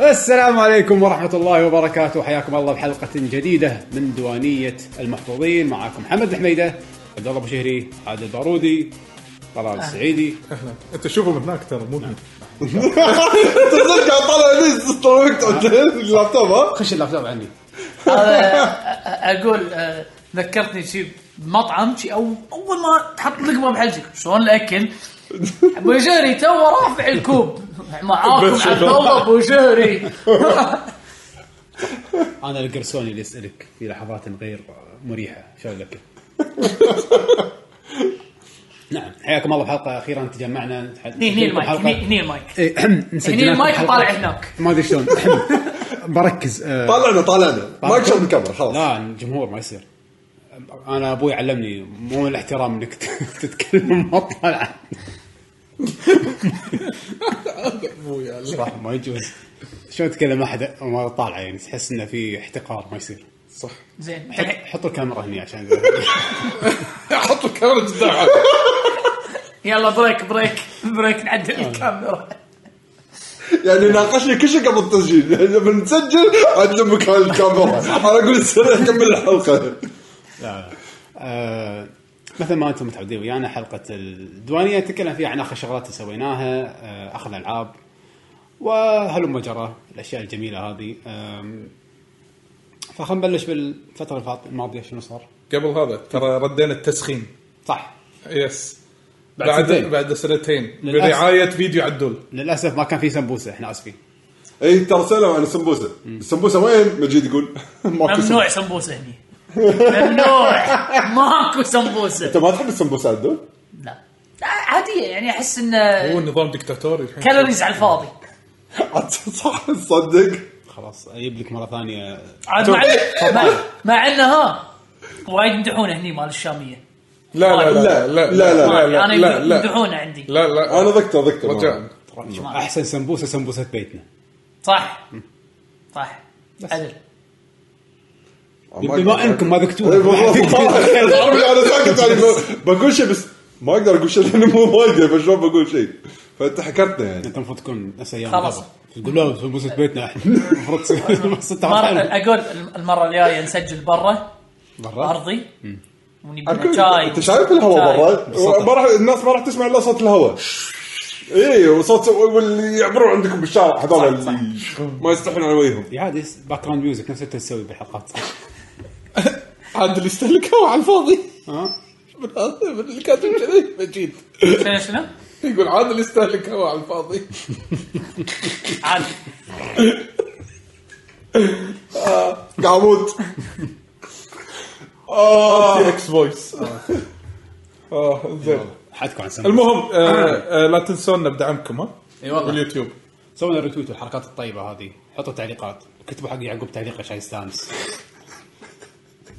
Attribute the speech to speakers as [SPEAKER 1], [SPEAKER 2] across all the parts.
[SPEAKER 1] السلام عليكم ورحمة الله وبركاته حياكم الله بحلقة جديدة من دوانية المحظوظين معاكم محمد الحميدة عبد الله أبو شهري عادل البارودي طلال السعيدي
[SPEAKER 2] انت شوفهم هناك ترى مو
[SPEAKER 3] صدق قاعد طالع ليز طول الوقت عند اللابتوب ها
[SPEAKER 1] خش اللابتوب عني
[SPEAKER 4] هذا أ- اقول أ، ذكرتني شي بمطعم شي او اول ما تحط لقمه بحلجك شلون الاكل ابو شهري تو رافع الكوب معاكم
[SPEAKER 2] بس
[SPEAKER 4] عبد الله ابو شهري
[SPEAKER 1] أنا القرصوني اللي أسألك في لحظات غير مريحة شلون لك نعم حياكم الله بحلقة أخيرا تجمعنا
[SPEAKER 4] هني هني المايك هني هني المايك
[SPEAKER 1] إيه، نسجل
[SPEAKER 4] هني
[SPEAKER 1] لكم
[SPEAKER 4] المايك
[SPEAKER 1] حلقة.
[SPEAKER 4] طالع هناك.
[SPEAKER 1] ما ادري شلون بركز آه،
[SPEAKER 3] طالعنا طالعنا ما يكشف الكاميرا خلاص
[SPEAKER 1] لا الجمهور ما يصير انا ابوي علمني مو الاحترام انك تتكلم ما طلع صح ما يجوز شلون تتكلم احد ما طالعه يعني تحس انه في احتقار ما يصير
[SPEAKER 2] صح
[SPEAKER 4] زين
[SPEAKER 1] حط- حط الكاميرا هني عشان
[SPEAKER 2] حط الكاميرا قدام
[SPEAKER 4] يلا بريك بريك بريك نعدل
[SPEAKER 2] آه.
[SPEAKER 4] الكاميرا
[SPEAKER 3] يعني ناقشني كل شيء قبل التسجيل لما نسجل عاد لمك على الكاميرا انا اقول استنى نكمل الحلقه
[SPEAKER 1] لا آه مثل ما انتم متعودين ويانا حلقه الديوانيه نتكلم فيها عن اخر شغلات سويناها آه اخذنا العاب وهلم جرى الاشياء الجميله هذه آم، فخلنا نبلش بالفتره الفاط- الماضيه شنو صار
[SPEAKER 2] قبل هذا ترى ردينا التسخين
[SPEAKER 1] صح
[SPEAKER 2] يس
[SPEAKER 1] بعد
[SPEAKER 2] بعد
[SPEAKER 1] سنتين.
[SPEAKER 2] بعد سنتين
[SPEAKER 1] للأسف.
[SPEAKER 2] برعايه فيديو عدول
[SPEAKER 1] للاسف ما كان في سمبوسه احنا اسفين
[SPEAKER 3] اي ترى سالوا عن السمبوسه السمبوسه وين مجيد يقول ماكو سمبوسة.
[SPEAKER 4] ممنوع سمبوسه هني ممنوع ماكو سمبوسه
[SPEAKER 3] انت ما تحب السمبوسه عدول؟
[SPEAKER 4] لا لا، عاديه يعني احس انه
[SPEAKER 2] هو نظام دكتاتوري الحين
[SPEAKER 4] كالوريز على الفاضي
[SPEAKER 3] عاد صح تصدق
[SPEAKER 1] خلاص اجيب لك مره ثانيه
[SPEAKER 4] عاد مع مع- مع انه ها وايد يمدحونه هني مال الشاميه
[SPEAKER 2] لا لا لا لا لا لا
[SPEAKER 4] انا
[SPEAKER 2] لا لا لا
[SPEAKER 4] يمدحونه عندي
[SPEAKER 2] لا لا
[SPEAKER 3] انا ذكر ذكر
[SPEAKER 2] رجاء
[SPEAKER 1] احسن سمبوسه سمبوسه بيتنا
[SPEAKER 4] صح صح عدل
[SPEAKER 1] بما انكم ما ذقتوها
[SPEAKER 3] إي بالضبط. تعرف انا ساكت يعني ب- بقول شيء بس ما اقدر اقول شيء لانه مو وايد يعني فشلون بقول شيء فانت حكرتنا يعني
[SPEAKER 1] انت المفروض تكون نفس ايام
[SPEAKER 4] خلاص.
[SPEAKER 1] بابا. تقول لا سمبوسه بيتنا احنا المفروض تصير-
[SPEAKER 4] مرة
[SPEAKER 1] ستة
[SPEAKER 4] اقول المره الجايه نسجل برا
[SPEAKER 1] برا
[SPEAKER 4] ارضي ونبي
[SPEAKER 3] أكل-
[SPEAKER 4] شاي
[SPEAKER 3] انت شايف الهواء
[SPEAKER 4] شاي.
[SPEAKER 3] برا؟ ما راح الناس ما راح تسمع الا صوت الهواء اي وصوت واللي يعبرون عندكم بالشارع هذول
[SPEAKER 4] صح، صح.
[SPEAKER 3] اللي ما يستحون على وجههم
[SPEAKER 1] عادي باك جراوند ميوزك نفس اللي أنت تسوي بالحلقات
[SPEAKER 2] عاد اللي استهلكوه على الفاضي
[SPEAKER 1] ها
[SPEAKER 2] من هذا من اللي كاتب كذي مجيد
[SPEAKER 4] شنو شنو؟
[SPEAKER 2] يقول عاد اللي استهلكوه على الفاضي
[SPEAKER 4] عادي
[SPEAKER 3] قاعد اموت
[SPEAKER 2] اه اكس فويس اه زين
[SPEAKER 1] حدكم عن سمبوسه
[SPEAKER 2] المهم آه، آه، لا تنسونا بدعمكم ها
[SPEAKER 1] اي والله
[SPEAKER 2] باليوتيوب
[SPEAKER 1] سوينا ريتويت والحركات الطيبه هذه حطوا تعليقات كتبوا حق يعقوب تعليق عشان يستانس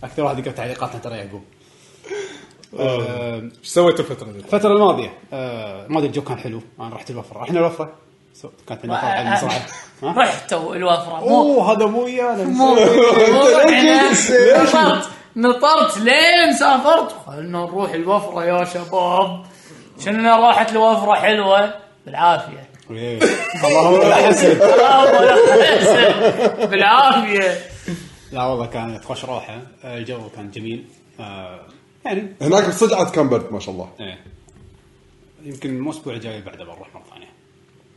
[SPEAKER 1] اكثر واحد يقرا تعليقاتنا ترى يعقوب آه،
[SPEAKER 2] ايش سويت الفتره دي؟
[SPEAKER 1] الفترة الماضية آه، الماضي الجو كان حلو انا رحت الوفرة رحنا الوفرة سو- كانت عندنا فرع المصاعب ها؟
[SPEAKER 4] رحتوا الوفره مو
[SPEAKER 1] اوه هذا مو ويانا
[SPEAKER 4] مو مو رحنا.
[SPEAKER 3] ليش؟
[SPEAKER 4] نطرت نطرت لين سافرت خلنا نروح الوفره يا شباب شنو راحت الوفره حلوه بالعافيه
[SPEAKER 1] إيه. اللهم لا حسن
[SPEAKER 4] بالعافيه
[SPEAKER 1] لا والله كانت خوش روحة آه، الجو كان جميل آه، يعني
[SPEAKER 3] هناك بصدق عاد كان برد ما شاء الله
[SPEAKER 1] ايه يمكن مو الاسبوع الجاي بعده بنروح مرة ثانية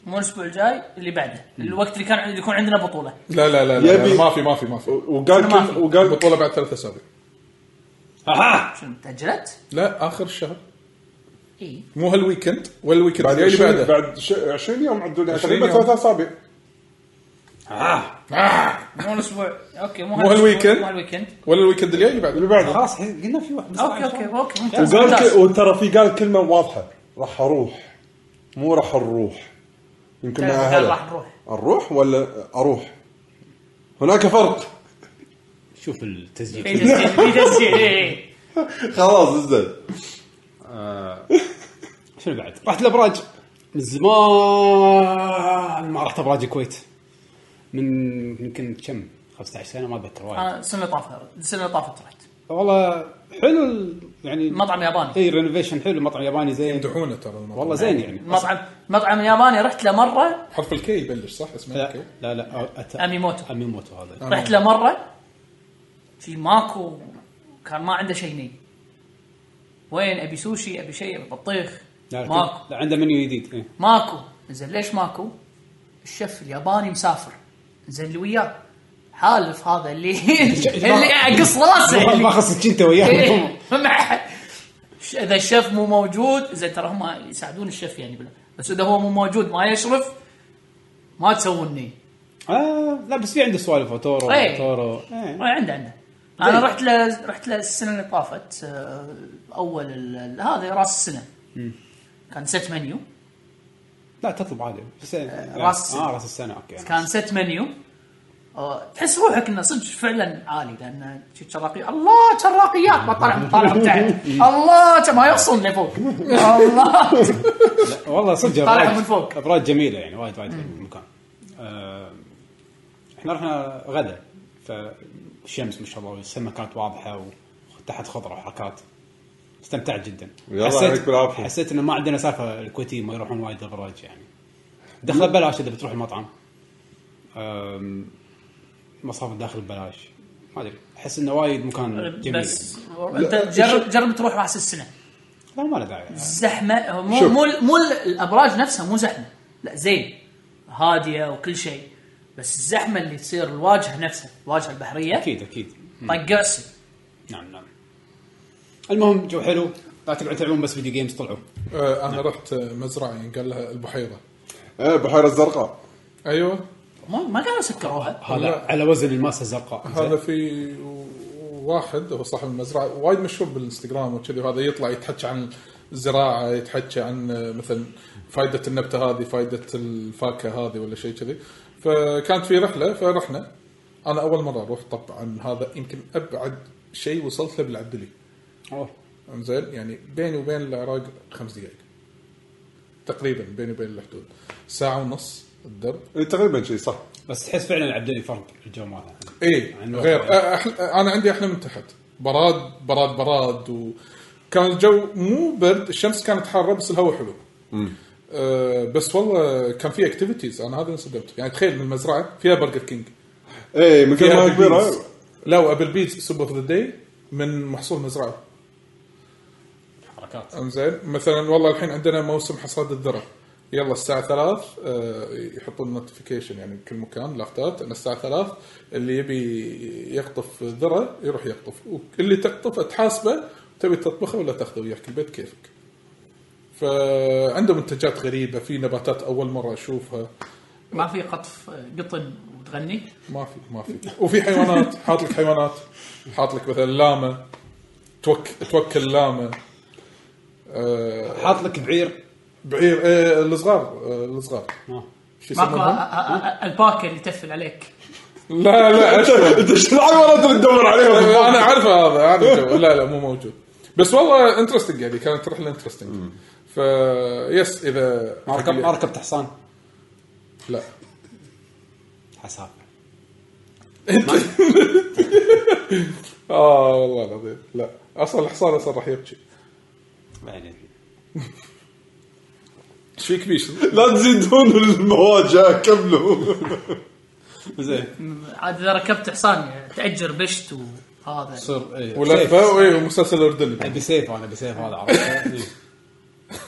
[SPEAKER 4] مو الاسبوع الجاي اللي بعده الوقت اللي كان عند- يكون عندنا بطوله
[SPEAKER 2] لا لا لا, لا,
[SPEAKER 3] يبي-
[SPEAKER 2] لا ما في ما في ما في
[SPEAKER 3] وقال
[SPEAKER 4] ما
[SPEAKER 3] كل-
[SPEAKER 4] في.
[SPEAKER 3] وقال
[SPEAKER 2] البطوله بعد ثلاث اسابيع
[SPEAKER 1] اها
[SPEAKER 4] شنو تاجلت؟
[SPEAKER 2] لا اخر الشهر
[SPEAKER 4] اي
[SPEAKER 2] مو هالويكند ولا الويكند
[SPEAKER 3] بعد
[SPEAKER 2] الجاي اللي
[SPEAKER 3] 20
[SPEAKER 2] بعده
[SPEAKER 3] بعد ش- 20 يوم عدوا
[SPEAKER 2] 20
[SPEAKER 3] تقريبا
[SPEAKER 2] يوم.
[SPEAKER 3] ثلاث اسابيع
[SPEAKER 1] آه.
[SPEAKER 4] مو الاسبوع اوكي مو
[SPEAKER 2] مو
[SPEAKER 4] هالأسبوع،
[SPEAKER 2] هالويكند.
[SPEAKER 4] مو هالويكند
[SPEAKER 2] ولا الويكند الجاي اللي بعده
[SPEAKER 3] اللي بعده
[SPEAKER 1] خلاص الحين قلنا في واحد
[SPEAKER 4] اوكي اوكي اوكي ممتاز
[SPEAKER 3] وقال ك-
[SPEAKER 4] ممتاز.
[SPEAKER 3] وترى في قال كلمه واضحه راح اروح مو راح نروح يمكن مع
[SPEAKER 4] قال راح
[SPEAKER 3] أهله.
[SPEAKER 4] نروح
[SPEAKER 3] نروح ولا اروح هناك فرق
[SPEAKER 1] شوف التسجيل
[SPEAKER 4] في تسجيل في تسجيل إي، إي.
[SPEAKER 3] خلاص زين
[SPEAKER 1] شنو بعد؟ رحت الابراج من زمان ما رحت ابراج الكويت من يمكن كم 15 سنه ما اتذكر وايد
[SPEAKER 4] آه. انا السنه اللي طافت السنه اللي طافت رحت
[SPEAKER 1] فوالله حلو ال- يعني
[SPEAKER 4] مطعم ياباني
[SPEAKER 1] اي رينوفيشن حلو مطعم ياباني زين
[SPEAKER 2] يمدحونه ترى المطعم.
[SPEAKER 1] والله زين يعني
[SPEAKER 4] مطعم مطعم ياباني رحت له مره
[SPEAKER 2] حرف الكي يبلش صح اسمه
[SPEAKER 1] لا
[SPEAKER 2] الكي
[SPEAKER 1] لا لا أت...
[SPEAKER 4] اميموتو
[SPEAKER 1] اميموتو هذا
[SPEAKER 2] آه.
[SPEAKER 4] رحت له مره في ماكو كان ما عنده شيء ني وين ابي سوشي ابي شيء ابي بطيخ
[SPEAKER 2] نعم،
[SPEAKER 1] لا،
[SPEAKER 4] ماكو
[SPEAKER 1] لا عنده منيو جديد إيه.
[SPEAKER 4] ماكو زين ليش ماكو؟ الشيف الياباني مسافر زين اللي وياه حالف هذا اللي اللي اقص راسه
[SPEAKER 1] ما يعني. خصك انت وياه
[SPEAKER 4] إيه، ما حد. ش- اذا الشيف مو موجود زين ترى هم يساعدون الشيف يعني بلا بس اذا هو مو موجود ما يشرف ما تسووني
[SPEAKER 1] آه لا بس في عنده سوالف اوتورو
[SPEAKER 4] إيه.
[SPEAKER 1] اوتورو إيه.
[SPEAKER 4] عنده عنده انا رحت له رحت له السنه اللي طافت آه، اول ال- ال- هذا راس السنه كان سيت منيو
[SPEAKER 1] لا تطلب عادي بس
[SPEAKER 4] آه، راس السنة.
[SPEAKER 1] اه راس السنه اوكي
[SPEAKER 4] كان سيت منيو آه، تحس روحك انه صدق فعلا عالي لان شي شراقي الله شراقيات بطلع طالع من تحت الله ش- ما يحصل لفوق الله
[SPEAKER 1] لا، والله صدق
[SPEAKER 4] طالع
[SPEAKER 1] أبراج-
[SPEAKER 4] من فوق.
[SPEAKER 1] ابراج جميله يعني وايد وايد حلو المكان آه، احنا رحنا غدا فالشمس ما شاء الله والسماء كانت واضحه وتحت خضره وحركات استمتعت جدا
[SPEAKER 3] يلا يعطيك بالعافية.
[SPEAKER 1] حسيت انه ما عندنا سالفه الكويتيين ما يروحون وايد ابراج يعني دخله ببلاش اذا بتروح المطعم آم، مصاف الداخل ببلاش ما ادري احس انه وايد مكان جميل
[SPEAKER 4] بس انت جرب جرب تروح راس السنه
[SPEAKER 1] لا ما له داعي يعني.
[SPEAKER 4] زحمه مو
[SPEAKER 3] شوف.
[SPEAKER 4] مو مو الابراج نفسها مو زحمه لا زين هاديه وكل شيء بس الزحمه اللي تصير الواجهه نفسها الواجهه البحريه
[SPEAKER 1] اكيد اكيد
[SPEAKER 4] طق عسل
[SPEAKER 1] نعم نعم المهم جو حلو لا تقعد تلعبون بس فيديو جيمز طلعوا
[SPEAKER 2] آه، انا رحت آه، مزرعه ينقال لها البحيره
[SPEAKER 3] ايه بحيره الزرقاء
[SPEAKER 2] ايوه
[SPEAKER 4] ما ما قالوا سكروها
[SPEAKER 1] هذا على وزن الماسه الزرقاء
[SPEAKER 2] هذا
[SPEAKER 1] زين.
[SPEAKER 2] في واحد هو صاحب المزرعه وايد مشهور بالانستغرام وكذي وهذا يطلع يتحكى عن الزراعه يتحكى عن آه، مثلا فائده النبته هذه فائده الفاكهه هذه ولا شيء كذي فكانت في رحله فرحنا انا اول مره اروح طبعا هذا يمكن ابعد شيء وصلت له بالعدلي
[SPEAKER 1] أوه.
[SPEAKER 2] انزين يعني بيني وبين العراق خمس دقائق تقريبا بيني وبين الحدود ساعه ونص الدرب
[SPEAKER 3] إيه، تقريبا شيء صح
[SPEAKER 1] بس تحس فعلا عبد الولي فرق الجو ماله
[SPEAKER 2] اي
[SPEAKER 1] عن الوضع
[SPEAKER 2] غير
[SPEAKER 1] يعني.
[SPEAKER 2] أه، أحل... انا عندي احلى من تحت براد براد براد وكان الجو مو برد الشمس كانت حاره بس الهواء حلو أه بس والله كان في اكتيفيتيز انا هذا اللي انصدمت يعني تخيل من المزرعه فيها برجر كينج
[SPEAKER 3] ايه من كثر
[SPEAKER 2] فيها
[SPEAKER 3] ما هي
[SPEAKER 2] أبل
[SPEAKER 3] كبيره
[SPEAKER 2] بيز. أيوة. لا وابل بيتز سوبر اوف ذا داي من محصول مزرعه
[SPEAKER 1] حركات
[SPEAKER 2] انزين مثلا والله الحين عندنا موسم حصاد الذره يلا الساعة ثلاث آه، يحطون نوتيفيكيشن يعني بكل مكان لافتات ان الساعة ثلاث اللي يبي يخطف ذرة يروح يخطف واللي تخطفه تحاسبه تبي تطبخه ولا تاخذه وياك البيت كيفك. فعنده منتجات غريبة في نباتات أول مرة أشوفها
[SPEAKER 4] ما في قطف آه، قطن وتغني
[SPEAKER 2] ما في ما في وفي حيوانات حاط لك حيوانات حاط لك مثلا لامة توك توكل لامة آه،
[SPEAKER 1] حاط لك بعير
[SPEAKER 2] بعير آه الصغار آه الصغار
[SPEAKER 1] آه.
[SPEAKER 2] شو
[SPEAKER 4] ماكو أ-
[SPEAKER 2] يسمونهم؟
[SPEAKER 4] أ- أ- الباكه اللي تفل عليك
[SPEAKER 2] لا لا أشوف.
[SPEAKER 3] انت ايش الحيوانات اللي تدور عليها
[SPEAKER 2] لا، انا عارفه هذا هذا الجو لا لا مو موجود بس والله انترستنج يعني كانت رحله انترستنج ف يس اذا
[SPEAKER 1] ما ركب ما ركبت حصان
[SPEAKER 2] لا
[SPEAKER 1] حساب
[SPEAKER 2] اه والله العظيم لا اصلا الحصان اصلا راح يبكي
[SPEAKER 1] بعدين
[SPEAKER 2] ايش فيك بيش
[SPEAKER 3] لا تزيدون المواجهه كملوا
[SPEAKER 1] زين
[SPEAKER 4] عاد اذا ركبت حصان تاجر بشت وهذا
[SPEAKER 1] صير إيه، سيف.
[SPEAKER 2] ولفه وإيه، ومسلسل اردني
[SPEAKER 1] ابي سيف انا ابي سيف هذا عرفت؟ إيه.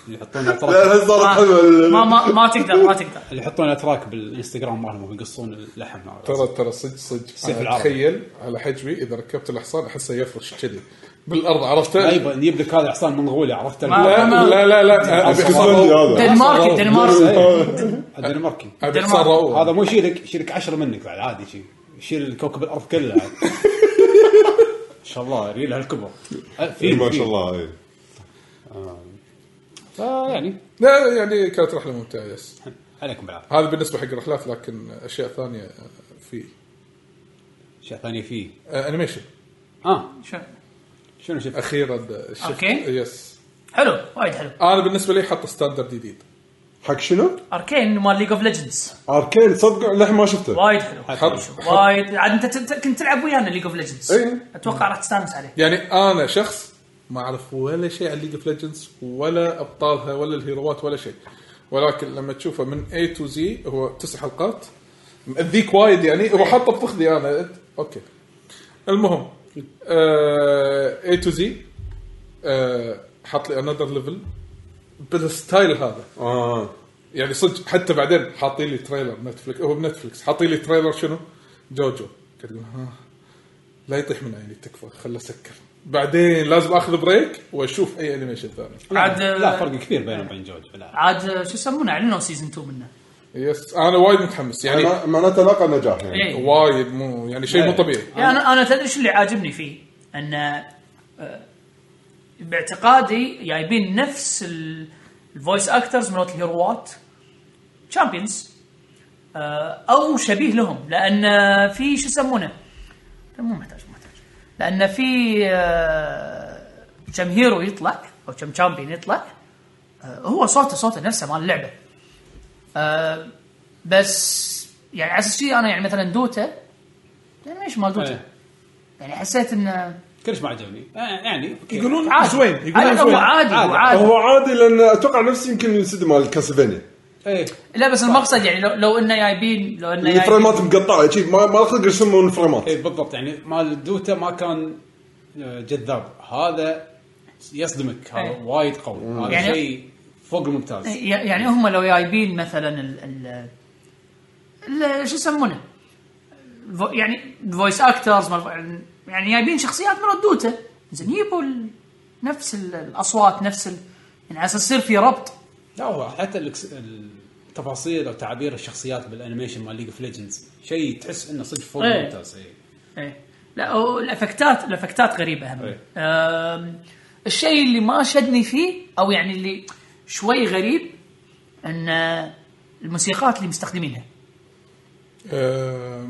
[SPEAKER 1] اللي يحطون اتراك
[SPEAKER 3] لا صارت
[SPEAKER 4] ما
[SPEAKER 3] حلوه
[SPEAKER 4] ما ما تقدر ما تقدر
[SPEAKER 1] اللي يحطون اتراك بالانستغرام مالهم ويقصون اللحم
[SPEAKER 2] ترى ترى صدق صدق
[SPEAKER 1] السيف
[SPEAKER 2] أنا
[SPEAKER 1] العربي.
[SPEAKER 2] تخيل على حجمي اذا ركبت الحصان احسه يفرش كذي بالارض عرفته
[SPEAKER 1] لا يبا أيوة، نجيب لك هذا حصان منغولي عرفت
[SPEAKER 4] ما-
[SPEAKER 2] لا لا لا لا ابي حصان
[SPEAKER 3] صدق هذا.
[SPEAKER 4] دنمارك دنمارك
[SPEAKER 1] الدنماركي
[SPEAKER 2] ابي حصان رؤوف
[SPEAKER 1] هذا مو يشيلك يشيلك 10 منك بعد عادي شي يشيل كوكب الارض كله عاد. ما شاء الله ريل هالكبر أه، في
[SPEAKER 3] ما
[SPEAKER 1] في.
[SPEAKER 3] شاء الله إيه.
[SPEAKER 1] فيعني
[SPEAKER 2] لا يعني كانت رحله ممتعه يس
[SPEAKER 1] آه، عليكم بالعافيه
[SPEAKER 2] هذا بالنسبه حق الرحلات لكن اشياء ثانيه في
[SPEAKER 1] اشياء ثانيه فيه
[SPEAKER 2] آه، انيميشن
[SPEAKER 1] اه
[SPEAKER 4] شو-
[SPEAKER 1] شنو شفت؟
[SPEAKER 3] أه،
[SPEAKER 2] اخيرا شفت
[SPEAKER 4] أوكي.
[SPEAKER 2] آه، يس
[SPEAKER 4] حلو وايد حلو
[SPEAKER 2] انا بالنسبه لي حط ستاندرد جديد
[SPEAKER 3] حق شنو؟
[SPEAKER 4] اركين مال ليج اوف ليجندز
[SPEAKER 3] اركين صدق للحين ما شفته
[SPEAKER 4] وايد حلو وايد عاد انت تت- كنت تلعب ويانا ليج اوف ليجندز
[SPEAKER 3] إيه.
[SPEAKER 4] اتوقع راح تستانس عليه
[SPEAKER 2] يعني انا شخص ما اعرف ولا شيء عن ليج اوف ليجندز ولا ابطالها ولا الهيروات ولا شيء ولكن لما تشوفه من اي تو زي هو تسع حلقات مأذيك وايد يعني هو حاطه بفخذي انا اوكي المهم آه، اي تو زي آه، حاط لي انذر ليفل بالستايل هذا
[SPEAKER 3] اه
[SPEAKER 2] يعني صدق حتى بعدين حاطين لي تريلر نتفلكس هو بنتفلكس حاطين لي تريلر شنو؟ جوجو قاعد اقول ها لا يطيح من عيني تكفى خله اسكر بعدين لازم اخذ بريك واشوف اي انيميشن ثاني
[SPEAKER 4] عاد
[SPEAKER 1] لا فرق كبير بينه وبين جوج لا
[SPEAKER 4] عاد شو يسمونه اعلنوا سيزون 2 منه
[SPEAKER 2] يس انا وايد متحمس يعني
[SPEAKER 3] معناه- معناته لاقى نجاح
[SPEAKER 1] إيه.
[SPEAKER 3] يعني
[SPEAKER 4] ايه
[SPEAKER 2] وايد مو يعني شيء مو
[SPEAKER 1] لا.
[SPEAKER 2] طبيعي
[SPEAKER 4] يعني انا انا تدري شو اللي عاجبني فيه؟ انه آه، باعتقادي جايبين نفس ال- الفويس اكترز مالت الهيروات شامبيونز آه، او شبيه لهم لان آه، في شو يسمونه؟ لا، مو محتاج مو محتاج لان في آه، كم هيرو يطلع او كم شامبيون يطلع آه، هو صوته صوته نفسه مال اللعبه آه، بس يعني على اساس شي انا يعني مثلا دوتا يعني ليش مال دوتا؟
[SPEAKER 1] إيه.
[SPEAKER 4] يعني حسيت انه
[SPEAKER 1] كلش ما عجبني آه، يعني أوكي.
[SPEAKER 4] عادي
[SPEAKER 2] زوين
[SPEAKER 4] عادي هو عادي هو عادي إيه،
[SPEAKER 3] هو عادي لان اتوقع نفسي يمكن ينسد مال كاسلفينيا
[SPEAKER 1] ايه
[SPEAKER 4] لا بس المقصد يعني لو, لو انه جايبين لو انه جايبين
[SPEAKER 3] الفريمات مقطعه يعني شي ما ما خلق يرسمون
[SPEAKER 4] إيه،
[SPEAKER 3] فريمات
[SPEAKER 1] ايه بالضبط يعني مال دوتا ما كان آه، جذاب هذا يصدمك هذا
[SPEAKER 4] إيه.
[SPEAKER 1] وايد قوي هذا
[SPEAKER 4] يعني-
[SPEAKER 1] شيء فوق الممتاز
[SPEAKER 4] يعني هم لو جايبين مثلا ال ال ال- شو يسمونه؟ الفو- يعني فويس اكترز يعني جايبين شخصيات من الدوتا زين يجيبوا ال- نفس ال- الاصوات نفس ال يعني على اساس يصير في ربط
[SPEAKER 1] لا هو حتى الإكس- التفاصيل او تعابير الشخصيات بالانيميشن مال ليج اوف ليجندز شيء تحس انه صدق فوق
[SPEAKER 4] إيه.
[SPEAKER 1] الممتاز ايه
[SPEAKER 4] إيه. لا هو الافكتات الافكتات غريبه هم
[SPEAKER 1] إيه.
[SPEAKER 4] أم، الشيء اللي ما شدني فيه او يعني اللي شوي غريب ان الموسيقات اللي مستخدمينها
[SPEAKER 2] آه.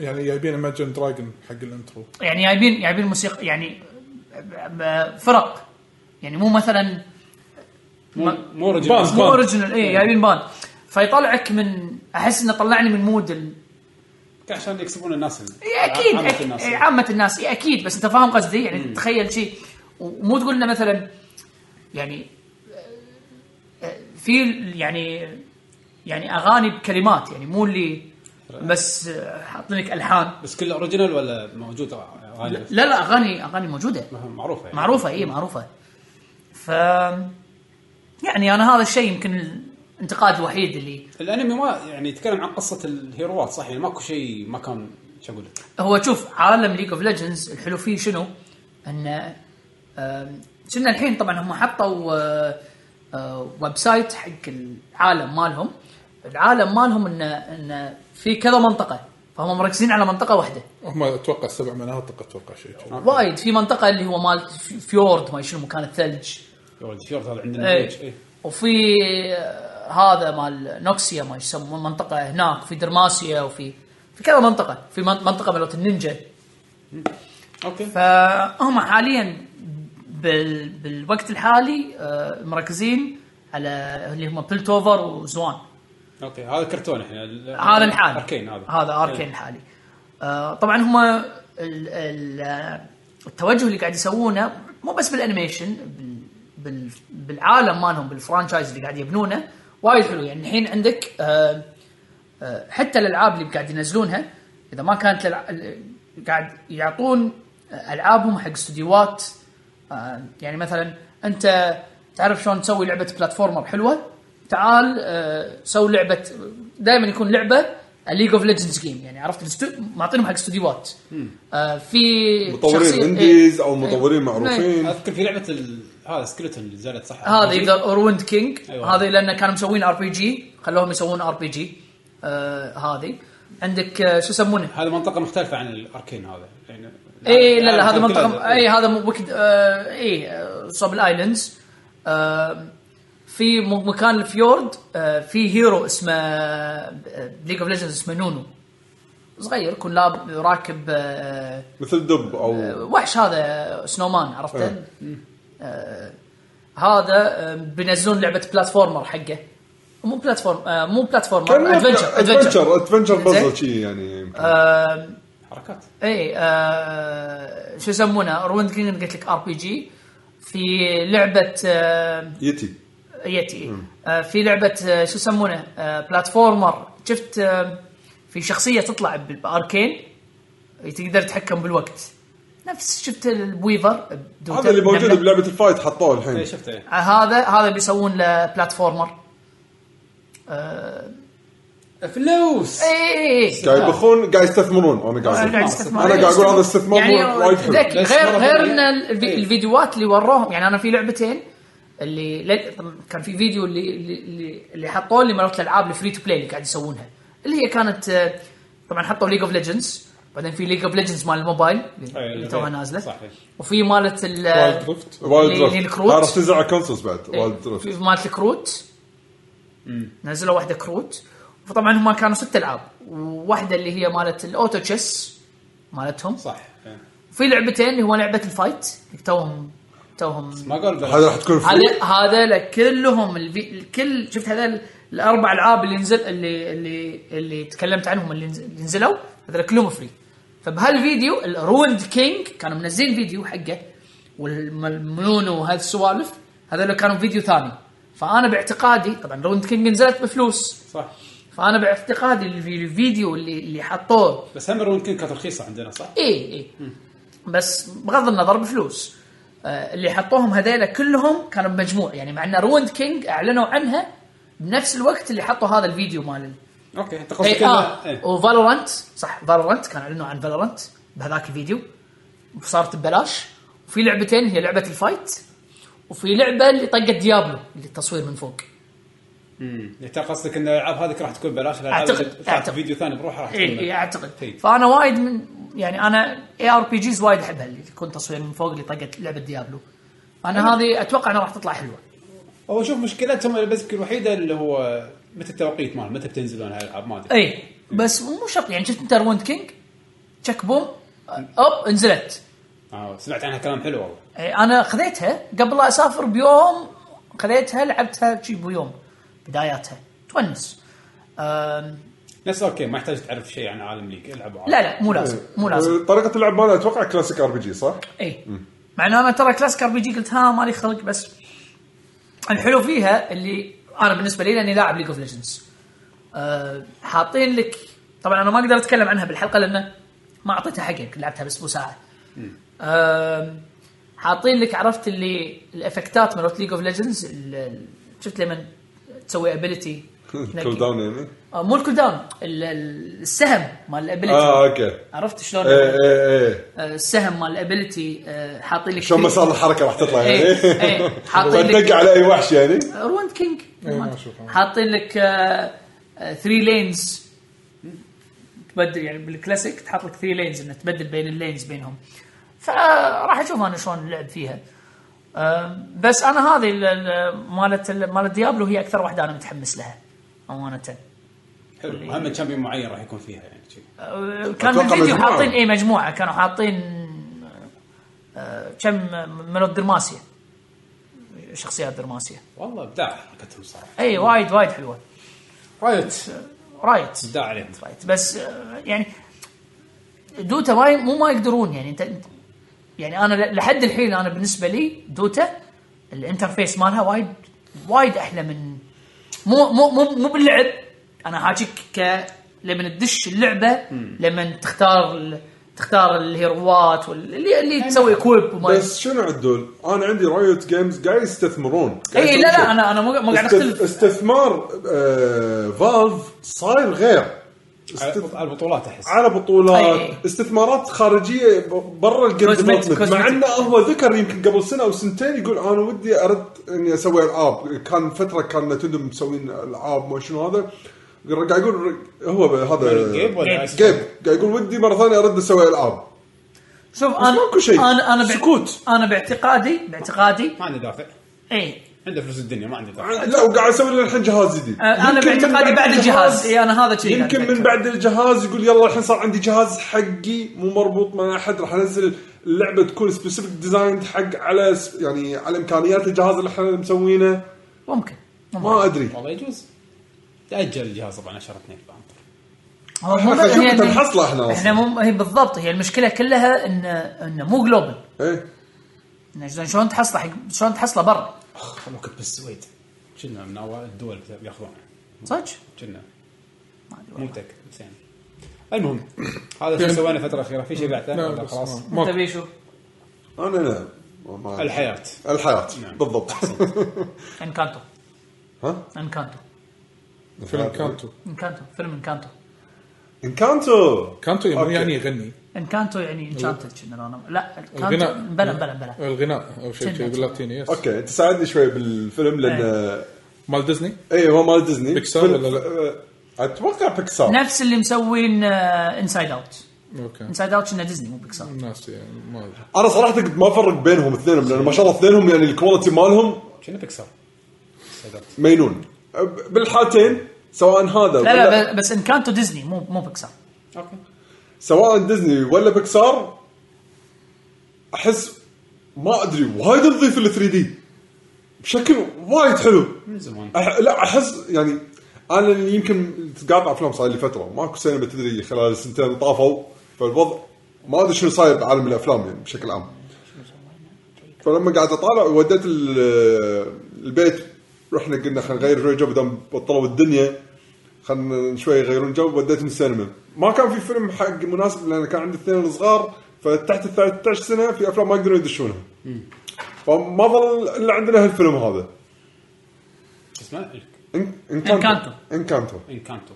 [SPEAKER 2] يعني جايبين ايماجن دراجون حق الانترو
[SPEAKER 4] يعني جايبين جايبين موسيقى يعني ب- فرق يعني مو مثلا
[SPEAKER 1] مو
[SPEAKER 4] ما-
[SPEAKER 1] مو
[SPEAKER 2] باز.
[SPEAKER 1] رجل
[SPEAKER 4] مو
[SPEAKER 2] بان.
[SPEAKER 4] اوريجنال اي جايبين بان فيطلعك من احس انه طلعني من مود ال...
[SPEAKER 1] عشان يكسبون الناس
[SPEAKER 4] إي اكيد
[SPEAKER 1] عامة
[SPEAKER 4] أك-
[SPEAKER 1] الناس.
[SPEAKER 4] إي عامه إيه، الناس إي اكيد بس انت فاهم قصدي يعني تخيل شيء ومو تقول لنا مثلا يعني آه، في ال- يعني يعني اغاني بكلمات يعني مو اللي بس آه، حاطين لك الحان
[SPEAKER 1] بس كله اوريجينال ولا موجود آه، غالبا
[SPEAKER 4] لا لا اغاني اغاني موجوده
[SPEAKER 1] معروفه يعني
[SPEAKER 4] معروفه اي معروفه إيه، ف يعني انا هذا الشيء يمكن الانتقاد الوحيد اللي
[SPEAKER 1] الانمي ما يعني يتكلم عن قصه الهيروات صح يعني ماكو شيء ما كان شو اقول لك
[SPEAKER 4] هو شوف عالم ليج اوف ليجندز الحلو فيه شنو؟ ان آم، كنا الحين طبعا هم حطوا آه، آه، ويب سايت حق العالم مالهم العالم مالهم ان ان في كذا منطقه فهم مركزين على منطقه واحده
[SPEAKER 2] هم اتوقع سبع مناطق اتوقع شيء كذي.
[SPEAKER 4] وايد في منطقه اللي هو مال في- فيورد ما شنو مكان الثلج
[SPEAKER 1] يا ولد شورت هذا عندنا
[SPEAKER 4] إيه.
[SPEAKER 1] ليش؟ إيه.
[SPEAKER 4] وفي آه، هذا مال نوكسيا ما يسمون منطقه هناك في درماسيا وفي في كذا منطقه في من- منطقه مالت النينجا
[SPEAKER 1] اوكي
[SPEAKER 4] فهم حاليا بال بالوقت الحالي آه، مركزين على اللي هم بلتوفر وزوان
[SPEAKER 1] اوكي هذا كرتون احنا ال-
[SPEAKER 4] هذا الحالي
[SPEAKER 1] اركين هذا
[SPEAKER 4] هذا اركين
[SPEAKER 1] إيه.
[SPEAKER 4] الحالي آه، طبعا هم ال- ال- آه، التوجه اللي قاعد يسوونه مو بس بالانيميشن بال- بال- بالعالم مالهم بالفرانشايز اللي قاعد يبنونه وايد حلو يعني الحين عندك آه، آه، حتى الالعاب اللي قاعد ينزلونها اذا ما كانت الألع- ال- قاعد يعطون العابهم حق استديوهات آه، يعني مثلا انت تعرف شلون تسوي لعبه بلاتفورمر حلوه تعال آه، سوي لعبه دائما يكون لعبه ليج اوف ليجندز جيم يعني عرفت الاستو- معطينهم حق استديوهات آه، في
[SPEAKER 3] مطورين
[SPEAKER 4] شخصية-
[SPEAKER 3] انديز او
[SPEAKER 4] إيه.
[SPEAKER 3] مطورين معروفين
[SPEAKER 1] اذكر في لعبه ال... هذا سكلتون اللي نزلت صح
[SPEAKER 4] هذا إيه. يقدر اورويند كينج
[SPEAKER 1] أيوة.
[SPEAKER 4] هذا لانه كانوا مسوين ار بي جي خلوهم يسوون ار بي جي آه، هذه عندك آه، شو يسمونه
[SPEAKER 1] هذا منطقه مختلفه عن الاركين هذا يعني
[SPEAKER 4] اي إيه، لا لا هذا
[SPEAKER 1] العالم كله-
[SPEAKER 4] منطقه اي هذا مو وكد آه، اي آه، صوب الايلاندز آه، في م- مكان الفيورد آه، في هيرو اسمه آه، ليج اوف ليجندز اسمه نونو صغير كلاب راكب آه،
[SPEAKER 3] مثل دب او
[SPEAKER 4] وحش هذا سنومان عرفته
[SPEAKER 3] إيه.
[SPEAKER 4] آه هذا آه، بينزلون لعبه بلاتفورمر حقه مو بلاتفورم آه، مو بلاتفورم
[SPEAKER 3] كان
[SPEAKER 4] ادفنشر ادفنشر
[SPEAKER 3] ادفنشر
[SPEAKER 4] زين.
[SPEAKER 3] ادفنشر
[SPEAKER 4] آه.
[SPEAKER 3] بازل شي يعني
[SPEAKER 4] آم،
[SPEAKER 1] حركات
[SPEAKER 4] اي إيه، آه، شو يسمونه روند كينج قلت لك ار بي جي في لعبه آه،
[SPEAKER 3] يتي
[SPEAKER 4] يتي آه، في لعبه آه، شو يسمونه آه، بلاتفورمر شفت آه، في شخصيه تطلع بال- باركين تقدر تتحكم بالوقت نفس شفت البويفر بدوتا،
[SPEAKER 3] هذا اللي موجود
[SPEAKER 4] نملة.
[SPEAKER 3] بلعبه الفايت حطوه
[SPEAKER 1] إيه،
[SPEAKER 3] الحين
[SPEAKER 1] شفته إيه.
[SPEAKER 4] آه، هذا هذا بيسوون له بلاتفورمر آه،
[SPEAKER 1] فلوس
[SPEAKER 4] اي اي اي
[SPEAKER 3] قاعد يبخون قاعد يستثمرون وانا
[SPEAKER 4] انا
[SPEAKER 3] قاعد
[SPEAKER 4] قاعد
[SPEAKER 3] أقول.
[SPEAKER 4] استثمار
[SPEAKER 3] أنا قاعد أقول هذا استثمار
[SPEAKER 4] يعني
[SPEAKER 3] مو- وايد حلو.
[SPEAKER 4] ذكي
[SPEAKER 1] بس
[SPEAKER 4] غير
[SPEAKER 1] مرة
[SPEAKER 4] غير
[SPEAKER 1] ثانية.
[SPEAKER 4] ان الفي-
[SPEAKER 1] إيه.
[SPEAKER 4] الفيديوهات اللي وروهم يعني انا في لعبتين اللي ل- طبعاً كان في فيديو اللي اللي, اللي حطوه لي مرات الالعاب الفري تو بلاي اللي قاعد يسوونها اللي هي كانت آه، طبعا حطوا ليج اوف ليجندز بعدين في ليج اوف ليجندز مال الموبايل اللي
[SPEAKER 1] إيه.
[SPEAKER 4] توها نازله
[SPEAKER 1] صحيح.
[SPEAKER 4] وفي مالت
[SPEAKER 2] وايلد
[SPEAKER 4] ال
[SPEAKER 2] درفت
[SPEAKER 3] وايلد
[SPEAKER 4] اللي- اللي
[SPEAKER 3] درفت
[SPEAKER 4] يعني الكروت. إيه.
[SPEAKER 3] ها، راح تنزل على كونسولز بعد وايلد درفت
[SPEAKER 4] في مالت الكروت نزلوا واحده كروت فطبعا هم كانوا ست العاب وواحده اللي هي مالت الاوتو تشيس مالتهم
[SPEAKER 1] صح إيه.
[SPEAKER 4] في لعبتين اللي هو لعبه الفايت اللي توهم توهم
[SPEAKER 1] ما قال
[SPEAKER 3] هذا
[SPEAKER 1] بلاش.
[SPEAKER 3] راح تكون فري
[SPEAKER 4] هذا هذا كلهم الفي... الكل شفت هذا الاربع العاب اللي نزل اللي اللي اللي تكلمت عنهم اللي نز- اللي نزلوا هذول كلهم فري فبهالفيديو الروند كينج كانوا منزلين فيديو حقه والملون وهالسوالف هذول كانوا فيديو ثاني فانا باعتقادي طبعا روند كينج نزلت بفلوس
[SPEAKER 1] صح
[SPEAKER 4] فانا باعتقادي الفي- الفيديو اللي اللي حطوه
[SPEAKER 1] بس هم رون كينج كانت رخيصه عندنا صح؟
[SPEAKER 4] اي اي إيه، بس بغض النظر بفلوس آه، اللي حطوهم هذيلا كلهم كانوا بمجموع يعني مع ان روند كينج اعلنوا عنها بنفس الوقت اللي حطوا هذا الفيديو مال ال-
[SPEAKER 1] اوكي انت قصدك
[SPEAKER 4] اي
[SPEAKER 1] إنه-
[SPEAKER 4] اه
[SPEAKER 1] إيه.
[SPEAKER 4] وفالورنت صح فالورنت كان اعلنوا عن فالورنت بهذاك الفيديو وصارت ببلاش وفي لعبتين هي لعبه الفايت وفي لعبه اللي طقت ديابلو اللي التصوير من فوق
[SPEAKER 1] امم انت قصدك ان الالعاب هذيك راح تكون ببلاش الالعاب
[SPEAKER 4] أعتقد-
[SPEAKER 1] اللي طلعت
[SPEAKER 4] أعتقد. إيه،
[SPEAKER 1] فيديو ثاني بروحها راح
[SPEAKER 4] اي
[SPEAKER 1] تكون
[SPEAKER 4] اي اعتقد
[SPEAKER 1] إي.
[SPEAKER 4] فانا وايد من يعني انا اي ار بي جيز وايد احبها اللي تكون تصوير من فوق اللي طقت لعبه ديابلو انا هذه اتوقع انها راح تطلع حلوه
[SPEAKER 1] هو شوف مشكلتهم بس الوحيده اللي هو متى التوقيت مال متى بتنزلون هالالعاب ما ادري
[SPEAKER 4] اي بس مو شرط يعني شفت انت روند كينج تشك بوم اب انزلت
[SPEAKER 1] آه سمعت عنها كلام حلو والله
[SPEAKER 4] إي، انا خذيتها قبل لا اسافر بيوم خذيتها لعبتها شي بيوم بداياتها تونس أم،
[SPEAKER 1] نفس اوكي ما يحتاج تعرف شيء عن عالم ليج العبوا عالم.
[SPEAKER 4] لا لا مو
[SPEAKER 3] إيه.
[SPEAKER 4] لازم مو لازم
[SPEAKER 3] طريقه أه، اللعب مالها اتوقع كلاسيك ار بي جي صح؟
[SPEAKER 4] اي إيه. مع انه انا ترى كلاسيك ار بي جي قلت ها مالي خلق بس الحلو فيها اللي انا بالنسبه لي لاني لاعب ليج اوف ليجندز آه، حاطين لك طبعا انا ما اقدر اتكلم عنها بالحلقه لانه ما اعطيتها حقك لعبتها بس مو ساعه آم، حاطين لك عرفت اللي الافكتات مالت ليج اوف ليجندز شفت لما تسوي ابيلتي
[SPEAKER 3] كول داون يعني
[SPEAKER 4] مو الكول داون ال- ال- السهم مال الابيلتي
[SPEAKER 3] اه اوكي
[SPEAKER 4] عرفت شلون
[SPEAKER 3] ايه ايه ايه
[SPEAKER 4] آه، السهم مال الابيلتي آه، حاطين لك
[SPEAKER 3] شلون
[SPEAKER 4] فيه-
[SPEAKER 3] مسار الحركه راح تطلع يعني
[SPEAKER 4] إيه، إيه. حاطين لك-
[SPEAKER 3] فتدق على اي وحش يعني
[SPEAKER 4] روند كينج
[SPEAKER 2] إيه، ما أشوفها.
[SPEAKER 4] حاطين لك آه، ثري لينز تبدل يعني بالكلاسيك تحط لك ثري لينز انك تبدل بين اللينز بينهم فراح اشوف انا شلون اللعب فيها آه، بس انا هذه ال- ال- مالت ال- مالت ديابلو هي اكثر واحده انا متحمس لها امانه
[SPEAKER 1] حلو مهمه
[SPEAKER 4] إيه.
[SPEAKER 1] تشامبيون معين راح يكون فيها يعني شي.
[SPEAKER 4] آه، كان
[SPEAKER 3] أتوقع
[SPEAKER 4] بالفيديو
[SPEAKER 3] مجموعة.
[SPEAKER 4] حاطين اي مجموعه كانوا حاطين آه، كم من الدرماسيه شخصيات درماسيه
[SPEAKER 1] والله ابداع حركتهم صراحه
[SPEAKER 4] اي إيه، وايد وايد حلوه
[SPEAKER 1] رايت
[SPEAKER 4] رايت
[SPEAKER 1] ابداع عليهم
[SPEAKER 4] رايت بس آه، يعني دوتا ما ي- مو ما يقدرون يعني انت أنت- يعني انا ل- لحد الحين انا بالنسبه لي دوتا الانترفيس مالها وايد وايد احلى من مو مو مو, مو باللعب انا حاجيك ك لما تدش اللعبه لما تختار ال- تختار الهيروات وال- اللي اللي تسوي كويب وما
[SPEAKER 3] يعني بس شنو عدول؟ انا عندي رايوت جيمز قاعد يستثمرون قاعد
[SPEAKER 4] اي إيه، لا
[SPEAKER 3] يسوون شيء.
[SPEAKER 4] لا انا انا مو مو قاعد
[SPEAKER 3] است-
[SPEAKER 4] اختلف
[SPEAKER 3] استثمار آه، فالف صاير غير است-
[SPEAKER 1] على البطولات احس
[SPEAKER 3] على
[SPEAKER 4] أي.
[SPEAKER 3] بطولات استثمارات خارجيه ب- برا الجيم
[SPEAKER 4] Cosmetic-
[SPEAKER 3] ديفلوبمنت مع
[SPEAKER 4] cosmetic.
[SPEAKER 3] انه هو ذكر يمكن قبل سنه او سنتين يقول انا ودي ارد اني اسوي العاب كان فتره كان نتندو مسوين العاب ما شنو هذا قاعد يقول هو هذا
[SPEAKER 1] جيب ولا
[SPEAKER 4] جيب.
[SPEAKER 1] آيس؟
[SPEAKER 3] جيب قاعد يقول ودي مره ثانيه ارد اسوي العاب
[SPEAKER 4] شوف انا
[SPEAKER 3] ماكو شيء.
[SPEAKER 4] انا انا بع-
[SPEAKER 3] سكوت.
[SPEAKER 4] انا باعتقادي باعتقادي إيه،
[SPEAKER 1] ما عنده دافع
[SPEAKER 4] اي
[SPEAKER 1] عنده فلوس الدنيا ما عنده دافع
[SPEAKER 3] لا وقاعد اسوي لي الحين جهاز جديد
[SPEAKER 4] انا
[SPEAKER 3] يمكن من
[SPEAKER 4] أه، باعتقادي بعد الجهاز اي انا هذا شيء
[SPEAKER 3] يمكن من بعد الجهاز يقول يلا الحين صار عندي جهاز حقي مو مربوط مع احد راح انزل اللعبه تكون سبيسيفيك ديزاين حق على س- يعني على امكانيات الجهاز اللي احنا مسوينه
[SPEAKER 4] ممكن ممكن
[SPEAKER 3] ما ادري
[SPEAKER 1] والله يجوز تاجل الجهاز طبعا 10 2 فهمت
[SPEAKER 4] هو
[SPEAKER 3] احنا
[SPEAKER 4] الموضوع
[SPEAKER 3] شوف
[SPEAKER 4] هي
[SPEAKER 3] انت
[SPEAKER 4] إن-
[SPEAKER 3] نحصله احنا
[SPEAKER 4] احنا
[SPEAKER 3] اصلا
[SPEAKER 4] يعني مو هي بالضبط هي المشكله كلها ان انه مو جلوبال
[SPEAKER 3] ايه
[SPEAKER 4] إنه شلون- شلون تحصله حق- شلون تحصله برا
[SPEAKER 1] اخ خلوك بالسويد كنا من اوائل الدول ياخذونه
[SPEAKER 4] صدق؟
[SPEAKER 1] كنا
[SPEAKER 4] ما أدري
[SPEAKER 1] مو
[SPEAKER 4] والله.
[SPEAKER 1] متاكد بس يعني المهم هذا شو سوينا الفتره الاخيره في شيء بعده
[SPEAKER 2] لا
[SPEAKER 1] ولا
[SPEAKER 2] بس
[SPEAKER 1] خلاص
[SPEAKER 2] ما-
[SPEAKER 4] انت
[SPEAKER 2] ما-
[SPEAKER 4] بيشو
[SPEAKER 3] انا لا ما-
[SPEAKER 1] الحياه
[SPEAKER 3] الحياه
[SPEAKER 1] نعم.
[SPEAKER 3] بالضبط
[SPEAKER 4] انكانتو
[SPEAKER 3] ها
[SPEAKER 4] انكانتو
[SPEAKER 2] فيلم
[SPEAKER 3] آه.
[SPEAKER 2] كانتو
[SPEAKER 4] انكانتو فيلم انكانتو
[SPEAKER 3] انكانتو
[SPEAKER 2] كانتو
[SPEAKER 3] أوكي.
[SPEAKER 2] يعني يغني
[SPEAKER 4] انكانتو يعني
[SPEAKER 3] إيه.
[SPEAKER 4] انشانتد كنا لو أنا- لا انكانتو
[SPEAKER 2] الغناء
[SPEAKER 4] بلا بلا بلا
[SPEAKER 2] الغناء او شيء
[SPEAKER 4] شنو؟
[SPEAKER 2] شيء باللاتيني يس
[SPEAKER 3] اوكي انت ساعدني شوي بالفيلم لان
[SPEAKER 2] مال ديزني
[SPEAKER 3] اي هو مال ديزني
[SPEAKER 2] بيكسار
[SPEAKER 3] فيلم-
[SPEAKER 2] إيه. ولا
[SPEAKER 3] آه، اتوقع بيكسار
[SPEAKER 4] نفس اللي مسوين آه، انسايد اوت
[SPEAKER 2] اوكي
[SPEAKER 4] انسايد اوت كنا ديزني مو بيكسار
[SPEAKER 2] ناسي يعني ما أدري.
[SPEAKER 3] انا صراحه قد ما افرق بينهم اثنينهم لان ما شاء الله اثنينهم يعني الكواليتي مالهم
[SPEAKER 1] كنا بيكسر صدق.
[SPEAKER 3] مينون أه، بالحالتين سواء هذا
[SPEAKER 4] لا
[SPEAKER 3] ولا
[SPEAKER 4] لا ب- بس انكانتو ديزني مو مو بيكسار
[SPEAKER 1] اوكي
[SPEAKER 3] سواء ديزني ولا بيكسار احس ما ادري وايد نظيف ال 3 دي بشكل وايد حلو
[SPEAKER 1] من زمان
[SPEAKER 3] أح... لا احس يعني انا اللي يمكن تقاطع افلام صار لي فتره ماكو سينما تدري خلال السنتين اللي طافوا فالوضع ما ادري شنو صاير بعالم الافلام يعني بشكل عام فلما قاعد اطالع وديت ال- البيت رحنا قلنا خلينا نغير شوي جو بدل بطلوا الدنيا خلينا شوي يغيرون جو وديتهم السينما ما كان في فيلم حق مناسب لان كان عندي اثنين صغار فتحت ال 13 سنه في افلام ما يقدرون يدشونها فما ظل الا عندنا هالفيلم هذا
[SPEAKER 1] اسمه
[SPEAKER 3] إن-
[SPEAKER 4] إنكانتو.
[SPEAKER 3] انكانتو
[SPEAKER 1] انكانتو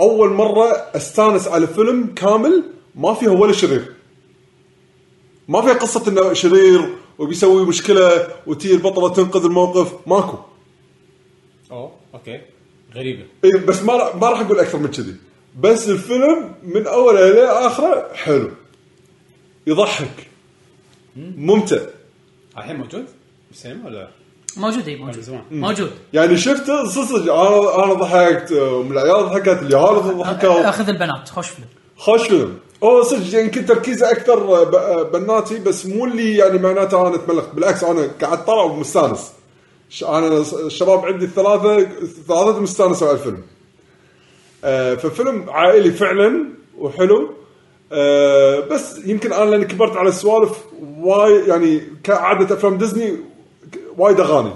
[SPEAKER 3] اول مره استانس على فيلم كامل ما فيها ولا شرير ما فيها قصه انه شرير وبيسوي مشكله وتي البطله تنقذ الموقف ماكو
[SPEAKER 1] اوه اوكي غريبه
[SPEAKER 3] إيه بس ما راح- ما راح اقول اكثر من كذي بس الفيلم من اوله الى اخره حلو يضحك ممتع
[SPEAKER 1] الحين موجود بالسينما ولا
[SPEAKER 4] موجود اي
[SPEAKER 1] من
[SPEAKER 4] موجود
[SPEAKER 1] زمان.
[SPEAKER 4] موجود
[SPEAKER 3] يعني شفت صدق انا انا ضحكت ام العيال ضحكت اليهال ضحكوا
[SPEAKER 4] اخذ البنات خوش فيلم
[SPEAKER 3] خوش فيلم هو صدق يعني يمكن تركيزه اكثر ب- بناتي بس مو اللي يعني معناته انا تملقت بالعكس انا قاعد طالع ومستانس ش- انا س- الشباب عندي الثلاثه ثلاثه مستانسه على الفيلم آه، ففيلم عائلي فعلا وحلو آه، بس يمكن انا لان كبرت على السوالف وايد يعني كعاده افلام ديزني ك- وايد اغاني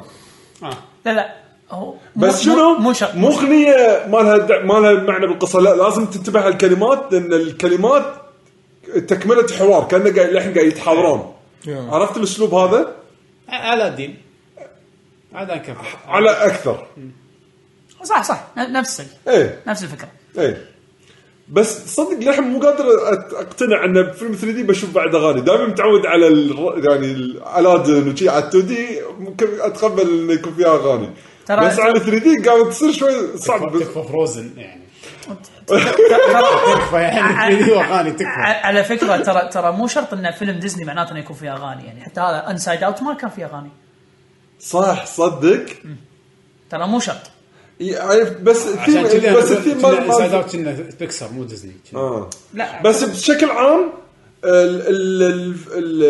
[SPEAKER 1] اه
[SPEAKER 4] لا لا هو مو-
[SPEAKER 3] بس شنو
[SPEAKER 4] مو- مو شرط
[SPEAKER 3] مو اغنيه ما لها دع- ما لها معنى بالقصه لا لازم تنتبه على الكلمات لان الكلمات تكمله حوار كانه قاعد الحين قاعد يتحاورون
[SPEAKER 2] يا.
[SPEAKER 3] عرفت الاسلوب هذا
[SPEAKER 1] على الدين هذا كفو
[SPEAKER 3] على اكثر
[SPEAKER 4] صح صح ن- نفس ال-
[SPEAKER 3] ايه
[SPEAKER 4] نفس الفكره
[SPEAKER 3] ايه بس صدق للحين مو قادر أت- اقتنع انه بفيلم 3 دي بشوف بعد اغاني دائما متعود على ال... يعني الالادن وشي على 2 دي ممكن اتقبل انه يكون فيها اغاني
[SPEAKER 4] ترى-
[SPEAKER 3] بس على 3 دي قامت تصير شوي صعب
[SPEAKER 1] تكفى فروزن يعني
[SPEAKER 4] ترى-
[SPEAKER 1] تكفى يعني 3 دي واغاني تكفى
[SPEAKER 4] ع- على فكره ترى ترى مو شرط ان فيلم ديزني معناته انه يكون فيه اغاني يعني حتى هذا انسايد اوت ما كان فيه اغاني
[SPEAKER 3] صح صدق
[SPEAKER 4] ترى مو شرط
[SPEAKER 3] يعني بس
[SPEAKER 1] عشان
[SPEAKER 3] الثيم
[SPEAKER 1] كذا
[SPEAKER 3] بس الثيم مال
[SPEAKER 1] انسايد
[SPEAKER 3] مال
[SPEAKER 1] اوت كنا بيكسر مو ديزني كنا.
[SPEAKER 3] آه.
[SPEAKER 4] لا
[SPEAKER 3] بس بشكل عام ال ال ال ال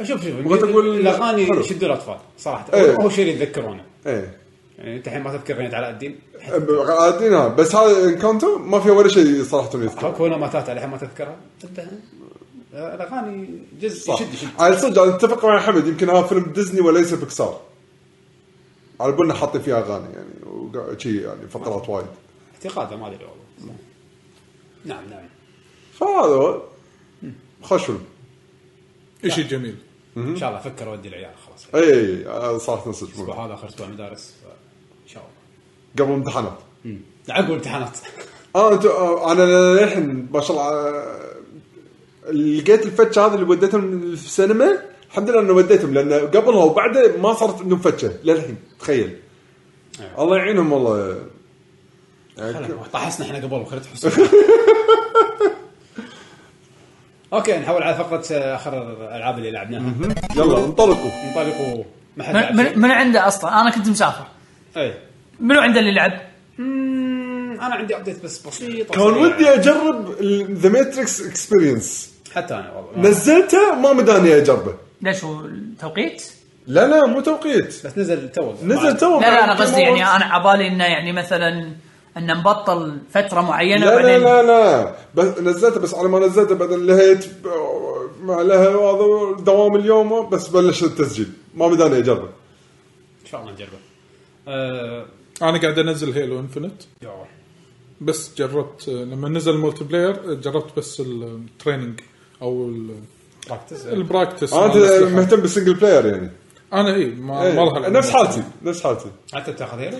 [SPEAKER 3] آه،
[SPEAKER 1] شوف شوف
[SPEAKER 3] بغيت أقول- حلو.
[SPEAKER 1] الاغاني شدوا الاطفال صراحه
[SPEAKER 3] إيه.
[SPEAKER 1] هو شيء اللي يتذكرونه
[SPEAKER 3] ايه
[SPEAKER 1] يعني انت الحين ما تذكر اغنيه علاء الدين
[SPEAKER 3] عادينا بس هذا انكاونتر ما فيها ولا شيء صراحه يذكر
[SPEAKER 1] هاك ولا ماتات الحين ما تذكرها انتهى آه، الاغاني جزء
[SPEAKER 3] صح
[SPEAKER 1] يشد يشد
[SPEAKER 3] على صدق انا اتفق مع حمد يمكن هذا فيلم ديزني وليس بيكسار على بالنا حاطين فيه اغاني يعني وقا- شي يعني فقرات وايد
[SPEAKER 1] اعتقاده ما ادري والله نعم نعم
[SPEAKER 3] فهذا هو. خوش فيلم
[SPEAKER 2] شيء جميل
[SPEAKER 1] ان شاء الله افكر اودي العيال خلاص
[SPEAKER 3] اي اي آه، صراحه صدق
[SPEAKER 1] الاسبوع هذا اخر اسبوع مدارس ف- ان شاء الله
[SPEAKER 3] قبل امتحانات
[SPEAKER 1] مم. عقب الامتحانات
[SPEAKER 3] اه انت آه، انا للحين ما شاء الله آه، لقيت الفتشه هذه اللي وديتهم في السينما الحمد لله انه وديتهم لان قبلها وبعدها ما صارت عندهم فتشه للحين تخيل
[SPEAKER 4] إيه.
[SPEAKER 1] أيوة.
[SPEAKER 3] الله يعينهم والله يعني
[SPEAKER 1] خلاص، طحسنا احنا قبل خلينا تحس اوكي نحول على فقره آه، اخر الالعاب اللي لعبناها
[SPEAKER 3] يلا انطلقوا
[SPEAKER 1] انطلقوا ما حد
[SPEAKER 4] من,
[SPEAKER 1] لعب شيء.
[SPEAKER 4] من, من عنده اصلا انا كنت مسافر
[SPEAKER 1] اي
[SPEAKER 4] منو عنده اللي لعب؟
[SPEAKER 1] إيه. مم، انا عندي ابديت بس بسيط
[SPEAKER 3] كان ودي اجرب ذا ماتريكس اكسبيرينس
[SPEAKER 1] حتى انا والله
[SPEAKER 3] نزلته ما مداني اجربه
[SPEAKER 4] ليش هو التوقيت؟
[SPEAKER 3] لا لا مو توقيت
[SPEAKER 1] بس نزل تو
[SPEAKER 3] نزل
[SPEAKER 4] لا
[SPEAKER 3] تو
[SPEAKER 4] لا انا قصدي يعني انا عبالي انه يعني مثلا انه مبطل فتره معينه
[SPEAKER 3] لا لا
[SPEAKER 4] وبعدين
[SPEAKER 3] لا لا بس نزلته بس على ما نزلته بعدين لهيت ما لها وهذا دوام اليوم بس بلش التسجيل ما بداني اجربه
[SPEAKER 1] ان شاء الله نجربه آه،
[SPEAKER 2] انا قاعد انزل هيلو انفنت
[SPEAKER 1] يا.
[SPEAKER 2] بس جربت لما نزل المولتي بلاير جربت بس التريننج او ال-
[SPEAKER 1] براكتس
[SPEAKER 2] البراكتس مع
[SPEAKER 3] انت
[SPEAKER 2] الأسلحة.
[SPEAKER 3] مهتم بالسنجل بلاير يعني
[SPEAKER 2] انا اي ما آه، ما راح
[SPEAKER 3] إيه.
[SPEAKER 2] ألعب.
[SPEAKER 3] نفس حالتي نفس حالتي
[SPEAKER 1] حتى تاخذ هيلو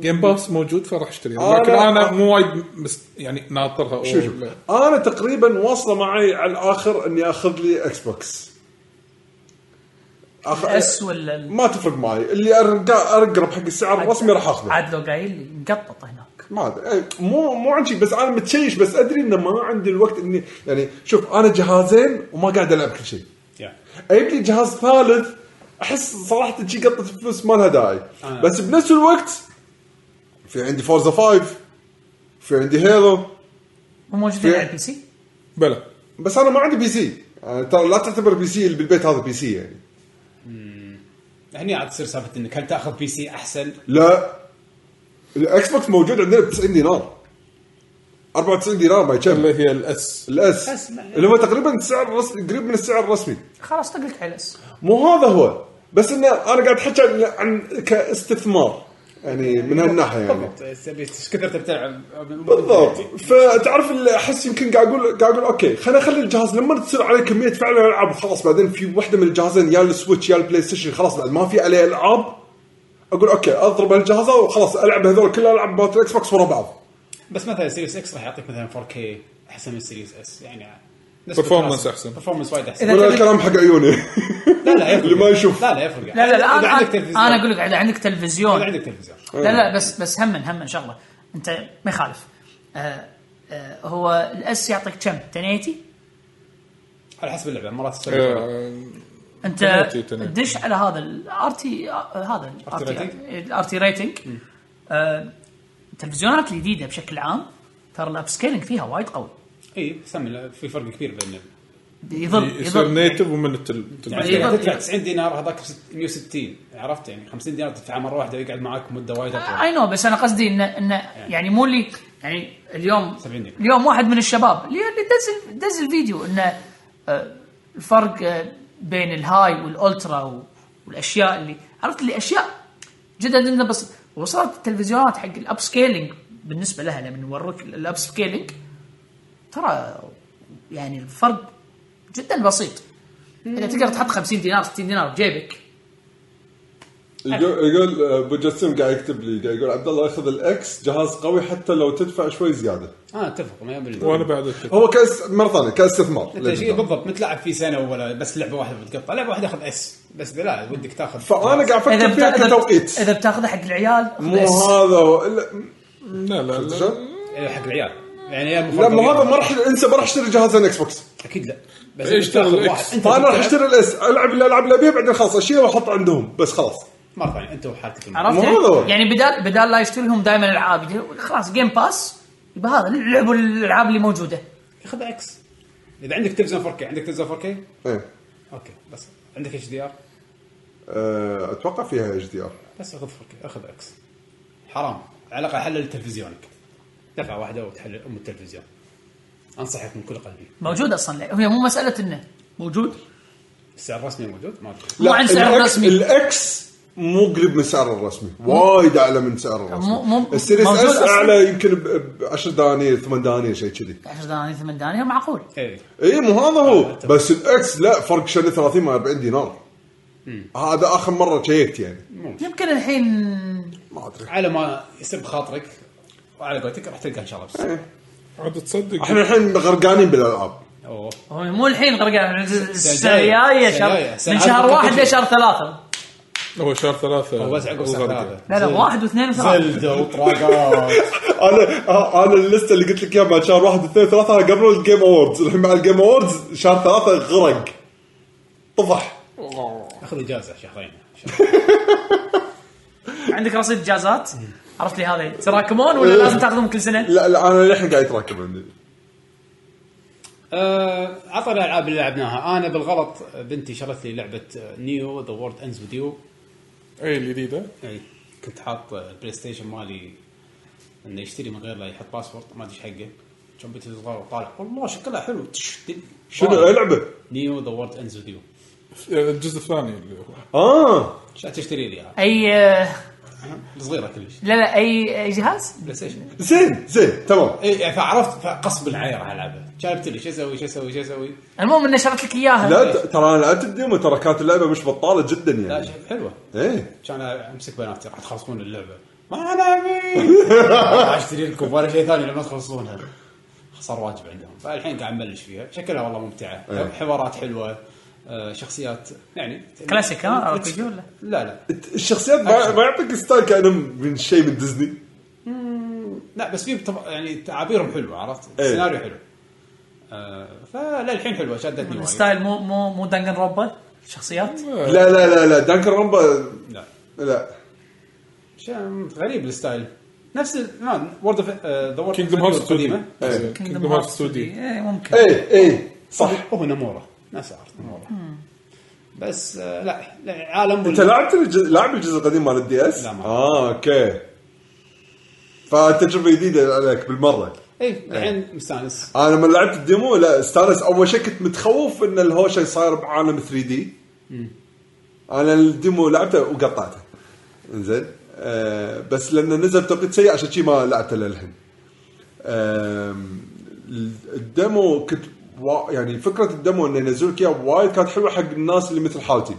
[SPEAKER 2] جيم باس موجود فراح اشتريها
[SPEAKER 3] آه،
[SPEAKER 2] لكن
[SPEAKER 3] لا.
[SPEAKER 2] انا مو وايد مس- يعني ناطرها
[SPEAKER 3] شوف شوف
[SPEAKER 2] ولا-
[SPEAKER 3] انا تقريبا واصله معي على الاخر اني اخذ لي اكس بوكس أخ...
[SPEAKER 4] اس ولا ال-
[SPEAKER 3] ما تفرق معي اللي ارقى اقرب حق السعر الرسمي راح اخذه
[SPEAKER 4] عاد لو قايل لي مقطط هناك
[SPEAKER 3] ما ادري إيه، مو مو عن شيء بس انا متشيش بس ادري انه ما عندي الوقت اني يعني شوف انا جهازين وما قاعد العب كل شيء
[SPEAKER 1] يا.
[SPEAKER 3] اجيب لي جهاز ثالث احس صراحه شي قطه فلوس ما لها داعي
[SPEAKER 1] آه.
[SPEAKER 3] بس بنفس الوقت في عندي فورزا 5 في عندي هيلو
[SPEAKER 4] مو موجودين
[SPEAKER 3] في-
[SPEAKER 4] على البي سي
[SPEAKER 2] بلى
[SPEAKER 3] بس انا ما عندي بي سي يعني ترى لا تعتبر بي سي اللي بالبيت هذا بي سي يعني
[SPEAKER 1] هني عاد تصير سالفه انك هل تاخذ بي سي احسن
[SPEAKER 3] لا الاكس بوكس موجود عندنا ب 90 دينار 94 دينار ما يكمل
[SPEAKER 2] اللي هي الاس
[SPEAKER 3] الاس
[SPEAKER 4] بس ما-
[SPEAKER 3] اللي هو تقريبا السعر الرسمي قريب من السعر الرسمي
[SPEAKER 4] خلاص طقلك على اس
[SPEAKER 3] مو هذا هو بس انه انا قاعد احكي عن- عن كاستثمار يعني من هالناحيه يعني
[SPEAKER 1] بالضبط إيش تبي- ايش كثر تبي تلعب
[SPEAKER 3] بالضبط
[SPEAKER 4] إيه.
[SPEAKER 3] فتعرف اللي احس يمكن قاعد اقول قاعد اقول اوكي خلينا نخلي الجهاز لما تصير عليه كميه فعلا العاب خلاص بعدين في وحده من الجهازين يا السويتش يا البلاي ستيشن خلاص بعد ما في عليه العاب اقول اوكي اضرب هالجهاز وخلاص العب هذول كل العاب مالت الاكس بوكس ورا بعض
[SPEAKER 1] بس مثلا سيريس اكس راح يعطيك مثلا 4K احسن من سيريس اس يعني
[SPEAKER 2] Performance أحسن.
[SPEAKER 1] برفورمانس وايد احسن
[SPEAKER 4] إذا-
[SPEAKER 3] ولا الكلام حق عيوني
[SPEAKER 1] لا لا يفرق
[SPEAKER 3] اللي ما يشوف.
[SPEAKER 1] لا لا يفرق
[SPEAKER 4] لا لا لا
[SPEAKER 1] اذا
[SPEAKER 4] انا
[SPEAKER 1] عندك
[SPEAKER 4] انا
[SPEAKER 1] تلفزيون
[SPEAKER 4] أنا اقول لك اذا عندك
[SPEAKER 1] اذا
[SPEAKER 4] تلفزيون
[SPEAKER 1] عندك تلفزيون
[SPEAKER 4] لا لا بس بس هم هم شغله انت ما يخالف آه آه هو الاس يعطيك كم 1080
[SPEAKER 1] على حسب اللعبه مرات
[SPEAKER 3] إيه.
[SPEAKER 1] تسوي
[SPEAKER 2] آه،
[SPEAKER 4] انت
[SPEAKER 2] 1080.
[SPEAKER 4] تدش على هذا الار تي آه، هذا
[SPEAKER 1] rating؟
[SPEAKER 4] الار تي ريتنج التلفزيونات الجديده بشكل عام ترى الاب سكيلينج فيها وايد قوي
[SPEAKER 1] اي إيه، سمي لا، في فرق كبير بين
[SPEAKER 4] إيه. يظل
[SPEAKER 2] يصير
[SPEAKER 4] يظل
[SPEAKER 2] نيتف ومن التل تل-
[SPEAKER 1] يعني
[SPEAKER 4] إيه،
[SPEAKER 1] إذا
[SPEAKER 4] بالضبط.
[SPEAKER 1] تدفع 90 دينار هذاك 160 عرفت يعني 50 دينار تدفعه مره واحده ويقعد معاك مده وايد اطول
[SPEAKER 4] اي نو بس انا قصدي انه انه يعني مو اللي يعني اليوم
[SPEAKER 1] 70 دقيقة.
[SPEAKER 4] اليوم واحد من الشباب اللي اللي دز دز الفيديو انه آه، الفرق آه، بين الهاي والالترا و- والاشياء اللي عرفت اللي اشياء جدا جدا بس وصلت التلفزيونات حق الاب سكيلينج بالنسبه لها لما نوريك الاب سكيلينج ترى يعني الفرق جدا بسيط اذا تقدر تحط 50 دينار 60 دينار بجيبك
[SPEAKER 3] يقول يقول ابو جسم قاعد يكتب لي قاعد يقول عبد الله ياخذ الاكس جهاز قوي حتى لو تدفع شوي زياده
[SPEAKER 1] اه اتفق ما يبي
[SPEAKER 2] وانا بعد التل-
[SPEAKER 3] هو كاس مره ثانيه كاستثمار
[SPEAKER 1] انت شيء بالضبط متلعب فيه سنه ولا بس لعبه واحده بتقطع لعبه واحده اخذ اس بس لا ودك تاخذ
[SPEAKER 3] فانا قاعد افكر
[SPEAKER 4] بت-
[SPEAKER 3] فيها كتوقيت
[SPEAKER 4] اذا بتاخذه حق العيال خذ
[SPEAKER 3] مو
[SPEAKER 4] اس.
[SPEAKER 3] هذا هو لا-
[SPEAKER 2] لا لا لا
[SPEAKER 3] شلون؟
[SPEAKER 1] إيه، حق العيال يعني يا
[SPEAKER 3] لا ما
[SPEAKER 1] مفضل.
[SPEAKER 3] هذا ما راح انسى ما راح اشتري جهازين اكس بوكس
[SPEAKER 1] اكيد لا بس
[SPEAKER 2] إيش
[SPEAKER 1] إذا بتاخذ
[SPEAKER 2] تاخذ
[SPEAKER 1] واحد
[SPEAKER 2] إكس؟
[SPEAKER 1] انت
[SPEAKER 3] فانا راح
[SPEAKER 1] بتلعب-
[SPEAKER 3] اشتري الاس العب الالعاب اللي ابيها بعدين خلاص اشيله واحط عندهم بس خلاص
[SPEAKER 1] مره ثانيه انت وحالتك المرة.
[SPEAKER 4] عرفت
[SPEAKER 3] مو هذا هو.
[SPEAKER 4] يعني بدال بدال لا يشتري لهم دائما العاب يقول خلاص جيم باس يبقى هذا لعبوا الالعاب اللي موجوده
[SPEAKER 1] خذ اكس اذا عندك تلفزيون 4K عندك تلفزيون 4K
[SPEAKER 3] ايه
[SPEAKER 1] اوكي بس عندك اتش دي ار
[SPEAKER 3] أه، اتوقع فيها اتش دي ار
[SPEAKER 1] بس اخذ 4K اخذ اكس حرام على الاقل حلل تلفزيونك دفعه واحده وتحلل ام التلفزيون انصحك من كل قلبي
[SPEAKER 4] موجود اصلا هي مو مساله انه موجود
[SPEAKER 1] السعر الرسمي موجود ما ادري
[SPEAKER 4] مو عن سعر رسمي.
[SPEAKER 3] الاكس مو قريب من سعره الرسمي وايد اعلى من سعره الرسمي
[SPEAKER 4] مو- مو-
[SPEAKER 3] السيريس
[SPEAKER 4] موجود
[SPEAKER 3] اس
[SPEAKER 4] أصلاً.
[SPEAKER 3] اعلى يمكن ب 10 دنانير 8 دنانير شيء كذي
[SPEAKER 4] 10 دنانير 8 دنانير معقول
[SPEAKER 1] ايه
[SPEAKER 3] اي مو هذا هو
[SPEAKER 1] آه،
[SPEAKER 3] بس الاكس لا فرق شنو 30 من 40 دينار هذا اخر مره شيكت يعني
[SPEAKER 4] يمكن الحين
[SPEAKER 3] ما ادري
[SPEAKER 1] على ما يسب خاطرك وعلى قولتك راح تلقى ان شاء الله بس
[SPEAKER 2] عاد تصدق
[SPEAKER 3] احنا الحين غرقانين بالالعاب
[SPEAKER 1] اوه
[SPEAKER 4] هو مو الحين غرقان السنه
[SPEAKER 1] الجاية. السنة
[SPEAKER 4] الجايه
[SPEAKER 1] الجاية.
[SPEAKER 4] شهر
[SPEAKER 1] السنة
[SPEAKER 4] من شهر
[SPEAKER 1] الجاية.
[SPEAKER 4] واحد لشهر ثلاثه
[SPEAKER 2] هو شهر ثلاثة
[SPEAKER 1] هو بس عقب الساعه
[SPEAKER 2] الغرب.
[SPEAKER 1] 3
[SPEAKER 4] لا لا واحد واثنين وثلاثه
[SPEAKER 1] زلده وطراقات
[SPEAKER 3] انا آه، انا اللسته اللي قلت لك اياها مع شهر واحد اثنين ثلاثه أنا قبل الجيم اووردز الحين مع الجيم اووردز شهر ثلاثه غرق طفح
[SPEAKER 1] اخذ اجازه شهرين
[SPEAKER 4] عندك رصيد جازات عرفت لي هذا يتراكمون ولا لازم تاخذهم كل سنه؟
[SPEAKER 3] لا لا انا للحين قاعد يتراكم عندي
[SPEAKER 1] آه، عطى الالعاب اللي لعبناها انا بالغلط بنتي شرت لي لعبه نيو ذا وورد اندز وذ يو
[SPEAKER 2] اي الجديده
[SPEAKER 1] اي كنت حاط البلاي ستيشن مالي انه يشتري من غير لا يحط باسورد ما ادري ايش حقه كان بنتي صغار وطالع والله شكلها حلو تش- دل-
[SPEAKER 3] شنو إيه
[SPEAKER 1] واو.
[SPEAKER 3] أي لعبه؟
[SPEAKER 1] نيو ذا وورد اندز وذ يو
[SPEAKER 2] آه، الجزء الثاني اللي هو
[SPEAKER 3] اه
[SPEAKER 1] شو تشتري لي اياها
[SPEAKER 4] اي آه،
[SPEAKER 1] صغيره كلش
[SPEAKER 4] لا لا اي أي جهاز
[SPEAKER 1] بلاي ستيشن
[SPEAKER 3] زين زين تمام
[SPEAKER 1] اي يعني فعرفت فقصب العين راح العبها جابت لي شو اسوي شو اسوي شو اسوي
[SPEAKER 4] المهم انه شرت لك اياها
[SPEAKER 3] لا ت- ترى انا لعبت الديمو ترى كانت اللعبه مش بطاله جدا
[SPEAKER 1] لا
[SPEAKER 3] يعني
[SPEAKER 1] شيء حلوه
[SPEAKER 3] ايه
[SPEAKER 1] كان امسك بناتي راح تخلصون اللعبه ما انا ابي راح اشتري لكم ولا شيء ثاني لما تخلصونها صار واجب عندهم فالحين قاعد نبلش فيها شكلها والله ممتعه
[SPEAKER 3] إيه.
[SPEAKER 1] حوارات حلوه آه، شخصيات يعني
[SPEAKER 4] كلاسيك ها ار بي جي ولا
[SPEAKER 1] لا لا
[SPEAKER 3] الت- الشخصيات ما ما يعطيك ستايل كانهم من شيء من ديزني
[SPEAKER 1] لا بس في بطب- يعني تعابيرهم حلوه عرفت؟
[SPEAKER 3] إيه.
[SPEAKER 1] السيناريو حلو آه، فللحين حلوه شدتني وايد.
[SPEAKER 4] الستايل مو مو مو دنجن روبا الشخصيات
[SPEAKER 3] لا لا لا لا دانكر رامبا
[SPEAKER 1] لا
[SPEAKER 3] لا
[SPEAKER 1] شيء غريب الستايل نفس وورد اوف ذا وورد
[SPEAKER 2] كينجدم هارت ستوديو
[SPEAKER 3] إيه.
[SPEAKER 2] كينجدم هارت ستوديو
[SPEAKER 4] اي ممكن
[SPEAKER 2] إيه،
[SPEAKER 3] ايه ايه صح
[SPEAKER 1] صح هو نموره ناس عارف نموره بس آه، لا لا، عالم
[SPEAKER 3] انت لعبت الجزء لاعب الجزء القديم مال الدي اس؟
[SPEAKER 1] لا، ما.
[SPEAKER 3] اه اوكي فتجربه جديده عليك بالمره
[SPEAKER 1] اي إيه، الحين مستانس
[SPEAKER 3] انا لما لعبت الديمو لا استانس اول شيء كنت متخوف ان الهوشه صاير بعالم 3 دي انا الديمو لعبته وقطعته زين آه بس لانه نزل بتوقيت سيء عشان شي ما لعبته للحين آم، الديمو كنت وا يعني فكره الديمو انه ينزلوا لك اياه وايد كانت حلوه حق الناس اللي مثل حالتي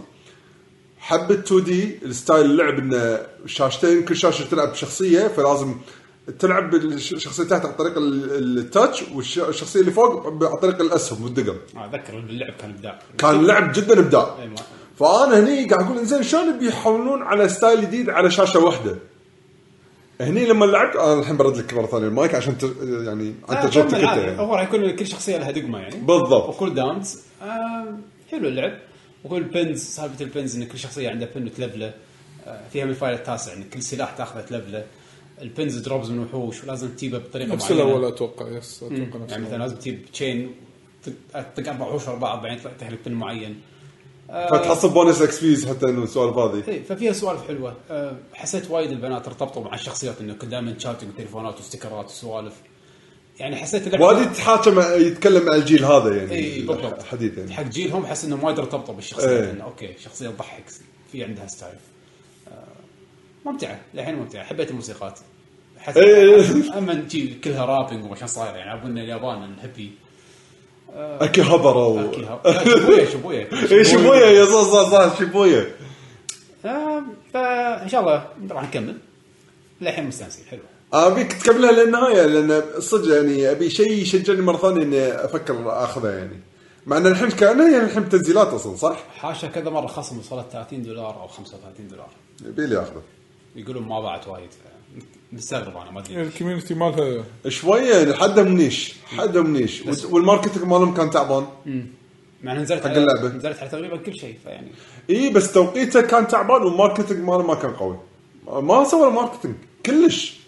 [SPEAKER 3] حبه 2 دي الستايل اللعب انه شاشتين كل شاشه تلعب بشخصيه فلازم تلعب بالشخصيه تحت عن طريق ال- ال- التاتش والشخصيه اللي فوق ب- عن طريق الاسهم والدقم
[SPEAKER 1] آه، اتذكر اللعب كان ابداع
[SPEAKER 3] كان لعب جدا ابداع
[SPEAKER 1] إي، ما-
[SPEAKER 3] فانا هني قاعد اقول انزين شلون بيحولون على ستايل جديد على شاشه واحده هني لما لعبت انا الحين برد لك مره ثانيه المايك عشان ت... يعني عن
[SPEAKER 1] آه،
[SPEAKER 3] تجربتك
[SPEAKER 1] كمل
[SPEAKER 3] انت
[SPEAKER 1] عادي.
[SPEAKER 3] يعني.
[SPEAKER 1] هو راح يكون كل شخصيه لها دقمه يعني
[SPEAKER 3] بالضبط
[SPEAKER 1] وكل داونز آه، حلو اللعب وكل بنز سالفه البنز ان كل شخصيه عندها بن وتلفله آه، فيها من الفايل التاسع ان كل سلاح تاخذه تلفله البنز دروبز من وحوش ولازم تجيبه بطريقه
[SPEAKER 2] نفس
[SPEAKER 1] معينه
[SPEAKER 2] الاول اتوقع يس اتوقع نفس
[SPEAKER 1] يعني مثلا
[SPEAKER 2] الأول.
[SPEAKER 1] لازم تجيب تشين تطق اربع وحوش ورا بعض بعدين تطلع تحرق بن معين
[SPEAKER 3] فتحصل بونس اكس بيز حتى انه السوالف هذه
[SPEAKER 1] إيه، ففيها سوالف حلوه أه، حسيت وايد البنات ارتبطوا مع الشخصيات انه كل دائما شاتنج تليفونات واستكرات وسوالف يعني حسيت اللعبة-
[SPEAKER 3] وادي يتحاكم مع- يتكلم مع الجيل هذا يعني
[SPEAKER 1] اي إيه، بالضبط
[SPEAKER 3] حديث يعني
[SPEAKER 1] حق جيلهم حس انهم وايد ارتبطوا بالشخصيات
[SPEAKER 3] إيه.
[SPEAKER 1] انه اوكي شخصيه تضحك في عندها ستايل آه، ممتعه للحين ممتعه حبيت الموسيقات حس
[SPEAKER 3] إيه.
[SPEAKER 1] اما تجي كلها رابنج وما شان صاير يعني ابونا اليابان الهبي
[SPEAKER 3] اكي هبره و...
[SPEAKER 1] كلها لا، شبويه شبويه
[SPEAKER 3] اي شيبويا يا صح صح صح شيبويا
[SPEAKER 1] آه، فان شاء الله راح نكمل للحين مستانسين حلو
[SPEAKER 3] ابيك تكملها للنهايه لان صدق يعني ابي شيء يشجعني مره ثانيه اني افكر اخذها يعني مع ان الحين كانها يعني الحين بتنزيلات اصلا صح؟
[SPEAKER 1] حاشا كذا مره خصم وصلت 30 دولار او 35 دولار
[SPEAKER 3] يبي لي اخذه
[SPEAKER 1] يقولون ما باعت وايد مستغرب انا ما ادري
[SPEAKER 2] الكوميونتي مالها
[SPEAKER 3] شويه يعني حدا منيش حدا منيش
[SPEAKER 1] بس-
[SPEAKER 3] والماركتنج مالهم كان تعبان
[SPEAKER 1] مع إن نزلت
[SPEAKER 3] حق
[SPEAKER 1] على-
[SPEAKER 3] اللعبة.
[SPEAKER 1] نزلت على تقريبا كل شيء فيعني
[SPEAKER 3] اي بس توقيته كان تعبان والماركتنج ماله ما كان قوي ما سوى ماركتنج كلش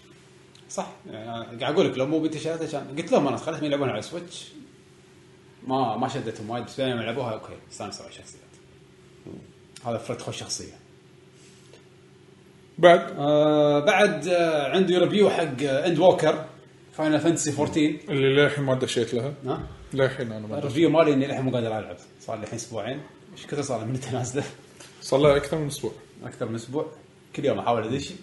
[SPEAKER 1] صح يعني أنا قاعد اقول لك لو مو بنتي شريتها كان قلت لهم انا خلتهم يلعبون على سويتش ما ما شدتهم وايد بس لما لعبوها اوكي استانسوا على الشخصيات هذا فرد خوش شخصيه
[SPEAKER 2] بعد
[SPEAKER 1] آه بعد آه عندي ريفيو حق آه، اند ووكر فاينل فانتسي 14
[SPEAKER 2] اللي للحين ما دشيت لها
[SPEAKER 1] ها
[SPEAKER 2] للحين انا ما دشيت
[SPEAKER 1] الريفيو مالي اني للحين مو قادر العب صار لي الحين اسبوعين ايش كثر صار لي من نازله
[SPEAKER 2] صار لها اكثر من اسبوع
[SPEAKER 1] اكثر من اسبوع كل يوم احاول ادش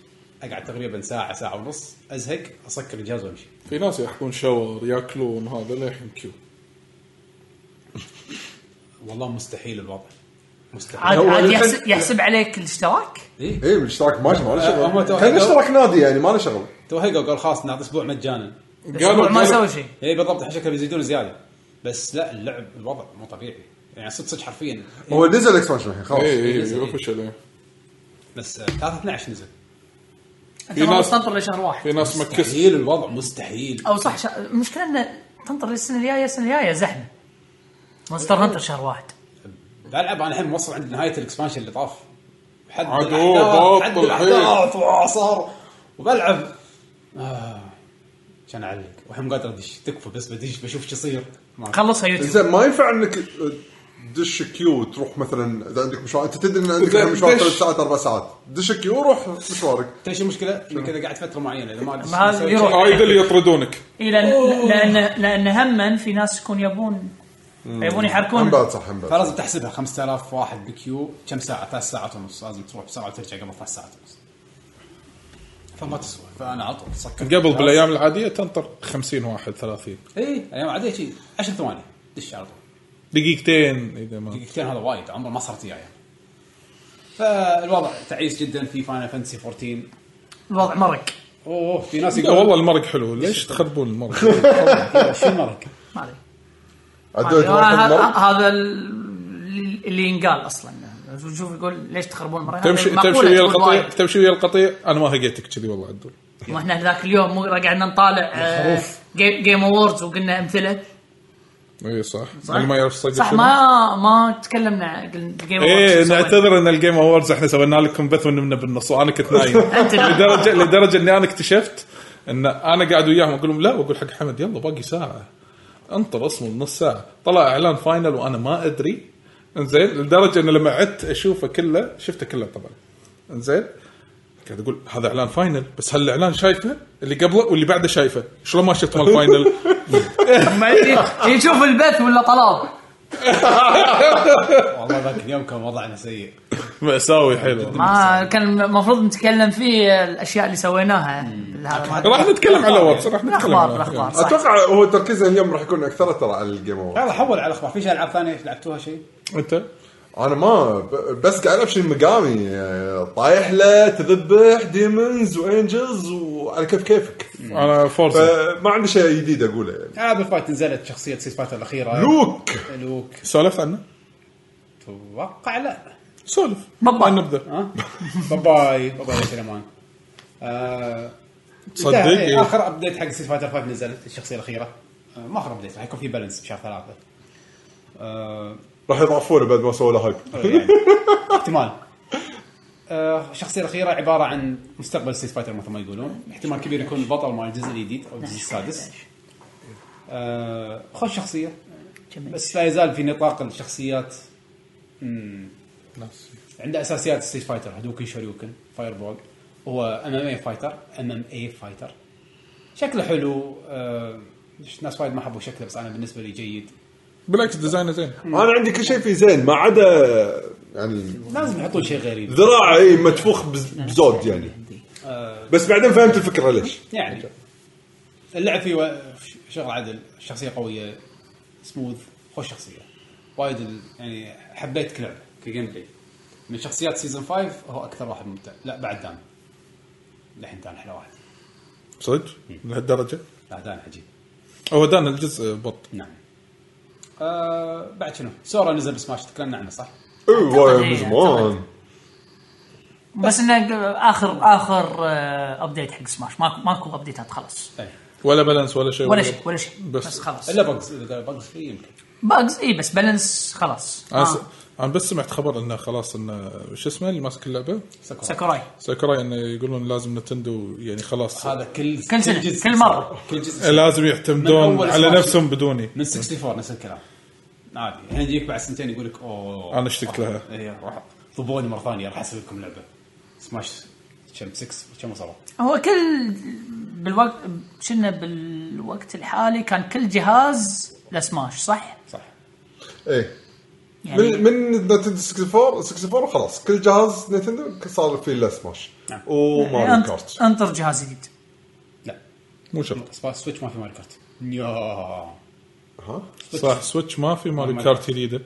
[SPEAKER 1] اقعد تقريبا ساعه ساعه ونص ازهق اسكر الجهاز وامشي
[SPEAKER 2] في ناس يحكون شاور ياكلون هذا للحين كيو
[SPEAKER 1] والله مستحيل الوضع مستحيل
[SPEAKER 4] عاد
[SPEAKER 3] هو
[SPEAKER 4] عاد
[SPEAKER 3] الحين-
[SPEAKER 4] يحسب, يحسب عليك الاشتراك
[SPEAKER 1] إيه؟
[SPEAKER 3] اي بالاشتراك ما ما له
[SPEAKER 1] هم
[SPEAKER 3] شغل
[SPEAKER 1] توهقوا.
[SPEAKER 3] كان اشتراك نادي يعني ما له شغل
[SPEAKER 1] توهقوا قال خلاص نعطي اسبوع مجانا
[SPEAKER 4] الاسبوع ما سوى شيء
[SPEAKER 1] اي بالضبط عشان كذا بيزيدون زياده بس لا اللعب الوضع مو طبيعي يعني صدق صدق حرفيا
[SPEAKER 3] هو نزل اكسبانشن الحين خلاص
[SPEAKER 2] اي
[SPEAKER 1] نزل،
[SPEAKER 2] اي
[SPEAKER 1] إيه.
[SPEAKER 2] اوفشل
[SPEAKER 1] بس آه، 3 12 نزل
[SPEAKER 4] انت
[SPEAKER 2] في
[SPEAKER 4] المفروض
[SPEAKER 2] ناس-
[SPEAKER 4] تنطر لشهر
[SPEAKER 2] في
[SPEAKER 4] واحد
[SPEAKER 2] ناس مكس
[SPEAKER 1] مستحيل الوضع مستحيل
[SPEAKER 4] او صح شا... المشكله انه تنطر للسنه الجايه السنه الجايه زحمه مونستر هانتر شهر واحد
[SPEAKER 1] بلعب انا الحين موصل عند نهايه الاكسبانشن اللي طاف حد
[SPEAKER 2] عاد
[SPEAKER 1] الأحداث-
[SPEAKER 2] هو بطل
[SPEAKER 1] حد
[SPEAKER 2] الحين.
[SPEAKER 1] الاحداث وآه، صار وبلعب آه. عشان اعلق والحين مو قادر ادش تكفى بس بدش بشوف شو يصير ما-
[SPEAKER 4] خلصها يوتيوب
[SPEAKER 3] زين ما ينفع انك دش كيو تروح مثلا اذا عندك مشوار انت تدري ان عندك
[SPEAKER 2] إذا
[SPEAKER 3] مشوار
[SPEAKER 2] دش-
[SPEAKER 3] ثلاث ساعات اربع ساعات دش كيو روح مشوارك
[SPEAKER 1] تدري شو المشكله؟ انك اذا قعدت فتره معينه اذا ما أدش
[SPEAKER 4] ما هذا
[SPEAKER 1] مسوي
[SPEAKER 4] يروح.
[SPEAKER 1] شيء.
[SPEAKER 2] هاي اللي يطردونك
[SPEAKER 4] إي لان لان لان هما في ناس يكون يبون يبون
[SPEAKER 3] هم
[SPEAKER 4] يحركون
[SPEAKER 3] بعد صح هم بعد
[SPEAKER 1] فلازم تحسبها 5000 واحد بكيو كم ساعه؟ ثلاث ساعات ونص لازم تروح بسرعه وترجع قبل ثلاث ساعات ونص فما تسوى فانا على طول سكرت
[SPEAKER 2] قبل بالايام العاديه تنطر 50 واحد 30
[SPEAKER 1] اي ايام عاديه شيء 10 ثواني دش على طول
[SPEAKER 2] دقيقتين اذا ما
[SPEAKER 1] دقيقتين هذا وايد عمره ما صارت وياي فالوضع تعيس جدا في فاينل فانتسي 14
[SPEAKER 4] الوضع مرق
[SPEAKER 1] اوه في ناس
[SPEAKER 2] لا
[SPEAKER 1] يقول
[SPEAKER 2] والله المرق حلو ليش تخربون المرق؟
[SPEAKER 1] شو المرق؟
[SPEAKER 4] ما عليه
[SPEAKER 3] عدوك مرة في المرة؟
[SPEAKER 4] هذا ال- اللي ينقال اصلا شوف يقول ليش تخربون مره
[SPEAKER 2] تمشي
[SPEAKER 4] معقولة
[SPEAKER 2] تمشي ويا
[SPEAKER 4] تقول
[SPEAKER 2] القطيع
[SPEAKER 4] وايد.
[SPEAKER 2] تمشي ويا القطيع انا ما هقيتك كذي والله عدول
[SPEAKER 4] ما احنا ذاك اليوم مو قعدنا نطالع آه، جيم جيم اووردز وقلنا امثله
[SPEAKER 2] اي إيه، صح
[SPEAKER 4] صح؟
[SPEAKER 2] اللي ما يعرف صدق
[SPEAKER 4] صح
[SPEAKER 2] شنو.
[SPEAKER 4] ما ما تكلمنا قلنا جيم
[SPEAKER 2] ايه
[SPEAKER 4] شو سوينا.
[SPEAKER 2] نعتذر ان الجيم اووردز احنا سوينا لكم بث ونمنا بالنص وانا كنت نايم
[SPEAKER 4] أنت نايم.
[SPEAKER 2] لدرجه لدرجه اني انا اكتشفت ان انا قاعد وياهم اقول لهم لا واقول حق حمد يلا باقي ساعه انطر اصمل نص ساعه طلع اعلان فاينل وانا ما ادري انزين لدرجه ان لما عدت اشوفه كله شفته كله طبعا انزين قاعد اقول هذا اعلان فاينل بس هل الاعلان شايفه اللي قبله واللي بعده شايفه شلون ما شفت مال فاينل
[SPEAKER 4] ما يدري- يشوف البث ولا طلال
[SPEAKER 1] والله ذاك اليوم كان وضعنا سيء
[SPEAKER 2] مأساوي حلو
[SPEAKER 4] ما كان المفروض نتكلم فيه الاشياء اللي سويناها هذا ما-
[SPEAKER 2] راح نتكلم على واتس راح نتكلم
[SPEAKER 4] الاخبار
[SPEAKER 2] على
[SPEAKER 4] الاخبار صح.
[SPEAKER 3] اتوقع هو تركيزه اليوم راح يكون اكثر ترى على الجيم اوفر
[SPEAKER 1] يلا حول على الاخبار في شيء العاب ثانيه لعبتوها شيء؟
[SPEAKER 2] انت
[SPEAKER 3] انا ما ب- بس قاعد العب شيء مقامي طايح له تذبح ديمونز وانجلز وعلى كيف كيفك
[SPEAKER 2] انا فورزا
[SPEAKER 3] فما عندي شيء جديد اقوله يعني
[SPEAKER 1] هذا فايت نزلت شخصيه سيت فايتر الاخيره
[SPEAKER 3] لوك
[SPEAKER 1] لوك
[SPEAKER 2] سولفت عنه
[SPEAKER 1] اتوقع لا
[SPEAKER 2] سولف
[SPEAKER 4] بابا.
[SPEAKER 2] ما نبدا
[SPEAKER 1] ها؟ باي باي يا سليمان آه،
[SPEAKER 2] تصدق؟
[SPEAKER 1] انتهى.
[SPEAKER 2] إيه.
[SPEAKER 1] إيه، اخر ابديت حق ستريت فايتر 5 نزلت الشخصيه الاخيره آه، ما اخر ابديت راح يكون في بالانس بشهر ثلاثه آه،
[SPEAKER 3] راح يضعفونه بعد ما سووا له هايب
[SPEAKER 1] يعني احتمال آه، الشخصيه الاخيره عباره عن مستقبل ستريت فايتر مثل ما يقولون احتمال كبير يكون البطل مال الجزء الجديد او الجزء السادس آه، خوش شخصيه بس لا يزال في نطاق الشخصيات عنده اساسيات ستريت فايتر هدوكن شوريوكن فاير بول هو ام ام اي فايتر ام ام اي فايتر شكله حلو آه، ناس وايد ما حبوا شكله بس انا بالنسبه لي جيد
[SPEAKER 2] بالعكس ديزاينه زين
[SPEAKER 3] انا عندي كل شيء فيه زين ما عدا يعني
[SPEAKER 1] لازم يحطون شيء غريب
[SPEAKER 3] ذراعه اي متفوخ بز- بزود يعني بس بعدين فهمت الفكره ليش
[SPEAKER 1] يعني اللعب فيه و- شغل عدل شخصيه قويه سموث خوش شخصيه وايد ال- يعني حبيت كلعبه كجيم بلاي من شخصيات سيزون 5 هو اكثر واحد ممتع لا بعد دان للحين دان احلى واحد
[SPEAKER 2] صدق لهالدرجه
[SPEAKER 1] لا دان عجيب
[SPEAKER 2] هو دان الجزء بط
[SPEAKER 1] نعم آه بعد شنو سورا نزل بسماش تكلمنا عنه صح؟
[SPEAKER 3] اي وايد
[SPEAKER 4] إيه،
[SPEAKER 3] من زمان
[SPEAKER 4] بس انه اخر اخر آه، ابديت حق سماش ماكو ماكو ابديتات خلاص
[SPEAKER 1] ايه
[SPEAKER 2] ولا بالانس ولا شيء
[SPEAKER 4] ولا شيء ولا شيء
[SPEAKER 2] بس.
[SPEAKER 4] بس, بس خلاص
[SPEAKER 1] الا بجز اذا قال بجز فيه يمكن
[SPEAKER 4] باجز اي بس بالانس خلاص
[SPEAKER 2] انا, س...
[SPEAKER 4] آه.
[SPEAKER 2] أنا بس سمعت خبر انه خلاص انه شو اسمه اللي ماسك اللعبه
[SPEAKER 1] سكر.
[SPEAKER 4] ساكوراي
[SPEAKER 2] ساكوراي انه يقولون لازم نتندو يعني خلاص
[SPEAKER 1] هذا كل
[SPEAKER 4] كل سنة، كل مرة.
[SPEAKER 1] كل جزء
[SPEAKER 2] لازم
[SPEAKER 1] من
[SPEAKER 2] يعتمدون
[SPEAKER 1] أول
[SPEAKER 2] على
[SPEAKER 1] سماش.
[SPEAKER 2] نفسهم بدوني
[SPEAKER 1] من 64 نفس الكلام عادي الحين يجيك بعد سنتين يقول لك اوه
[SPEAKER 2] أنا اشتقت لها.
[SPEAKER 1] اي راح طبوني مره ثانيه راح اسوي لكم لعبه سماش كم 6 كم وصلت؟
[SPEAKER 4] هو كل بالوقت شنا بالوقت الحالي كان كل جهاز له سماش صح؟
[SPEAKER 1] صح
[SPEAKER 3] ايه
[SPEAKER 4] يعني
[SPEAKER 3] من من نتندو 64 64 وخلاص كل جهاز نتندو صار فيه له سماش
[SPEAKER 1] نعم.
[SPEAKER 3] وماريو كارت
[SPEAKER 4] أنت- انطر جهاز جديد
[SPEAKER 1] لا
[SPEAKER 2] مو شرط
[SPEAKER 1] سبا- سويتش ما في ماري كارت يا
[SPEAKER 3] ها
[SPEAKER 2] صح سويتش ما في ماريو
[SPEAKER 1] ما-
[SPEAKER 2] كارت جديده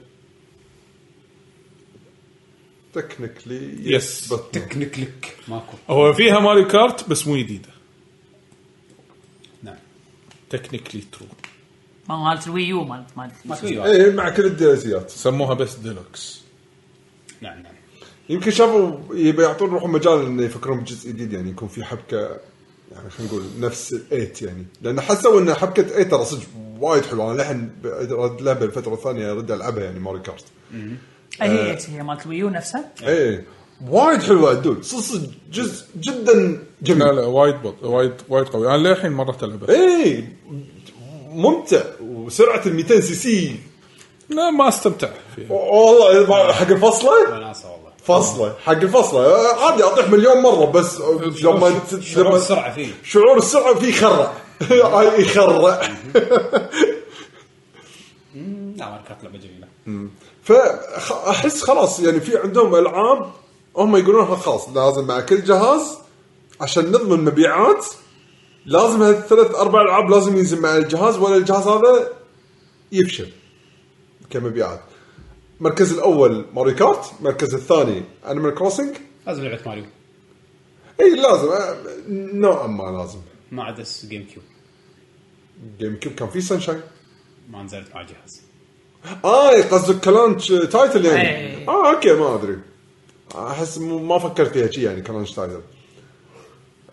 [SPEAKER 3] تكنيكلي
[SPEAKER 2] يس.
[SPEAKER 1] تكنيكلك ماكو
[SPEAKER 2] هو فيها ماريو كارت بس مو جديده
[SPEAKER 1] نعم
[SPEAKER 2] تكنيكلي ترو
[SPEAKER 4] ما هو مالت الوي يو مالت مالت
[SPEAKER 1] ما في
[SPEAKER 3] ايه مع كل الديلازيات
[SPEAKER 2] سموها بس ديلوكس
[SPEAKER 1] نعم نعم
[SPEAKER 3] يمكن شافوا يبي يعطون روحهم مجال انه يفكرون بجزء جديد يعني يكون في حبكه يعني خلينا نقول نفس الايت يعني لان حسوا ان حبكه ايت ترى صدق وايد حلوه انا لحن رد لها بالفتره الثانيه ارد العبها يعني ماري كارت
[SPEAKER 4] اي هي هي مالت الوي يو نفسها
[SPEAKER 3] ايه وايد حلوه الدود صدق صدق جزء جدا
[SPEAKER 2] لا
[SPEAKER 3] جميل
[SPEAKER 2] لا وايد بط وايد وايد قوي انا للحين مرة العبه
[SPEAKER 3] اي ممتع وسرعه ال 200 سي سي
[SPEAKER 2] لا ما استمتع فيها
[SPEAKER 3] والله ما- حق الفصله
[SPEAKER 1] وناسه والله
[SPEAKER 3] فصله حق الفصله عادي اطيح مليون مره بس لما
[SPEAKER 1] شعور
[SPEAKER 3] لما
[SPEAKER 1] السرعه فيه
[SPEAKER 3] شعور السرعه فيه يخرع يخرع
[SPEAKER 1] لا ما كانت لعبه جميله
[SPEAKER 3] فاحس خلاص يعني في عندهم العاب هم يقولونها خلاص لازم مع كل جهاز عشان نضمن مبيعات لازم هالثلاث اربع العاب لازم ينزل مع الجهاز ولا الجهاز هذا يفشل كمبيعات المركز الاول ماري كارت المركز الثاني انيمال كروسنج
[SPEAKER 1] لازم لعبه ماريو
[SPEAKER 3] اي لازم آه، نوعا ما لازم
[SPEAKER 1] ما عدا جيم كيوب
[SPEAKER 3] جيم كيوب كان في سانشاين
[SPEAKER 1] ما نزلت مع جهاز
[SPEAKER 3] اه قصدك كلانش تايتل يعني
[SPEAKER 4] إيه.
[SPEAKER 3] اه اوكي ما ادري احس مو- ما فكرت فيها شي يعني كلانش تايتل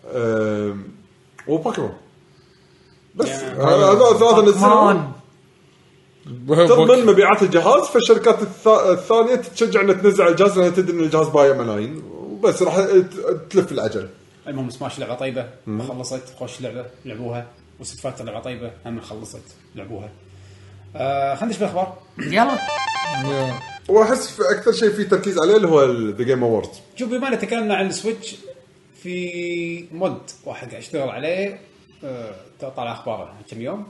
[SPEAKER 3] أم، وبوكيمون بس هذا- هذول ثلاثه نزلوا
[SPEAKER 4] مان
[SPEAKER 3] تضمن مبيعات الجهاز فالشركات الث- الثانيه تتشجع انها تنزل على الجهاز لانها تدري ان الجهاز بايع ملايين وبس راح ت- تلف العجل
[SPEAKER 1] المهم سماش لعبه طيبه خلصت خوش لعبه لعبوها وست فايتر لعبه طيبه هم خلصت لعبوها آه خلينا نشوف الاخبار
[SPEAKER 4] يلا
[SPEAKER 3] واحس في اكثر شيء في تركيز عليه اللي هو ذا جيم اووردز
[SPEAKER 1] شوف بما إننا تكلمنا عن السويتش في مود واحد قاعد يشتغل عليه آه، طلع اخباره من كم يوم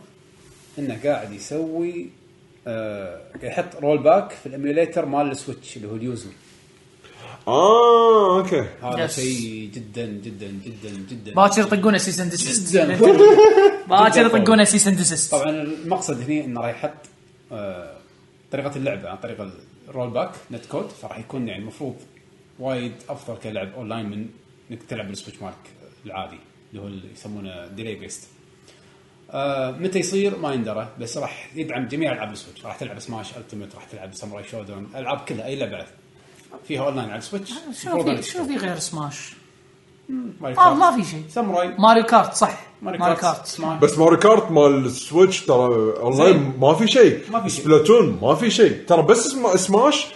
[SPEAKER 1] انه قاعد يسوي آه، قاعد يحط رول باك في الاميوليتر مال السويتش اللي هو اليوزو
[SPEAKER 3] اه اوكي
[SPEAKER 1] هذا
[SPEAKER 4] Yes.
[SPEAKER 1] شيء جدا جدا جدا جدا
[SPEAKER 4] باكر يطقون سيس اند ديسست
[SPEAKER 1] جداً.
[SPEAKER 4] باكر يطقون سيس اند ديسست
[SPEAKER 1] طبعا المقصد هنا انه راح يحط آه، طريقه اللعبه عن طريق الرول باك نت كود فراح يكون يعني المفروض وايد افضل كلعب اونلاين من انك تلعب بالسويتش مارك العادي اللي هو اللي يسمونه ديلي بيست متى يصير ما يندرى بس راح يدعم جميع العاب السويتش راح تلعب سماش التيمت راح تلعب ساموراي شودون العاب كلها اي لعبه فيها اونلاين على السويتش
[SPEAKER 4] شنو في شنو في غير سماش؟
[SPEAKER 1] ماري
[SPEAKER 4] ما
[SPEAKER 1] كارت.
[SPEAKER 4] آه، ما في شيء
[SPEAKER 1] ساموراي
[SPEAKER 4] ماريو كارت صح
[SPEAKER 1] ماري كارت
[SPEAKER 4] سماش.
[SPEAKER 1] سماش
[SPEAKER 3] بس ماري كارت مال السويتش ترى اونلاين
[SPEAKER 1] زين.
[SPEAKER 3] ما في شيء
[SPEAKER 1] ما في شيء.
[SPEAKER 3] سبلاتون ما في شيء ترى بس اسم- سماش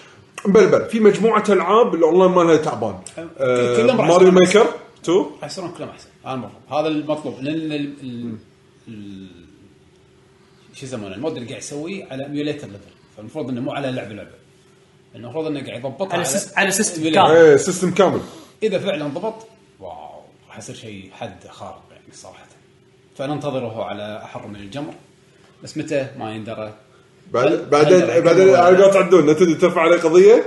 [SPEAKER 3] مبلبل في مجموعه العاب الاونلاين مالها تعبان آه،
[SPEAKER 1] كلهم راح
[SPEAKER 3] ماريو
[SPEAKER 1] يصيرون بس.
[SPEAKER 3] ميكر 2
[SPEAKER 1] راح يصيرون كلهم احسن هذا المطلوب هذا المطلوب لان ال- ال- ال- شو يسمونه المود اللي قاعد يسويه على ايميوليتر ليفل فالمفروض انه مو على لعبه لعبه المفروض انه قاعد يضبطها
[SPEAKER 4] على سيس- على سيستم
[SPEAKER 1] emulator.
[SPEAKER 4] كامل.
[SPEAKER 3] ايه سيستم كامل
[SPEAKER 1] اذا فعلا ضبط واو راح يصير شيء حد خارق يعني صراحه فننتظره على احر من الجمر بس متى ما يندرى
[SPEAKER 3] بعد-
[SPEAKER 1] هل-
[SPEAKER 3] بعدين
[SPEAKER 1] هل-
[SPEAKER 3] بعدين
[SPEAKER 1] هل-
[SPEAKER 3] على قاطع الدون تدري ترفع عليه قضيه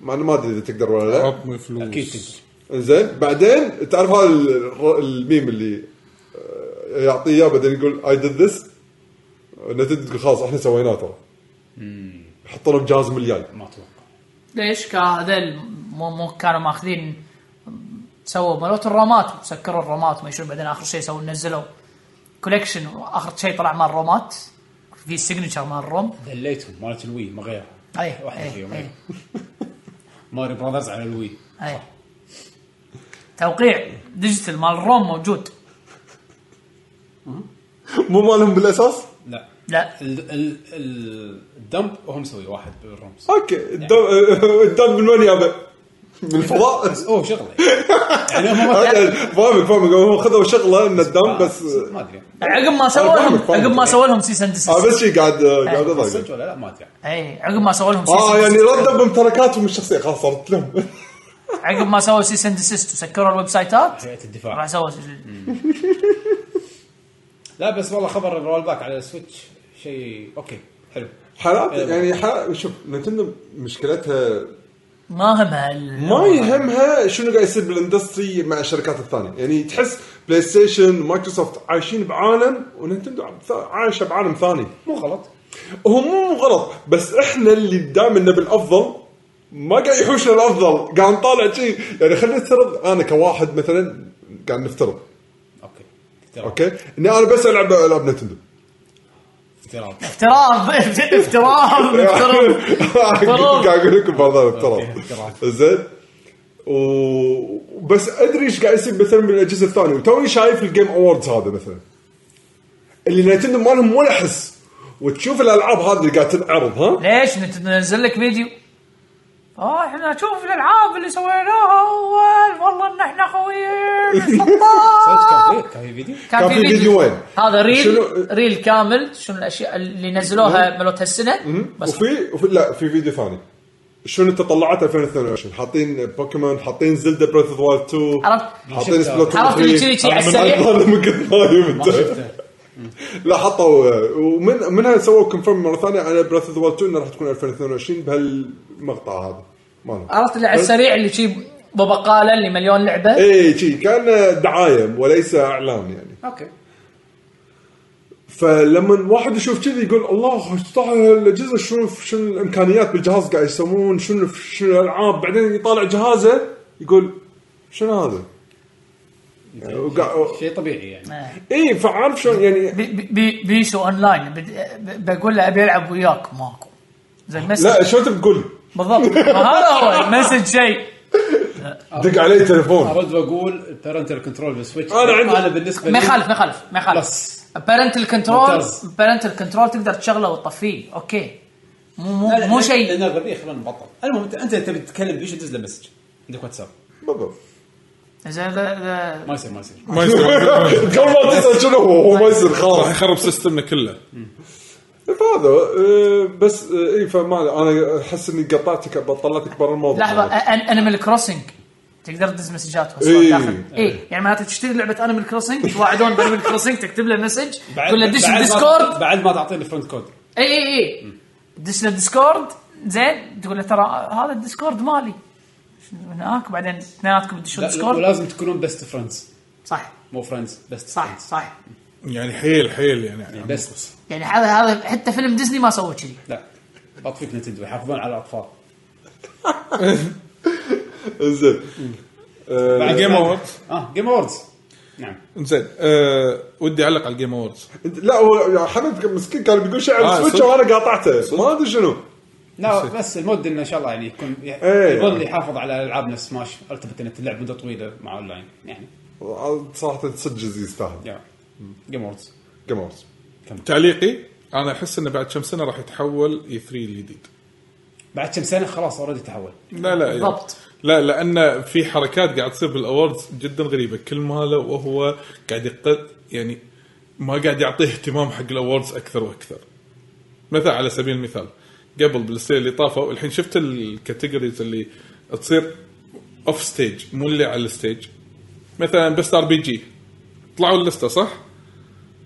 [SPEAKER 3] ما انا ما ادري اذا تقدر ولا لا
[SPEAKER 2] عطني فلوس
[SPEAKER 1] اكيد تقدر
[SPEAKER 3] زين بعدين تعرف هذا ال- الميم اللي آه، يعطيه اياه بعدين يقول اي ديد ذس نتد تقول خلاص احنا سويناه ترى حطوا لهم جهاز مليان
[SPEAKER 1] ما اتوقع
[SPEAKER 4] ليش؟ كا- هذول مو مو كانوا ماخذين سووا مالوت الرومات سكروا الرومات ما شنو بعدين اخر شيء سووا نزلوا كوليكشن واخر شيء طلع مال الرومات في السيجنتشر مال الروم
[SPEAKER 1] دليتهم مالت الوي ما غيرها
[SPEAKER 4] اي
[SPEAKER 1] واحد فيهم،
[SPEAKER 4] اي
[SPEAKER 1] أي. ماري براذرز على الوي
[SPEAKER 4] اي توقيع ديجيتال مال الروم موجود
[SPEAKER 3] مو مالهم بالاساس
[SPEAKER 1] لا
[SPEAKER 4] لا
[SPEAKER 1] ال- ال- ال- الدمب هم مسوي واحد بالرمز
[SPEAKER 3] اوكي الدم آه، الدم من وين يابا؟ من الفضاء
[SPEAKER 1] بس اوه شغله يعني هم ما-
[SPEAKER 3] أوكي، فاهمك فاهمك هم خذوا شغله ان الدم بس
[SPEAKER 1] ما ادري
[SPEAKER 4] عقب ما سووا
[SPEAKER 3] أنا فاهمك،
[SPEAKER 4] لهم
[SPEAKER 3] فاهمك.
[SPEAKER 4] عقب ما سووا لهم سيس اند
[SPEAKER 3] اه بس شي قاعد قاعد اضايق
[SPEAKER 1] صدق ولا لا ما ادري
[SPEAKER 4] اي عقب ما سووا لهم
[SPEAKER 3] اه
[SPEAKER 4] cease and
[SPEAKER 3] يعني
[SPEAKER 4] desist.
[SPEAKER 3] ردوا بامتلاكاتهم الشخصيه خلاص صارت لهم
[SPEAKER 4] عقب ما سووا سيس اند ديسيست وسكروا الويب سايتات
[SPEAKER 1] هيئه
[SPEAKER 4] راح
[SPEAKER 1] الدفاع
[SPEAKER 4] سووا
[SPEAKER 1] لا بس والله خبر الرول باك على السويتش شيء اوكي حلو
[SPEAKER 3] حالات يعني حالات شوف نتندو مشكلتها
[SPEAKER 4] ما همها ال-
[SPEAKER 3] ما يهمها شنو قاعد يصير بالاندستري مع الشركات الثانيه يعني تحس بلاي ستيشن مايكروسوفت عايشين بعالم ونتندو عايشه بعالم ثاني
[SPEAKER 1] مو غلط
[SPEAKER 3] هو مو غلط بس احنا اللي دائما نبي الافضل ما قاعد يحوشنا الافضل قاعد نطالع شيء يعني خلينا نفترض انا كواحد مثلا قاعد نفترض
[SPEAKER 1] اوكي افتراض
[SPEAKER 3] اوكي اني انا بس العب العاب نتندو
[SPEAKER 1] افتراض
[SPEAKER 4] افتراض افتراض افتراض افتراض.
[SPEAKER 3] أيوة. قاعد اقول لكم برضه افتراض
[SPEAKER 1] أوكي، افتراض.
[SPEAKER 3] زين وبس ادري ايش قاعد يصير مثلا بالاجهزه الثانيه وتوني شايف الجيم اووردز هذا مثلا اللي نتندو ما لهم ولا حس وتشوف الالعاب هذه اللي قاعد تنعرض ها
[SPEAKER 4] ليش نت- ننزل لك فيديو اه احنا شوف الالعاب اللي سويناها اول والله ان احنا خويين السلطان.
[SPEAKER 1] صدق كان في- كان في فيديو
[SPEAKER 4] كان في فيديو
[SPEAKER 3] فيديوين.
[SPEAKER 4] هذا ريل
[SPEAKER 3] شنو-
[SPEAKER 4] ريل كامل شنو الاشياء اللي نزلوها ملوت هالسنه بس
[SPEAKER 3] وفي, وفي لا في فيديو ثاني شنو تطلعات 2022 حاطين بوكيمون حاطين زلدا بريث اوف وايلد 2
[SPEAKER 4] عرفت
[SPEAKER 3] حاطين
[SPEAKER 1] شفته.
[SPEAKER 3] سبلاتون
[SPEAKER 4] عرفت اللي كذي كذي على السريع
[SPEAKER 3] هذا من كنت نايم انت
[SPEAKER 1] شفته
[SPEAKER 3] لا حطوا ومن منها سووا كونفيرم مره ثانيه على بريث اوف وايلد 2 انها راح تكون 2022 بهالمقطع هذا ماله
[SPEAKER 4] عرفت اللي على السريع اللي شي بقاله اللي مليون لعبه
[SPEAKER 3] اي إيه، شي كان دعايه وليس اعلان يعني
[SPEAKER 4] اوكي
[SPEAKER 3] فلما واحد يشوف كذي يقول الله استحي الاجهزه شنو شنو الامكانيات بالجهاز قاعد يسوون شنو شنو الالعاب بعدين يطالع جهازه يقول شنو هذا؟ يعني وقا-
[SPEAKER 1] شيء طبيعي يعني
[SPEAKER 4] نعم.
[SPEAKER 3] اي فعارف شلون يعني
[SPEAKER 4] بي- بي- بي- بيسو اونلاين بد- ب- بقول له ابي العب وياك ماكو زين
[SPEAKER 3] لا
[SPEAKER 4] مسج
[SPEAKER 3] شو تبي تقول؟
[SPEAKER 4] بالضبط ما هذا هو المسج شيء
[SPEAKER 3] دق علي تليفون
[SPEAKER 1] ارد واقول البارنتال كنترول بالسويتش
[SPEAKER 3] أنا عندي-
[SPEAKER 1] انا بالنسبه
[SPEAKER 4] ما
[SPEAKER 1] لي-
[SPEAKER 4] يخالف ما يخالف ما يخالف
[SPEAKER 1] بس.
[SPEAKER 4] بارنتال كنترول
[SPEAKER 1] ممتاز.
[SPEAKER 4] بارنتال كنترول تقدر تشغله وتطفيه اوكي مو
[SPEAKER 1] لا، لا،
[SPEAKER 4] مو مو شيء
[SPEAKER 1] لان الغبيه خلونا نبطل المهم انت انت تبي تتكلم بيش تدز له مسج عندك واتساب
[SPEAKER 3] بالضبط
[SPEAKER 4] زين لا- لا-
[SPEAKER 1] ما يصير ما يصير
[SPEAKER 2] ما يصير
[SPEAKER 3] قبل ما تسال شنو هو هو ما يصير خلاص
[SPEAKER 2] راح يخرب سيستمنا كله
[SPEAKER 3] فهذا آه، بس آه، اي فما انا احس اني قطعتك طلعتك برا الموضوع
[SPEAKER 4] لحظه انيمال كروسنج تقدر تدز مسجات
[SPEAKER 3] إيه.
[SPEAKER 4] داخل اي يعني معناته تشتري لعبه انيمال كروسنج يتواعدون بانيمال كروسنج تكتب له مسج تقول له دش
[SPEAKER 1] بعد ما-
[SPEAKER 4] الديسكورد
[SPEAKER 1] بعد ما تعطيني فرند كود
[SPEAKER 4] اي اي اي دش له الديسكورد زين تقول له ترى هذا الديسكورد مالي من هناك بعدين اثنيناتكم تدشون
[SPEAKER 1] لا-
[SPEAKER 4] ديسكورد
[SPEAKER 1] ولازم تكونون بيست فريندز
[SPEAKER 4] صح
[SPEAKER 1] مو فريندز بيست
[SPEAKER 4] صح صح
[SPEAKER 2] يعني حيل حيل يعني
[SPEAKER 1] بيست
[SPEAKER 4] يعني هذا هذا حتى فيلم ديزني ما سوى كذي
[SPEAKER 1] لا بطفيك نتندو يحافظون على الاطفال
[SPEAKER 2] آه،
[SPEAKER 3] زين
[SPEAKER 1] بعد
[SPEAKER 2] Game
[SPEAKER 1] بعد-
[SPEAKER 2] Awards.
[SPEAKER 1] اه جيم اووردز نعم
[SPEAKER 2] زين أه ودي اعلق على الجيم اووردز
[SPEAKER 3] لا هو حمد مسكين كان بيقول شيء
[SPEAKER 2] آه،
[SPEAKER 3] على السويتش
[SPEAKER 2] صدق.
[SPEAKER 3] وانا قاطعته ما ادري شنو
[SPEAKER 1] لا بس المود انه ان شاء الله يعني يكون ي-
[SPEAKER 3] إيه.
[SPEAKER 1] يظل يحافظ على العاب نفس سماش التفت انك تلعب مده طويله مع اونلاين يعني
[SPEAKER 3] صراحه تسجز يستاهل
[SPEAKER 1] يا جيم اووردز
[SPEAKER 3] جيمرز
[SPEAKER 2] تعليقي انا احس انه بعد كم سنه راح يتحول اي 3 الجديد
[SPEAKER 1] بعد كم سنه خلاص اوريدي تحول
[SPEAKER 2] لا لا يعني-
[SPEAKER 4] بالضبط.
[SPEAKER 2] لا لان في حركات قاعد تصير بالاوردز جدا غريبه كل ماله وهو قاعد يقد يعني ما قاعد يعطيه اهتمام حق الاوردز اكثر واكثر مثلا على سبيل المثال قبل بالسنه اللي طافوا الحين شفت الكاتيجوريز اللي تصير اوف ستيج مو اللي على الستيج مثلا بس ار بي جي طلعوا اللسته صح؟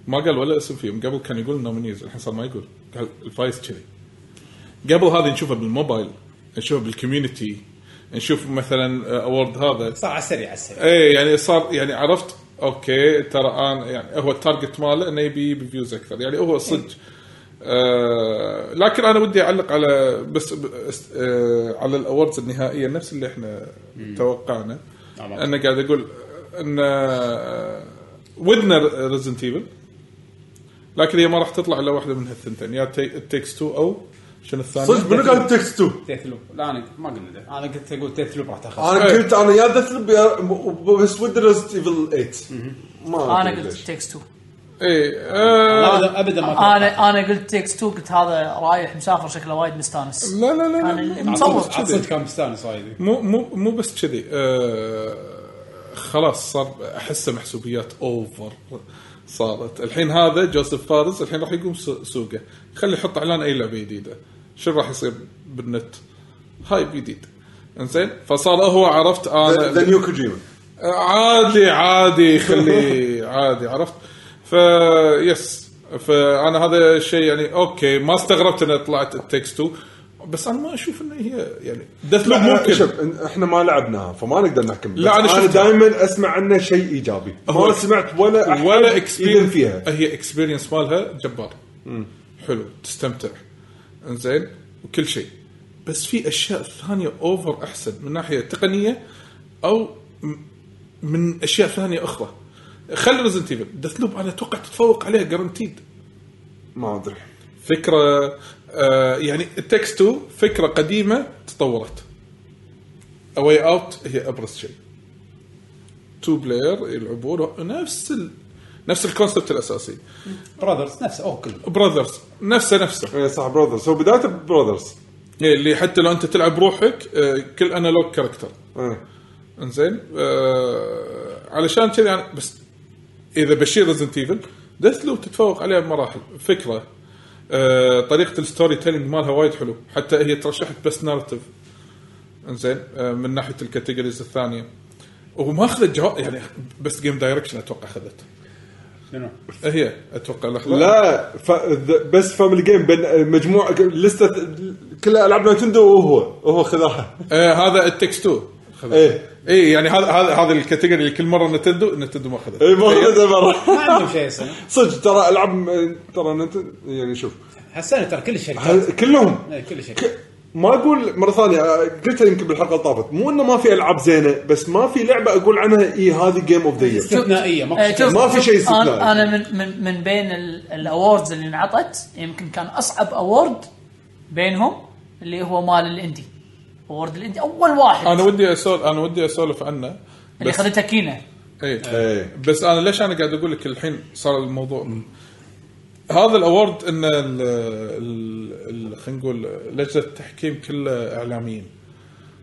[SPEAKER 2] ما قال ولا اسم فيهم قبل كان يقول نومينيز الحين صار ما يقول قال الفايز كذي قبل هذه نشوفها بالموبايل نشوفها بالكوميونتي نشوف مثلا آه، اوورد هذا
[SPEAKER 1] صار على السريع على السريع
[SPEAKER 2] اي يعني صار يعني عرفت اوكي ترى انا يعني هو التارجت ماله انه يبي فيوز اكثر يعني هو صدق آه لكن انا ودي اعلق على بس بس- آه على الاوردز النهائيه نفس اللي احنا توقعنا
[SPEAKER 1] نعم.
[SPEAKER 2] انا قاعد اقول ان آه، ودنا ريزنت ايفل لكن هي ما راح تطلع الا واحده من هالثنتين يا تيكس تو او شنو الثاني
[SPEAKER 3] صدق منو قال تكست 2
[SPEAKER 1] تيث لوب لا انا ما قلنا ده انا قلت اقول تيث لوب راح تاخذ
[SPEAKER 3] انا
[SPEAKER 2] إيه.
[SPEAKER 3] قلت انا يا ديث لوب يا- م- بس ود ريزنت ايفل 8 ما
[SPEAKER 4] انا
[SPEAKER 3] أدري
[SPEAKER 4] قلت
[SPEAKER 3] ليش.
[SPEAKER 4] تكس 2
[SPEAKER 2] اي آه
[SPEAKER 1] ابدا ابدا ما توقعت.
[SPEAKER 4] انا انا قلت تكس 2 قلت هذا رايح مسافر شكله وايد مستانس
[SPEAKER 2] لا لا لا, لا.
[SPEAKER 4] انا
[SPEAKER 1] عاد
[SPEAKER 4] مصور
[SPEAKER 1] صدق- عاد صدق كان مستانس وايد
[SPEAKER 2] مو مو مو بس كذي آه خلاص صار احسه محسوبيات اوفر صارت الحين هذا جوزيف فارس الحين راح يقوم سو- سوقه خلي يحط اعلان اي لعبه جديده شنو راح يصير بالنت هاي جديد انزين فصار هو عرفت
[SPEAKER 3] ذا ذا
[SPEAKER 2] انا
[SPEAKER 3] نيو كوجيما
[SPEAKER 2] عادي عادي خلي عادي عرفت ف يس فانا هذا الشيء يعني اوكي ما استغربت انها طلعت التكست بس انا ما اشوف ان هي يعني دث لوب ممكن
[SPEAKER 3] شوف إن- احنا ما لعبناها فما نقدر نحكم
[SPEAKER 2] لا،
[SPEAKER 3] بس
[SPEAKER 2] أنا
[SPEAKER 3] انا
[SPEAKER 2] شفتها.
[SPEAKER 3] دائما اسمع عنه شيء ايجابي
[SPEAKER 2] هو-
[SPEAKER 3] ما سمعت ولا أحد
[SPEAKER 2] ولا
[SPEAKER 3] يدن
[SPEAKER 2] اكسبيرينس
[SPEAKER 3] فيها
[SPEAKER 2] هي اكسبيرينس مالها جبار حلو تستمتع انزين وكل شيء بس في اشياء ثانيه اوفر احسن من ناحيه تقنيه او م- من اشياء ثانيه اخرى خلي ريزنت ايفل دث لوب انا اتوقع تتفوق عليها جرانتيد
[SPEAKER 3] ما ادري
[SPEAKER 2] فكره آه يعني التكست 2 فكره قديمه تطورت اواي اوت هي ابرز شيء تو بلاير يلعبون نفس ال... نفس الكونسبت الاساسي
[SPEAKER 1] براذرز نفسه اوه كله
[SPEAKER 2] براذرز نفسه نفسه
[SPEAKER 3] إيه، صح براذرز هو بدايته براذرز
[SPEAKER 2] إيه، اللي حتى لو انت تلعب بروحك آه، كل انالوج كاركتر
[SPEAKER 3] إيه.
[SPEAKER 2] انزين آه علشان كذي يعني بس اذا بشير ريزنت ايفل ديث لو تتفوق عليها بمراحل فكره آه طريقه الستوري تيلينج مالها وايد حلو حتى هي ترشحت بس نارتيف انزين آه من ناحيه الكاتيجوريز الثانيه وما اخذت جوائز يعني بس جيم دايركشن اتوقع اخذت
[SPEAKER 1] شنو؟
[SPEAKER 2] إيه، هي اتوقع لحظه
[SPEAKER 3] لا ف... ذ- بس فاميلي جيم بين مجموعه لسته كلها العاب نينتندو وهو وهو خذاها
[SPEAKER 2] آه هذا التكس 2
[SPEAKER 3] ايه
[SPEAKER 2] اي يعني هذا هذا هذا الكاتيجوري اللي كل مره نتندو نتندو ما اخذت
[SPEAKER 3] اي إيه، ما خذها مره
[SPEAKER 1] ما عندهم شيء السنه
[SPEAKER 3] صدق ترى العاب ترى نينتندو يعني شوف
[SPEAKER 1] هالسنه ترى كل الشركات
[SPEAKER 3] هل- كلهم
[SPEAKER 1] إيه، كل شيء
[SPEAKER 3] ك- ما اقول مره ثانيه قلتها يمكن بالحلقه اللي طافت مو انه ما في العاب زينه بس ما في لعبه اقول عنها اي هذه جيم اوف ذا يير
[SPEAKER 1] استثنائيه ما
[SPEAKER 4] آه، شوف-
[SPEAKER 3] ما في شيء
[SPEAKER 4] شوف،
[SPEAKER 3] استثنائي.
[SPEAKER 4] انا أنا من من من بين الاووردز اللي انعطت يمكن كان اصعب اوورد بينهم اللي هو مال الاندي اوورد الاندي اول واحد
[SPEAKER 2] انا ودي اسولف انا ودي اسولف عنه
[SPEAKER 4] اللي
[SPEAKER 2] بس
[SPEAKER 4] اخذتها كينا
[SPEAKER 2] اي
[SPEAKER 3] ايه
[SPEAKER 2] بس انا ليش انا قاعد اقول لك الحين صار الموضوع هذا الاورد ان ال- ال- ال- خلينا نقول لجنه التحكيم كلها اعلاميين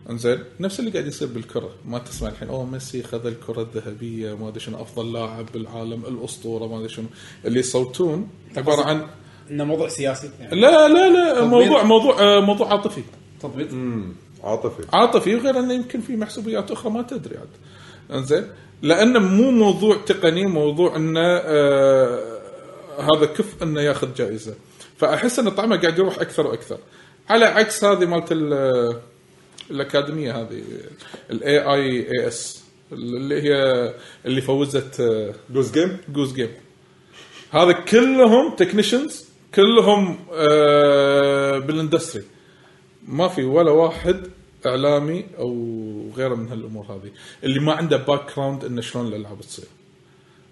[SPEAKER 2] انزين نفس اللي قاعد يصير بالكره ما تسمع الحين اوه ميسي خذ الكره الذهبيه ما ادري شنو افضل لاعب بالعالم الاسطوره ما ادري شنو اللي يصوتون عباره عن
[SPEAKER 1] انه موضوع سياسي يعني
[SPEAKER 2] لا لا لا موضوع موضوع آه، موضوع عاطفي
[SPEAKER 1] تضبيط
[SPEAKER 3] عاطفي
[SPEAKER 2] عاطفي وغير انه يمكن في محسوبيات اخرى ما تدري عاد انزين لانه مو موضوع تقني موضوع انه آه هذا كف انه ياخذ جائزه فاحس ان طعمه قاعد يروح اكثر واكثر على عكس هذه مالت ال- الاكاديميه هذه الاي اي اي اس اللي هي اللي فوزت آه،
[SPEAKER 3] جوز جيم
[SPEAKER 2] جوز جيم هذا كلهم تكنيشنز كلهم آه بالاندستري ما في ولا واحد اعلامي او غيره من هالامور هذه اللي ما عنده باك جراوند انه شلون الالعاب تصير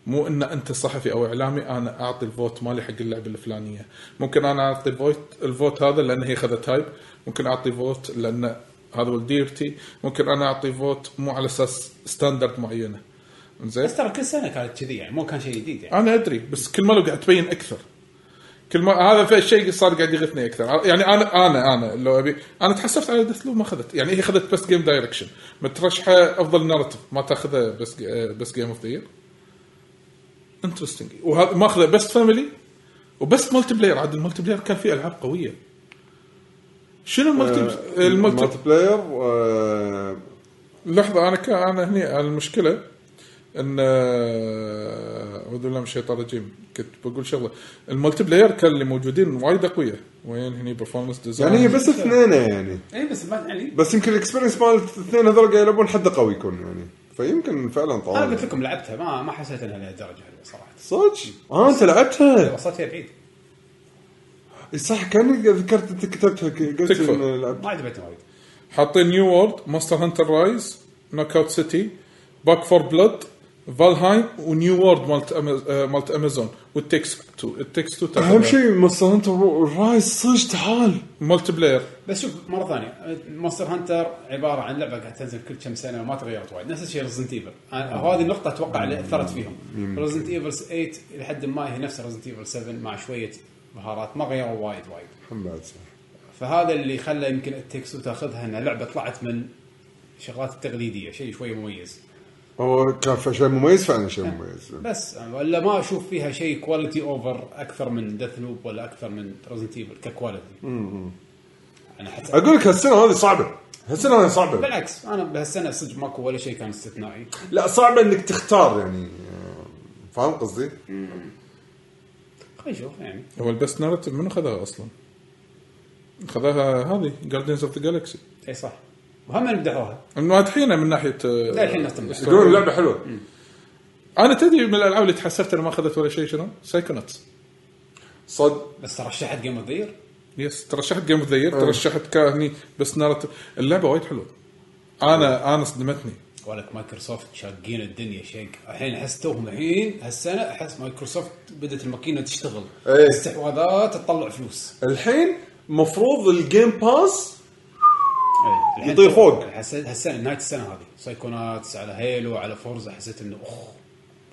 [SPEAKER 2] مو ان انت صحفي او اعلامي انا اعطي الفوت مالي حق اللعبه الفلانيه ممكن انا اعطي فوت الفوت هذا لان هي خذت هايب ممكن اعطي فوت لان هذا ولديرتي ممكن انا اعطي فوت مو على اساس ستاندرد معينه زين
[SPEAKER 1] بس ترى كل سنه كانت كذي يعني مو كان شيء جديد يعني
[SPEAKER 2] انا ادري بس كل مره قاعد تبين اكثر كل ما هذا في الشيء صار قاعد يغثني اكثر يعني انا انا انا لو ابي انا تحسفت على ديث ما اخذت يعني هي اخذت بس جيم دايركشن مترشحه افضل نارتيف ما تاخذها بس بس جيم اوف ذا يير انترستنج وهذا ماخذه بس فاميلي وبس ملتي بلاير عاد الملتي بلاير كان فيه العاب قويه شنو الملتي
[SPEAKER 3] آه،
[SPEAKER 2] الملتي
[SPEAKER 3] الملتي بلاير آه،
[SPEAKER 2] لحظة أنا كان أنا هني المشكلة أن آه، أعوذ بالله من الشيطان الرجيم كنت بقول شغلة الملتي بلاير كان اللي موجودين وايد أقوياء وين هني برفورمانس ديزاين
[SPEAKER 3] يعني هي بس اثنين يعني
[SPEAKER 1] اي بس ما يعني
[SPEAKER 3] بس يمكن الاكسبيرينس مال الاثنين هذول قاعد يلعبون حد قوي يكون يعني فيمكن فعلا
[SPEAKER 1] انا
[SPEAKER 3] طبعا
[SPEAKER 1] قلت لكم لعبتها ما ما حسيت انها لهالدرجه حلوه صراحه
[SPEAKER 3] صدق اه انت لعبتها
[SPEAKER 1] وصلت فيها بعيد
[SPEAKER 3] صح كانك ذكرت انت كتبتها ك- قلت
[SPEAKER 2] تكفى.
[SPEAKER 3] إن لعبت
[SPEAKER 1] ما عجبتني وايد
[SPEAKER 2] حاطين نيو وورد ماستر هانتر رايز نوك اوت سيتي باك فور بلود فالهايم ونيو وورد مالت أما- آه، مالت امازون والتكس تو التكس تو
[SPEAKER 3] اهم شيء مونستر هانتر رايز صدق تعال
[SPEAKER 2] ملتي بلاير
[SPEAKER 1] بس شوف مره ثانيه مونستر هانتر عباره عن لعبه قاعد تنزل كل كم سنه وما تغيرت وايد نفس الشيء ريزنت ايفل هذه النقطه اتوقع اللي اثرت فيهم ريزنت ايفل 8 لحد ما هي نفس ريزنت ايفل 7 مع شويه بهارات ما غيروا وايد وايد
[SPEAKER 3] محمد صح.
[SPEAKER 1] فهذا اللي خلى يمكن التكسو تاخذها انها لعبه طلعت من الشغلات التقليديه شيء شوي مميز
[SPEAKER 3] هو كان في شيء مميز فعلا شيء مميز
[SPEAKER 1] بس أنا ولا ما اشوف فيها شيء كواليتي اوفر اكثر من ديث لوب ولا اكثر من ريزنت ايفل ككواليتي انا حتى
[SPEAKER 3] اقول لك هالسنه هذه صعبه هالسنه هذه صعبه
[SPEAKER 1] بالعكس انا بهالسنه صدق ماكو ولا شيء كان استثنائي
[SPEAKER 3] لا صعبه انك تختار يعني فاهم قصدي؟
[SPEAKER 1] خلينا نشوف يعني
[SPEAKER 2] هو البست نارتيف منو خذاها اصلا؟ خذاها هذه جاردينز اوف ذا جالكسي
[SPEAKER 1] اي إيه، صح وهم مدحوها
[SPEAKER 2] مادحينه من ناحيه آه،
[SPEAKER 1] لا الحين نختم بس.
[SPEAKER 3] يقولون اللعبه حلوه
[SPEAKER 2] انا تدري من الالعاب اللي تحسفت انا ما اخذت ولا شيء شنو؟ سايكوناتس
[SPEAKER 3] صد
[SPEAKER 1] بس ترشحت جيم اوف ذا يير
[SPEAKER 2] يس ترشحت جيم اوف ذا يير ترشحت كهني بس نارت اللعبه وايد حلوه انا انا صدمتني
[SPEAKER 1] ولك مايكروسوفت شاقين الدنيا شق الحين احس توهم الحين هالسنه احس مايكروسوفت بدات الماكينه تشتغل
[SPEAKER 3] إيه.
[SPEAKER 1] استحواذات تطلع فلوس
[SPEAKER 3] الحين مفروض الجيم باس
[SPEAKER 1] إيه، الحين
[SPEAKER 3] يطير فوق.
[SPEAKER 1] حسيت هالسنه نهايه السنه هذه سايكوناتس على هيلو على فورزا حسيت انه اخ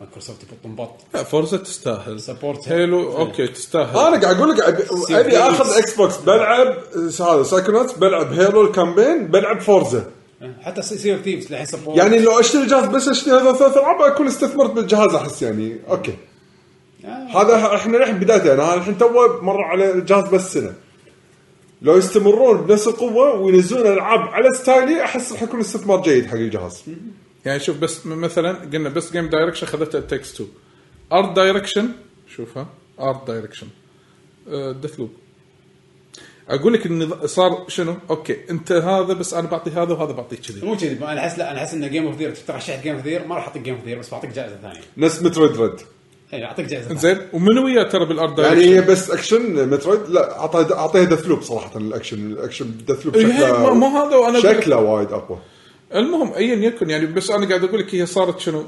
[SPEAKER 1] مايكروسوفت يبطون بط
[SPEAKER 2] لا فورزا تستاهل
[SPEAKER 1] سبورت
[SPEAKER 2] هيلو اوكي تستاهل
[SPEAKER 3] انا قاعد اقول لك أبي- ابي اخذ اكس بوكس بلعب آه، هذا سايكونوتس بلعب هيلو الكامبين بلعب فورزا
[SPEAKER 1] إيه. حتى سي اوف ثيفز للحين سبورت
[SPEAKER 3] يعني لو اشتري جهاز بس اشتري هذا ثلاث العاب اكون استثمرت بالجهاز احس يعني اوكي
[SPEAKER 1] آه.
[SPEAKER 3] هذا احنا الحين بدايته يعني هذا الحين تو مر على الجهاز بس سنه لو يستمرون بنفس القوه وينزلون العاب على ستايلي احس راح يكون استثمار جيد حق الجهاز
[SPEAKER 2] يعني شوف بس م- مثلا قلنا بس جيم دايركشن اخذته تكس 2 ارت دايركشن شوفها ارت دايركشن ديث لوب اقول آه، لك النظ... صار شنو؟ اوكي انت هذا بس انا بعطي هذا وهذا بعطيك كذي
[SPEAKER 1] مو كذي انا احس لا انا احس ان جيم اوف ذير ترشحت جيم اوف ذير ما راح اعطيك جيم اوف ذير بس بعطيك إيه، جائزه ثانيه
[SPEAKER 3] نفس مترويد ريد
[SPEAKER 1] اي اعطيك جائزه ثانيه
[SPEAKER 2] زين ومن وياه ترى بالارت
[SPEAKER 3] يعني
[SPEAKER 2] دايركشن
[SPEAKER 3] هي بس اكشن مترويد لا اعطيها اعطيها دث لوب صراحه الاكشن الاكشن دث لوب
[SPEAKER 2] إيه، ما- ما هذا وأنا أقول لك-
[SPEAKER 3] شكله وايد اقوى
[SPEAKER 2] المهم ايا يكن يعني بس انا قاعد اقول لك هي صارت شنو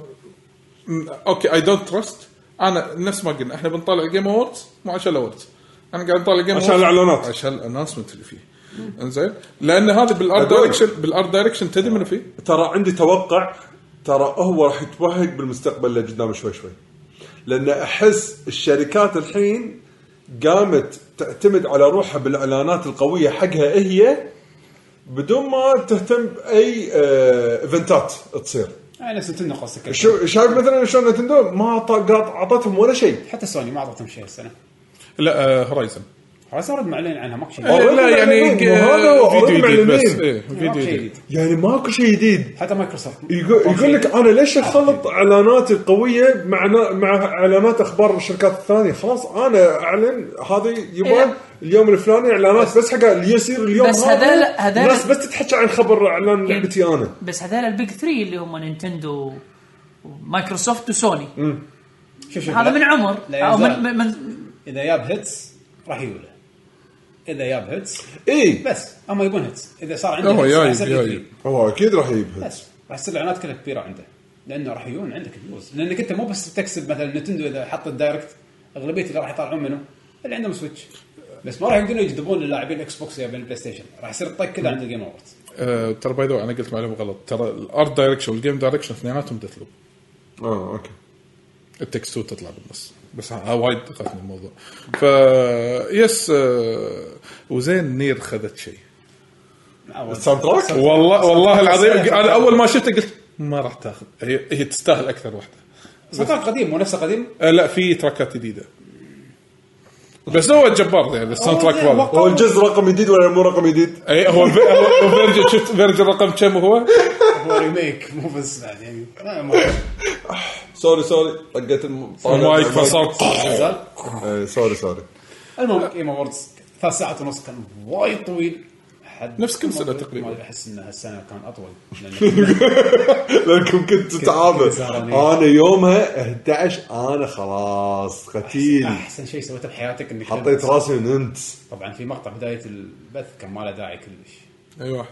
[SPEAKER 2] م- اوكي اي دونت ترست انا نفس ما قلنا احنا بنطالع جيم اووردز مو عشان الاوردز انا قاعد اطالع جيم
[SPEAKER 3] عشان الإعلانات.
[SPEAKER 2] عشان الانونسمنت اللي فيه انزين لان هذا بالارت
[SPEAKER 3] أدوية.
[SPEAKER 2] دايركشن بالارت دايركشن تدري منو فيه؟
[SPEAKER 3] ترى عندي توقع ترى هو راح يتوهق بالمستقبل اللي قدام شوي شوي لان احس الشركات الحين قامت تعتمد على روحها بالاعلانات القويه حقها هي بدون ما تهتم باي آه، ايفنتات تصير
[SPEAKER 1] آه، نفس نتندو قصدك
[SPEAKER 3] شو شايف مثلا شلون نتندو ما ط- قاط- اعطتهم ولا شيء
[SPEAKER 1] حتى سوني ما اعطتهم شيء السنه
[SPEAKER 2] لا آه، هورايزن
[SPEAKER 1] خلاص صار معلن عنها ماكو شيء
[SPEAKER 2] آه
[SPEAKER 3] أوه،
[SPEAKER 2] لا يعني
[SPEAKER 3] معلنين. وهذا هو،
[SPEAKER 2] ك- فيديو
[SPEAKER 3] هذا
[SPEAKER 2] جديد بس
[SPEAKER 3] معلنين.
[SPEAKER 2] إيه،
[SPEAKER 1] ماكو
[SPEAKER 2] فيديو
[SPEAKER 1] شيء
[SPEAKER 2] جديد
[SPEAKER 1] جديد
[SPEAKER 3] يعني ماكو شيء جديد
[SPEAKER 1] حتى مايكروسوفت
[SPEAKER 3] يقول, يقول لك انا ليش اخلط اعلاناتي القويه مع نا- مع اعلانات اخبار الشركات الثانيه خلاص انا اعلن هذه يبا
[SPEAKER 4] إيه.
[SPEAKER 3] اليوم الفلاني اعلانات بس حق اللي يصير اليوم
[SPEAKER 4] بس
[SPEAKER 3] هذا
[SPEAKER 4] هذيل- هذيل-
[SPEAKER 3] الناس بس تتحكى عن خبر اعلان لعبتي انا
[SPEAKER 4] بس هذول البيج ثري اللي هم نينتندو ومايكروسوفت وسوني
[SPEAKER 1] شوف شوف
[SPEAKER 4] هذا
[SPEAKER 1] لا-
[SPEAKER 4] من عمر
[SPEAKER 1] لا
[SPEAKER 4] او
[SPEAKER 1] يزال.
[SPEAKER 4] من, من, من
[SPEAKER 1] اذا جاب هيتس راح يولى اذا جاب هيتس
[SPEAKER 3] اي
[SPEAKER 1] بس هم يبون هيتس اذا صار عنده
[SPEAKER 2] هو
[SPEAKER 1] هيتس راح
[SPEAKER 2] جايب-
[SPEAKER 1] يصير
[SPEAKER 2] جايب.
[SPEAKER 1] كبير.
[SPEAKER 3] هو اكيد راح يجيب هيد.
[SPEAKER 1] بس راح تصير الاعلانات كلها كبيره عنده لانه راح يجون عندك فيوز لانك انت مو بس تكسب مثلا نتندو اذا حط الدايركت اغلبيه اللي راح يطالعون منه اللي عندهم سويتش بس ما راح يقدرون يجذبون اللاعبين الاكس بوكس ويابين البلاي ستيشن راح يصير الطق كله عند الجيم اووردز
[SPEAKER 2] آه، ترى باي ذا انا قلت معلومه غلط ترى الارت دايركشن والجيم دايركشن اثنيناتهم ديث لوب
[SPEAKER 3] اه اوكي
[SPEAKER 2] التكست تو تطلع بالنص بس ها- ها وايد دققت من الموضوع ف يس آه، وزين نير خذت شيء
[SPEAKER 3] الساوند تراك
[SPEAKER 2] والله والله العظيم انا اول ما شفته قلت ما راح تاخذ هي, هي تستاهل اكثر واحده
[SPEAKER 1] صدق قديم مو نفسه قديم
[SPEAKER 2] آه، لا في تراكات جديده بس هو جبار يعني الساوند تراك والله
[SPEAKER 3] هو الجزء رقم جديد ولا مو رقم جديد؟
[SPEAKER 2] اي هو الف- هو فيرجن شفت فيرجن رقم كم هو؟
[SPEAKER 1] هو ريميك مو بس بعد يعني ما- ما-
[SPEAKER 3] سوري سوري طقيت الم- طالع
[SPEAKER 2] المايك
[SPEAKER 3] المايك.
[SPEAKER 2] فصار
[SPEAKER 1] زال.
[SPEAKER 3] إيه، سوري سوري
[SPEAKER 1] المهم جيم اووردز ثلاث ساعات ونص كان وايد طويل حد
[SPEAKER 2] نفس كم
[SPEAKER 1] ما-
[SPEAKER 2] سنة تقريباً؟
[SPEAKER 1] ما احس ان هالسنه كان اطول لأن
[SPEAKER 3] لانكم كنتوا تعابه
[SPEAKER 1] زعلانين.
[SPEAKER 3] انا يومها 11 انا خلاص قتيل
[SPEAKER 1] احسن شيء سويته بحياتك انك
[SPEAKER 3] حطيت راسي ونمت
[SPEAKER 1] طبعا في مقطع بدايه البث كان ما له داعي كلش
[SPEAKER 2] اي واحد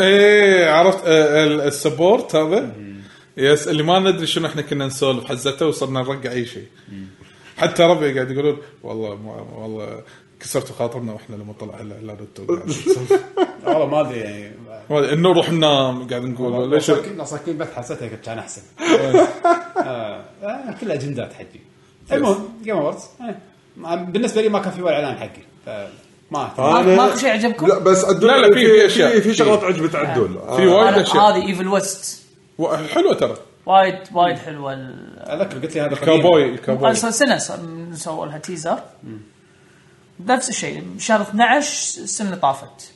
[SPEAKER 2] ايه عرفت آه، ال- السبورت هذا يس اللي ما ندري شنو احنا كنا نسولف حزته وصرنا نرقع اي شيء حتى ربي قاعد يقولون والله ما والله كسرتوا خاطرنا واحنا لما طلع لا لا
[SPEAKER 1] والله ما ادري يعني
[SPEAKER 2] انه نروح ننام قاعد نقول ليش
[SPEAKER 1] لو صاكين بث حسيتها كنت كان احسن آه، آه، كلها اجندات حجي المهم جيم اووردز آه، ما- بالنسبه لي ما كان في ولا اعلان حقي
[SPEAKER 2] آه.
[SPEAKER 1] فما
[SPEAKER 4] ما-
[SPEAKER 3] أنا-
[SPEAKER 4] ماكو شيء عجبكم؟
[SPEAKER 3] لا بس عدول
[SPEAKER 2] لا، لا، في- في أشياء.
[SPEAKER 3] في شغلات عجبت عدول آه.
[SPEAKER 2] في وايد
[SPEAKER 4] أنا-
[SPEAKER 2] أشياء.
[SPEAKER 4] هذه ايفل ويست
[SPEAKER 2] و- حلوه ترى
[SPEAKER 4] وايد وايد حلوه ال-
[SPEAKER 1] اذكر قلت لي هذا قديم.
[SPEAKER 2] الكاوبوي الكاوبوي
[SPEAKER 4] اصلا سنه س- سووا لها تيزر نفس الشيء شهر 12 السنه اللي طافت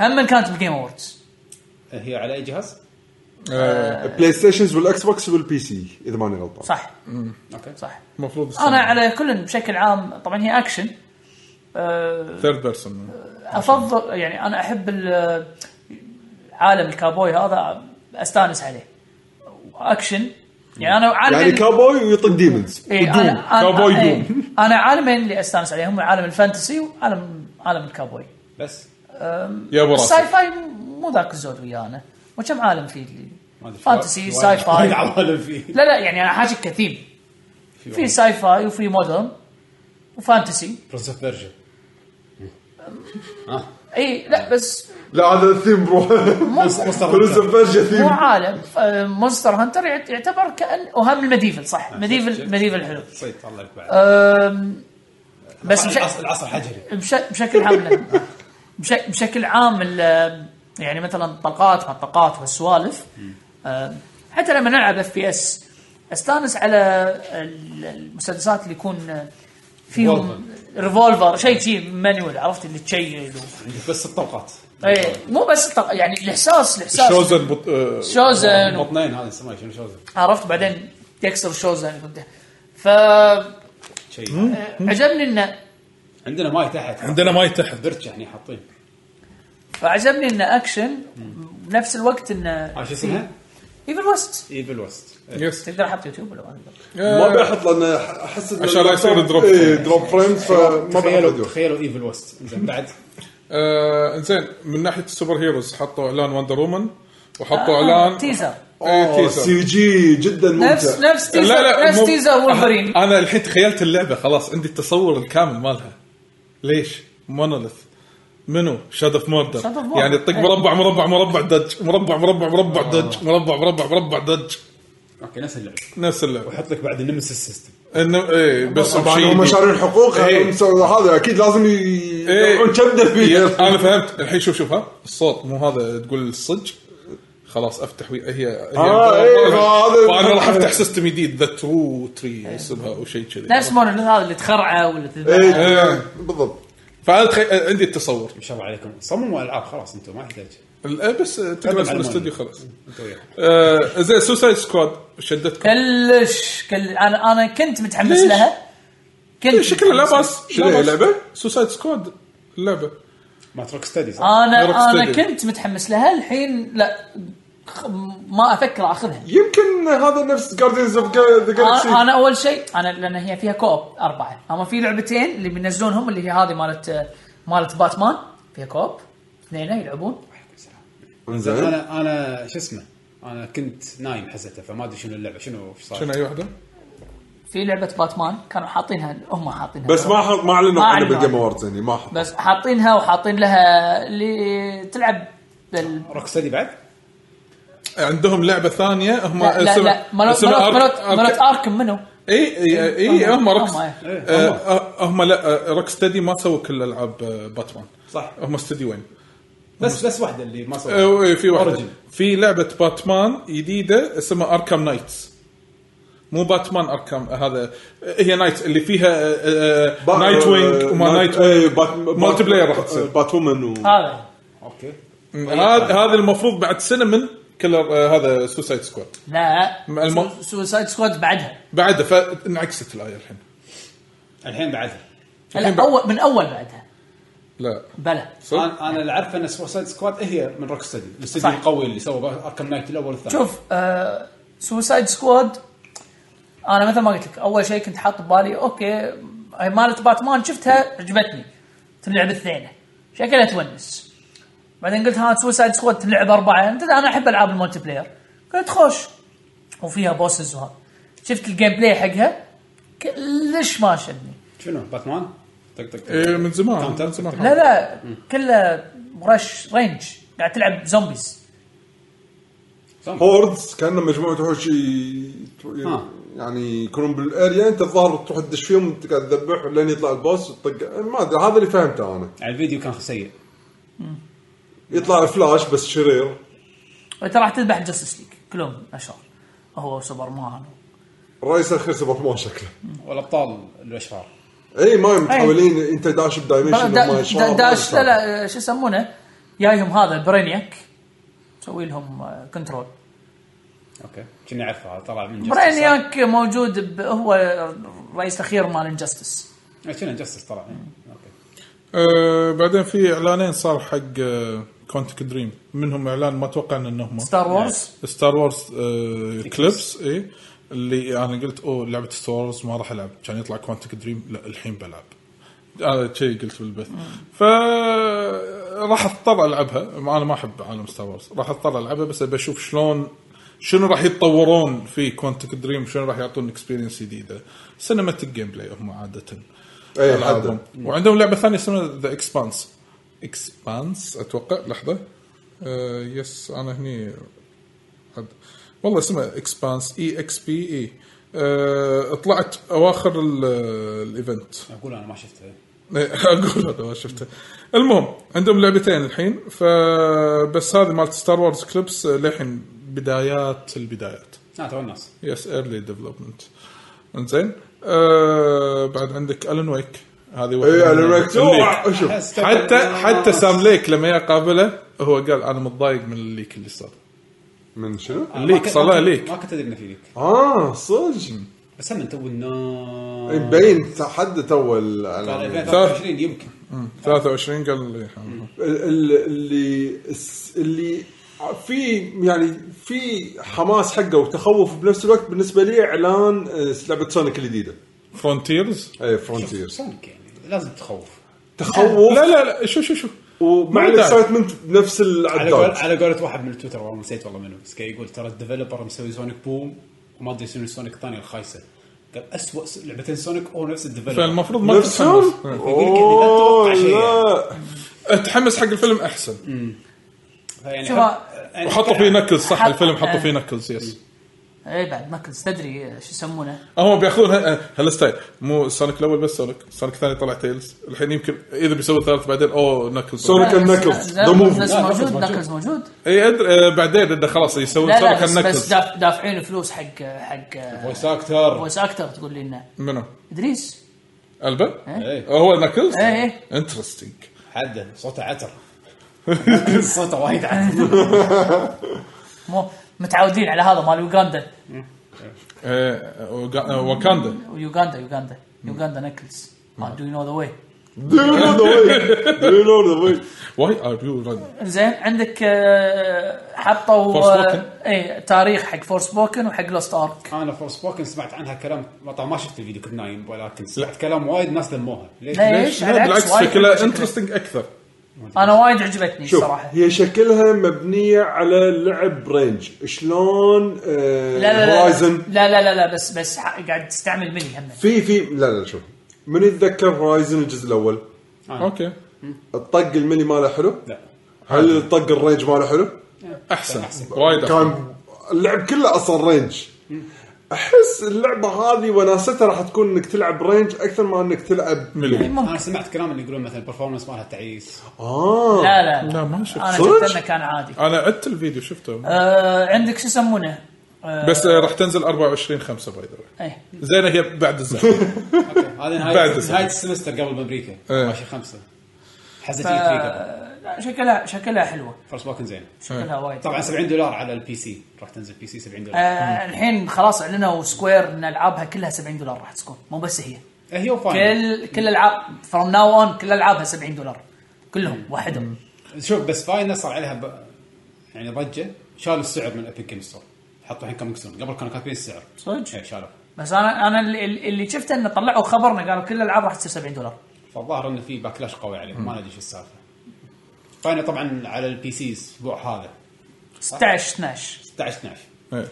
[SPEAKER 4] هم كانت بجيم اووردز
[SPEAKER 1] هي على اي جهاز؟
[SPEAKER 2] آه،
[SPEAKER 3] بلاي ستيشنز والاكس بوكس والبي سي اذا ماني غلطان
[SPEAKER 4] صح
[SPEAKER 1] اوكي
[SPEAKER 4] صح
[SPEAKER 2] المفروض
[SPEAKER 4] انا على كل بشكل عام طبعا هي اكشن أه،
[SPEAKER 2] ثيرد بيرسون
[SPEAKER 4] افضل يعني انا احب ال- عالم الكابوي هذا استانس عليه اكشن يعني انا عالم
[SPEAKER 3] يعني كابوي ويطق ديمونز
[SPEAKER 4] إيه، أنا-
[SPEAKER 2] ودوم.
[SPEAKER 4] أنا-
[SPEAKER 2] كاوبوي
[SPEAKER 4] إيه،
[SPEAKER 2] دوم.
[SPEAKER 4] انا عالمين اللي استانس عليهم عالم الفانتسي وعالم عالم الكابوي
[SPEAKER 1] بس
[SPEAKER 2] يا ابو راسل.
[SPEAKER 4] الساي فاي مو ذاك الزود ويانا وكم عالم فيه اللي
[SPEAKER 1] ما أدري.
[SPEAKER 4] فانتسي
[SPEAKER 1] وايد-
[SPEAKER 4] ساي
[SPEAKER 1] وايد
[SPEAKER 4] فاي
[SPEAKER 1] عوالم فيه
[SPEAKER 4] لا لا يعني انا حاجه كثير في ساي فاي وفي مودرن وفانتسي
[SPEAKER 1] برنس اوف بيرجا آه.
[SPEAKER 4] اي لا بس
[SPEAKER 3] لا هذا الثيم بروحه
[SPEAKER 1] مصدر
[SPEAKER 3] برنس اوف بيرجيا
[SPEAKER 1] إيه.
[SPEAKER 4] مو
[SPEAKER 3] ثيم
[SPEAKER 4] عالم آه، مونستر هانتر يعت- يعتبر كان وهم المديفل صح
[SPEAKER 1] آه،
[SPEAKER 4] مديفل مديفل حلو
[SPEAKER 1] صيد طلع لك بعد
[SPEAKER 4] آم، آه، بس بش...
[SPEAKER 1] العصر العصر الحجري
[SPEAKER 4] بش... بشكل عام لا. بش... بشكل عام ال... يعني مثلا طلقات ما طلقات والسوالف آم، حتى لما نلعب اف بي اس استانس على ال- المسدسات اللي يكون فيهم ريفولفر شيء شيء مانيوال عرفت اللي تشيل و...
[SPEAKER 1] عندك بس الطلقات
[SPEAKER 4] ايه مو بس الطلق... يعني الاحساس الاحساس
[SPEAKER 2] شوزن بط... آه،
[SPEAKER 4] شوزن و...
[SPEAKER 1] بطنين هذا يسمونه شنو شوزه
[SPEAKER 4] عرفت بعدين تكسر شوزن وبتاع. ف
[SPEAKER 1] شيء
[SPEAKER 4] عجبني انه
[SPEAKER 1] عندنا ماي تحت
[SPEAKER 2] عندنا ماي تحت
[SPEAKER 1] درج يعني حاطين
[SPEAKER 4] فعجبني انه اكشن بنفس الوقت انه
[SPEAKER 1] عارف آه، شو اسمها؟
[SPEAKER 4] ايفل ويست
[SPEAKER 1] ايفل وست
[SPEAKER 2] يس
[SPEAKER 4] تقدر احط يوتيوب ولا ما تقدر؟
[SPEAKER 3] ما بيحط لان احس إن
[SPEAKER 2] عشان لا يصير
[SPEAKER 3] اللابتوب-
[SPEAKER 2] دروب
[SPEAKER 3] إيه، دروب فريمز فما
[SPEAKER 1] تخيلوا
[SPEAKER 3] بيحط
[SPEAKER 1] تخيلوا ايفل وست زين بعد
[SPEAKER 2] آه، انزين من ناحيه السوبر هيروز حطوا اعلان وندر وومن وحطوا
[SPEAKER 4] آه،
[SPEAKER 2] اعلان
[SPEAKER 4] تيزر
[SPEAKER 2] إيه،
[SPEAKER 3] أوه،
[SPEAKER 2] تيزر
[SPEAKER 3] سي جي جدا
[SPEAKER 4] نفس
[SPEAKER 3] ممتع
[SPEAKER 4] نفس تيزر نفس
[SPEAKER 2] مو-
[SPEAKER 4] تيزر وولفرين
[SPEAKER 2] أه، انا الحين تخيلت اللعبه خلاص عندي التصور الكامل مالها ليش؟ مونوليث منو؟ شاد اوف موردر
[SPEAKER 4] Shadow of Mordor.
[SPEAKER 2] يعني تطق
[SPEAKER 4] إيه.
[SPEAKER 2] مربع مربع مربع دج مربع مربع مربع
[SPEAKER 3] آه.
[SPEAKER 2] دج مربع مربع مربع دج
[SPEAKER 1] اوكي نفس اللعبه
[SPEAKER 2] نفس اللعبه
[SPEAKER 1] وحط لك بعد النمسيس سيستم
[SPEAKER 2] انه ايه بس
[SPEAKER 3] طبعا
[SPEAKER 2] بشيء
[SPEAKER 3] هم
[SPEAKER 2] جديد.
[SPEAKER 3] شارين حقوق
[SPEAKER 2] إيه.
[SPEAKER 3] هذا اكيد لازم يقعدون كبده فيه
[SPEAKER 2] انا إيه. فهمت الحين شوف شوف ها الصوت مو هذا تقول الصج خلاص افتح وي- هي هي
[SPEAKER 3] آه، إيه، هذا-
[SPEAKER 2] فانا راح افتح سيستم جديد ذا ترو تري اسمها او شيء كذي
[SPEAKER 4] إيه. نفس مونوليث هذا اللي تخرعه ولا تذبحه.
[SPEAKER 3] إيه، بالضبط
[SPEAKER 2] فانا تخي... عندي التصور
[SPEAKER 1] ما شاء الله عليكم صمموا العاب خلاص انتم ما يحتاج
[SPEAKER 2] ال- بس تقرا
[SPEAKER 1] على المال.
[SPEAKER 2] اسم الاستوديو خلاص
[SPEAKER 1] انتم وياهم
[SPEAKER 2] آه زين سوسايد سكواد شدتكم
[SPEAKER 4] كلش كل انا انا كنت متحمس
[SPEAKER 2] ليش؟
[SPEAKER 4] لها كنت
[SPEAKER 2] إيه، شكلها لا
[SPEAKER 4] متحمس
[SPEAKER 2] باس
[SPEAKER 3] شنو هي اللعبة؟
[SPEAKER 2] سوسايد سكواد اللعبه
[SPEAKER 1] ما تروك ستدي صح؟
[SPEAKER 4] آه،
[SPEAKER 2] Rock
[SPEAKER 4] انا انا
[SPEAKER 2] Steady.
[SPEAKER 4] كنت متحمس لها الحين لا خ- ما افكر اخذها
[SPEAKER 3] يمكن هذا نفس جاردينز اوف ذا
[SPEAKER 4] أنا-
[SPEAKER 3] جالكسي
[SPEAKER 4] انا اول شيء انا لان هي فيها كوب اربعه هم في لعبتين اللي بينزلونهم اللي هي هذه مالت مالت باتمان فيها كوب اثنين يلعبون
[SPEAKER 3] انزين
[SPEAKER 1] انا انا شو اسمه انا كنت نايم حسيته فما ادري شنو اللعبه شنو ايش
[SPEAKER 2] شنو
[SPEAKER 1] صار
[SPEAKER 2] اي واحده؟
[SPEAKER 4] في لعبه باتمان كانوا حاطينها هم حاطينها
[SPEAKER 3] بس ما حط- ما اعلنوا
[SPEAKER 4] ما
[SPEAKER 3] عنه
[SPEAKER 4] أعلنوا
[SPEAKER 3] بالجيم
[SPEAKER 4] عنه.
[SPEAKER 3] اووردز يعني ما حط
[SPEAKER 4] بس حاطينها وحاطين لها اللي تلعب بال...
[SPEAKER 1] روك ستدي بعد؟
[SPEAKER 2] عندهم لعبه ثانيه هم
[SPEAKER 4] لا لا, لا مالت
[SPEAKER 2] اسمها
[SPEAKER 4] مالت مالت,
[SPEAKER 2] أرك-
[SPEAKER 4] مالت اركم منو؟
[SPEAKER 2] اي اي اي إيه، هم روك
[SPEAKER 4] هم، إيه.
[SPEAKER 1] إيه،
[SPEAKER 2] آه،
[SPEAKER 1] هم.
[SPEAKER 2] آه، هم لا روك ستدي ما سووا كل العاب آه، باتمان
[SPEAKER 1] صح
[SPEAKER 2] هم استديوين
[SPEAKER 1] بس بس واحده اللي ما صار
[SPEAKER 2] آه، إيه، في واحده
[SPEAKER 1] Origin.
[SPEAKER 2] في لعبه باتمان جديده اسمها اركام نايتس مو باتمان اركام آه، هذا آه، هي نايتس اللي فيها آه، آه،
[SPEAKER 3] با-
[SPEAKER 2] نايت وينج
[SPEAKER 3] آه،
[SPEAKER 2] وما نايت
[SPEAKER 3] إيه، بات-
[SPEAKER 2] مالتي
[SPEAKER 3] بات-
[SPEAKER 2] بلاير راح تصير.
[SPEAKER 3] بات وومن و
[SPEAKER 4] هذا
[SPEAKER 1] اوكي
[SPEAKER 2] هذا هذا المفروض بعد سنه من كلر آه، هذا سوسايد سكواد
[SPEAKER 4] لا
[SPEAKER 2] مع الم-
[SPEAKER 4] سو- سوسايد سكواد بعدها
[SPEAKER 2] بعده فانعكست الايه الحين
[SPEAKER 1] الحين بعدها
[SPEAKER 4] لا اول من اول بعدها
[SPEAKER 2] لا
[SPEAKER 4] بلا
[SPEAKER 2] صدق؟
[SPEAKER 1] انا انا اللي عارفه ان سوسايد سكواد هي من روك ستدي الاستديو
[SPEAKER 4] صح.
[SPEAKER 1] القوي اللي سوى اركم نايت الاول والثاني
[SPEAKER 4] شوف آه، سوسايد سكواد انا مثل ما قلت لك اول شيء كنت حاط ببالي اوكي هي مالت باتمان شفتها عجبتني تنلعب اثنين شكلها تونس بعدين قلت ها سوسايد سكواد تنلعب اربعه انت انا احب العاب المولتي بلاير قلت خوش وفيها بوسز وها شفت الجيم بلاي حقها كلش ما شدني
[SPEAKER 1] شنو باتمان؟ طق طق طق.
[SPEAKER 2] إيه، من زمان
[SPEAKER 1] كاونتر.
[SPEAKER 2] من زمان
[SPEAKER 4] لا لا كله رش رينج قاعد تلعب زومبيز
[SPEAKER 3] هوردز كانه مجموعه وحوش ي-
[SPEAKER 1] ها.
[SPEAKER 3] يعني يكونون بالاريا انت الظاهر تروح تدش فيهم تقعد تذبح لين يطلع البوس وتطق ما ادري هذا اللي فهمته انا
[SPEAKER 1] على يعني الفيديو كان سيء
[SPEAKER 3] يطلع فلاش بس شرير
[SPEAKER 4] انت راح تذبح جاستس ليج كلهم اشرار هو سوبرمان
[SPEAKER 3] الرئيس الاخير سبب ما شكله
[SPEAKER 1] والابطال الاشرار
[SPEAKER 3] اي ما
[SPEAKER 4] أي.
[SPEAKER 3] متحولين انت داش
[SPEAKER 4] بلا-
[SPEAKER 3] بدايمنشن
[SPEAKER 4] دا-
[SPEAKER 3] هم
[SPEAKER 4] دا-
[SPEAKER 3] شلون-
[SPEAKER 4] داش
[SPEAKER 3] شلون.
[SPEAKER 4] لا لا شو يسمونه جايهم هذا برينياك مسوي لهم آه، كنترول
[SPEAKER 1] اوكي كنا اعرفه هذا طلع من Justice.
[SPEAKER 4] برينياك موجود ب- هو الرئيس الاخير مال انجستس
[SPEAKER 1] آه، كنا جاستس طلع إيه. اوكي
[SPEAKER 2] آه بعدين في اعلانين صار حق كونتك دريم منهم اعلان ما اتوقع إن انهم
[SPEAKER 4] ستار وورز
[SPEAKER 2] ستار وورز آه كليبس اي اللي انا قلت اوه لعبه ستار وورز ما راح العب كان يطلع كوانتك دريم لا الحين بلعب هذا شيء قلت بالبث ف راح اضطر العبها ما- انا ما احب عالم ستار وورز راح اضطر العبها بس ابى اشوف شلون شنو راح يتطورون في كوانتك دريم شنو راح يعطون اكسبيرينس جديده سينماتيك جيم بلاي هم عاده
[SPEAKER 3] إيه،
[SPEAKER 2] ألعابهم. وعندهم لعبه ثانيه اسمها ذا اكسبانس اكسبانس اتوقع لحظه آه يس انا هني حد. والله اسمه E اكسبانس اي اكس بي اي آه، طلعت اواخر ال- الايفنت
[SPEAKER 1] اقول انا ما شفته
[SPEAKER 2] اقول هذا ما شفته المهم عندهم لعبتين الحين فبس هذه مالت ستار وورز كليبس آه، للحين بدايات البدايات
[SPEAKER 1] لا آه، تو الناس
[SPEAKER 2] يس ايرلي ديفلوبمنت انزين آه بعد عندك الن ويك هذه واحدة
[SPEAKER 3] اي
[SPEAKER 2] من
[SPEAKER 3] انا معك.
[SPEAKER 2] الليك.
[SPEAKER 3] أوه، شوف
[SPEAKER 2] حتى حتى سام ليك لما يقابله هو قال انا متضايق من الليك اللي صار
[SPEAKER 3] من شنو؟
[SPEAKER 2] ليك، صار لها ليك.
[SPEAKER 1] آه، ما كنت ادري انه في ليك
[SPEAKER 3] اه صدق
[SPEAKER 1] بس هم تو الناس
[SPEAKER 2] إيه.
[SPEAKER 3] مبين حد تو ال-
[SPEAKER 1] ترى
[SPEAKER 3] ال-
[SPEAKER 1] 2023 يمكن
[SPEAKER 2] 23 قال لي حمد.
[SPEAKER 3] ال- اللي الس- اللي في يعني في حماس حقه وتخوف بنفس الوقت بالنسبه لي اعلان آه، لعبه سونيك الجديده
[SPEAKER 2] فرونتيرز
[SPEAKER 3] اي فرونتيرز
[SPEAKER 1] سونيك يعني لازم تخوف
[SPEAKER 3] آه، تخوف
[SPEAKER 2] لا لا لا شو شو شو
[SPEAKER 3] ومع
[SPEAKER 2] ما داعي.
[SPEAKER 3] الاكسايتمنت بنفس
[SPEAKER 1] على قول
[SPEAKER 3] العداد
[SPEAKER 1] على قولة واحد من التويتر والله نسيت والله منو بس كان يقول ترى الديفلوبر مسوي سونيك بوم وما ادري شنو السونيك الثانيه الخايسه قال اسوء س- لعبتين سونيك هو نفس الديفلوبر
[SPEAKER 2] فالمفروض ما
[SPEAKER 3] نفسهم
[SPEAKER 2] تتحمس
[SPEAKER 3] أوه،
[SPEAKER 1] لا تتوقع شيء.
[SPEAKER 3] لا
[SPEAKER 2] اتحمس حق الفيلم احسن
[SPEAKER 1] فيعني
[SPEAKER 4] شوف،
[SPEAKER 1] يعني
[SPEAKER 2] وحطوا فيه نكلز صح
[SPEAKER 4] حط-
[SPEAKER 2] الفيلم حطوا
[SPEAKER 4] آه.
[SPEAKER 2] فيه نكلز يس
[SPEAKER 4] اي إيه، بعد نكلز تدري شو يسمونه
[SPEAKER 2] هم بياخذون آه، ه- ه- هالستايل مو سونيك الاول بس سونيك سونيك الثاني طلع تيلز الحين يمكن اذا بيسوي الثالث بعدين اوه نكلز
[SPEAKER 4] لا،
[SPEAKER 3] سونيك
[SPEAKER 4] بس-
[SPEAKER 3] النكلز،
[SPEAKER 4] لا،
[SPEAKER 3] The
[SPEAKER 4] بس
[SPEAKER 3] Movie.
[SPEAKER 1] لا،
[SPEAKER 4] موجود
[SPEAKER 1] نكلز موجود.
[SPEAKER 4] نكلز موجود
[SPEAKER 2] اي ادري آه، بعدين انه خلاص يسوون
[SPEAKER 4] لا
[SPEAKER 2] سونيك
[SPEAKER 4] لا بس, بس
[SPEAKER 2] النكلز
[SPEAKER 4] داف- دافعين فلوس حق آه، حق
[SPEAKER 1] فويس اكتر
[SPEAKER 4] فويس اكتر تقول لي انه
[SPEAKER 2] منو؟
[SPEAKER 4] ادريس
[SPEAKER 2] البا؟
[SPEAKER 1] إيه.
[SPEAKER 2] هو نكلز؟
[SPEAKER 4] إيه، إيه.
[SPEAKER 2] انترستنج
[SPEAKER 1] حده صوته عتر صوته وايد عتر
[SPEAKER 4] مو متعودين على هذا مال يوغندا
[SPEAKER 2] آه، واكاندا
[SPEAKER 4] يوغندا يوغندا يوغندا نكلز مال دو يو نو ذا واي
[SPEAKER 3] Do you know the way? Do you know the way?
[SPEAKER 2] واي ار يو رن
[SPEAKER 4] زين عندك آه، حطوا
[SPEAKER 2] Forspoken.
[SPEAKER 4] آه، اي تاريخ حق فورس بوكن وحق لوست ارك
[SPEAKER 1] انا فور سبوكن سمعت عنها كلام طبعا ما شفت الفيديو كنت نايم ولكن سمعت كلام وايد ناس ذموها ليش؟
[SPEAKER 4] لا، إيش؟ على عكس
[SPEAKER 2] بالعكس
[SPEAKER 4] وايد
[SPEAKER 2] شكلها
[SPEAKER 4] شكلها.
[SPEAKER 2] انترستنج اكثر
[SPEAKER 4] انا وايد عجبتني
[SPEAKER 3] شوف
[SPEAKER 4] الصراحه
[SPEAKER 3] هي شكلها مبنيه على لعب رينج شلون آه،
[SPEAKER 4] لا لا لا
[SPEAKER 3] هورايزن
[SPEAKER 4] لا لا لا, لا بس بس ح- قاعد تستعمل ملي هم
[SPEAKER 3] في في لا لا شوف من يتذكر هورايزن الجزء الاول
[SPEAKER 2] اوكي
[SPEAKER 3] الطق الملي ماله حلو
[SPEAKER 1] لا
[SPEAKER 3] هل الطق الرينج ماله حلو
[SPEAKER 2] احسن وايد احسن
[SPEAKER 3] كان اللعب كله اصلا رينج احس اللعبه هذه وناستها راح تكون انك تلعب رينج اكثر ما انك تلعب
[SPEAKER 2] ملي
[SPEAKER 1] انا سمعت كلام اللي يقولون مثلا البرفورمانس مالها تعيس
[SPEAKER 3] اه
[SPEAKER 4] لا لا
[SPEAKER 2] لا، ما شفت.
[SPEAKER 4] انا
[SPEAKER 3] صدق؟
[SPEAKER 4] شفت انه كان عادي
[SPEAKER 2] انا عدت الفيديو شفته
[SPEAKER 4] آه عندك شو يسمونه؟ آه
[SPEAKER 2] بس آه، راح تنزل 24 5 باي ذا
[SPEAKER 4] إيه.
[SPEAKER 2] زينه هي بعد الزمن
[SPEAKER 1] هذا
[SPEAKER 2] بعد
[SPEAKER 1] نهايه
[SPEAKER 2] السنة.
[SPEAKER 1] نهايه السمستر قبل بامريكا
[SPEAKER 2] إيه.
[SPEAKER 1] ماشي خمسه حزتين فيه قبل طيب.
[SPEAKER 4] آه، لا، شكلها شكلها حلوه
[SPEAKER 1] فورس بوكن زين
[SPEAKER 4] شكلها وايد
[SPEAKER 1] طبعا 70 دولار على البي سي راح تنزل بي سي 70 دولار
[SPEAKER 4] آه الحين خلاص اعلنوا سكوير ان العابها كلها 70 دولار راح تكون مو بس هي
[SPEAKER 1] آه. هي وفاينل
[SPEAKER 4] كل كل العاب فروم ناو اون كل العابها 70 دولار كلهم وحدهم
[SPEAKER 1] شوف بس فاينل صار عليها ب... يعني ضجه شالوا السعر من ابيك جيم ستور حطوا الحين كوميك سون قبل كانوا كاتبين السعر
[SPEAKER 4] صدق؟
[SPEAKER 1] اي شالوا
[SPEAKER 4] بس انا انا اللي, اللي شفته انه طلعوا خبرنا قالوا كل الالعاب راح تصير 70 دولار
[SPEAKER 1] فالظاهر انه في باكلاش قوي عليهم ما ندري شو السالفه فاينل طبعا على البي سي الاسبوع هذا
[SPEAKER 4] 16 12
[SPEAKER 1] 16 12
[SPEAKER 2] إيه.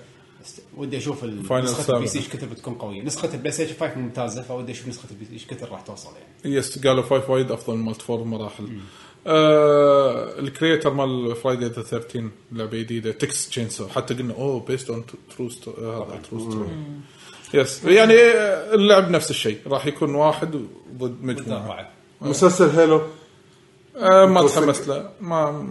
[SPEAKER 1] بس ودي اشوف ال-
[SPEAKER 2] Final
[SPEAKER 1] نسخه البي
[SPEAKER 2] Saga.
[SPEAKER 1] سي ايش كثر بتكون قويه نسخه البلاي ستيشن 5 ممتازه فودي اشوف نسخه البي سي ايش كثر راح توصل يعني
[SPEAKER 2] يس قالوا فايف وايد افضل من مالت فور بمراحل آه الكريتر مال فرايداي ذا 13 لعبه جديده تكس تشينسو حتى قلنا "Oh، اوه بيست اون ترو ترو ستوري يس يعني آه، اللعب نفس الشيء راح يكون واحد ضد
[SPEAKER 1] ودي
[SPEAKER 2] مجموعه
[SPEAKER 1] اربعه
[SPEAKER 3] مسلسل هيلو
[SPEAKER 2] آه ما تحمست له ما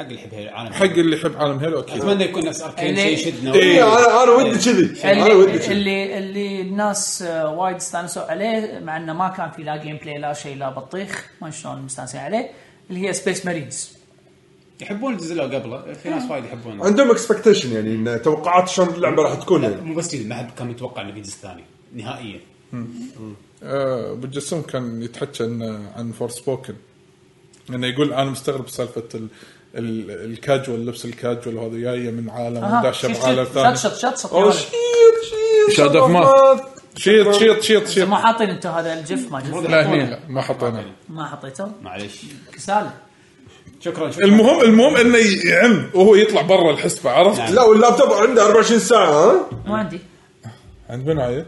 [SPEAKER 1] حق اللي يحب العالم
[SPEAKER 2] حق إيه. اللي يحب عالم هيلو اكيد
[SPEAKER 1] اتمنى يكون نفس اركين
[SPEAKER 4] اللي-
[SPEAKER 1] شيء يشدنا إيه.
[SPEAKER 3] اي انا انا إيه، ودي كذي
[SPEAKER 4] إيه.
[SPEAKER 3] انا ودي
[SPEAKER 4] اللي,
[SPEAKER 3] كذي
[SPEAKER 4] اللي اللي الناس آه، وايد استانسوا عليه مع انه ما كان في لا جيم بلاي لا شيء لا بطيخ ما شلون مستانسين عليه اللي هي سبيس مارينز
[SPEAKER 1] يحبون الجزء اللي قبله في ناس وايد يحبونه
[SPEAKER 3] عندهم اكسبكتيشن يعني إن توقعات شلون اللعبه راح تكون يعني
[SPEAKER 1] مو بس كذي ما حد كان متوقع انه في جزء ثاني نهائيا
[SPEAKER 2] آه بالجسم كان يتحكى إنه عن فور سبوكن انه يقول انا مستغرب سالفه ال ال- الكاجوال لبس الكاجوال هذا جايه من عالم وداشه بعالم
[SPEAKER 4] شط
[SPEAKER 2] ثاني
[SPEAKER 4] شط شط شط يا
[SPEAKER 3] اوه
[SPEAKER 4] ولد.
[SPEAKER 3] شيت شيت
[SPEAKER 2] شاد أوف ماوث. شيط شيط شيط شيط
[SPEAKER 4] ما حاطين انتم هذا الجف ما جف
[SPEAKER 2] لا هني لا ما حطينا
[SPEAKER 4] ما حطيته
[SPEAKER 1] معلش
[SPEAKER 4] كسالة
[SPEAKER 1] شكرا شكرا
[SPEAKER 2] المهم المهم انه يعم وهو يطلع برا
[SPEAKER 3] نعم.
[SPEAKER 2] الحسبه عرفت؟
[SPEAKER 3] لا واللابتوب عنده 24 ساعه ها
[SPEAKER 4] مو عندي
[SPEAKER 2] عند من عايد؟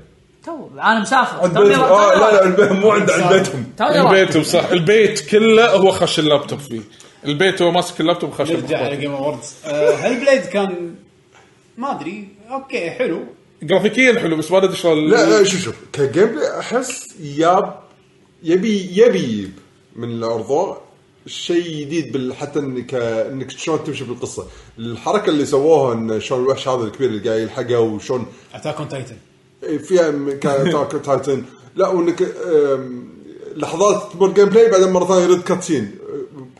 [SPEAKER 4] تو انا مسافر
[SPEAKER 3] عند
[SPEAKER 4] توني
[SPEAKER 3] بيتهم آه لا لا
[SPEAKER 4] رايح.
[SPEAKER 3] البيت مو عند عند بيتهم
[SPEAKER 4] توني رايح.
[SPEAKER 2] البيت وصح البيت كله هو خش اللابتوب فيه البيت هو ماسك اللابتوب خش
[SPEAKER 1] نرجع على جيم اووردز هل بليد كان ما ادري اوكي حلو
[SPEAKER 2] جرافيكيا حلو بس ما ادري شلون
[SPEAKER 3] لا لا شوف شوف كجيم بلاي احس ياب يبي يبي من الارض شيء جديد بال- حتى انك انك شلون تمشي بالقصه الحركه اللي سووها ان شلون الوحش هذا الكبير اللي قاعد يلحقه وشلون
[SPEAKER 1] اتاك اون تايتن
[SPEAKER 3] فيها م- كان اتاك أون تايتن لا وانك أم، لحظات تمر جيم بلاي بعدين مره ثانيه يرد كاتسين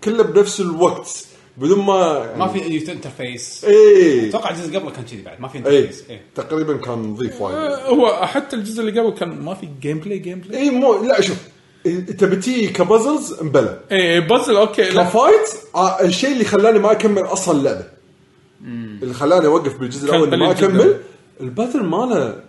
[SPEAKER 3] كله بنفس الوقت بدون ما
[SPEAKER 1] ما في انترفيس
[SPEAKER 2] إيه.
[SPEAKER 3] ايه
[SPEAKER 1] اتوقع الجزء قبله كان كذي بعد ما في
[SPEAKER 3] ايه
[SPEAKER 1] انترفيس ايه
[SPEAKER 3] تقريبا كان نظيف وايد
[SPEAKER 2] هو حتى الجزء اللي قبل كان ما في جيم بلاي جيم بلاي
[SPEAKER 3] اي مو لا شوف إيه، انت بتي كبازلز مبلى
[SPEAKER 2] اي بازل اوكي لا
[SPEAKER 3] كفايت آه، الشيء اللي خلاني ما اكمل اصلا اللعبه اللي خلاني اوقف بالجزء
[SPEAKER 2] كان
[SPEAKER 3] الاول إني ما
[SPEAKER 2] قليل جداً.
[SPEAKER 3] اكمل الباتل ماله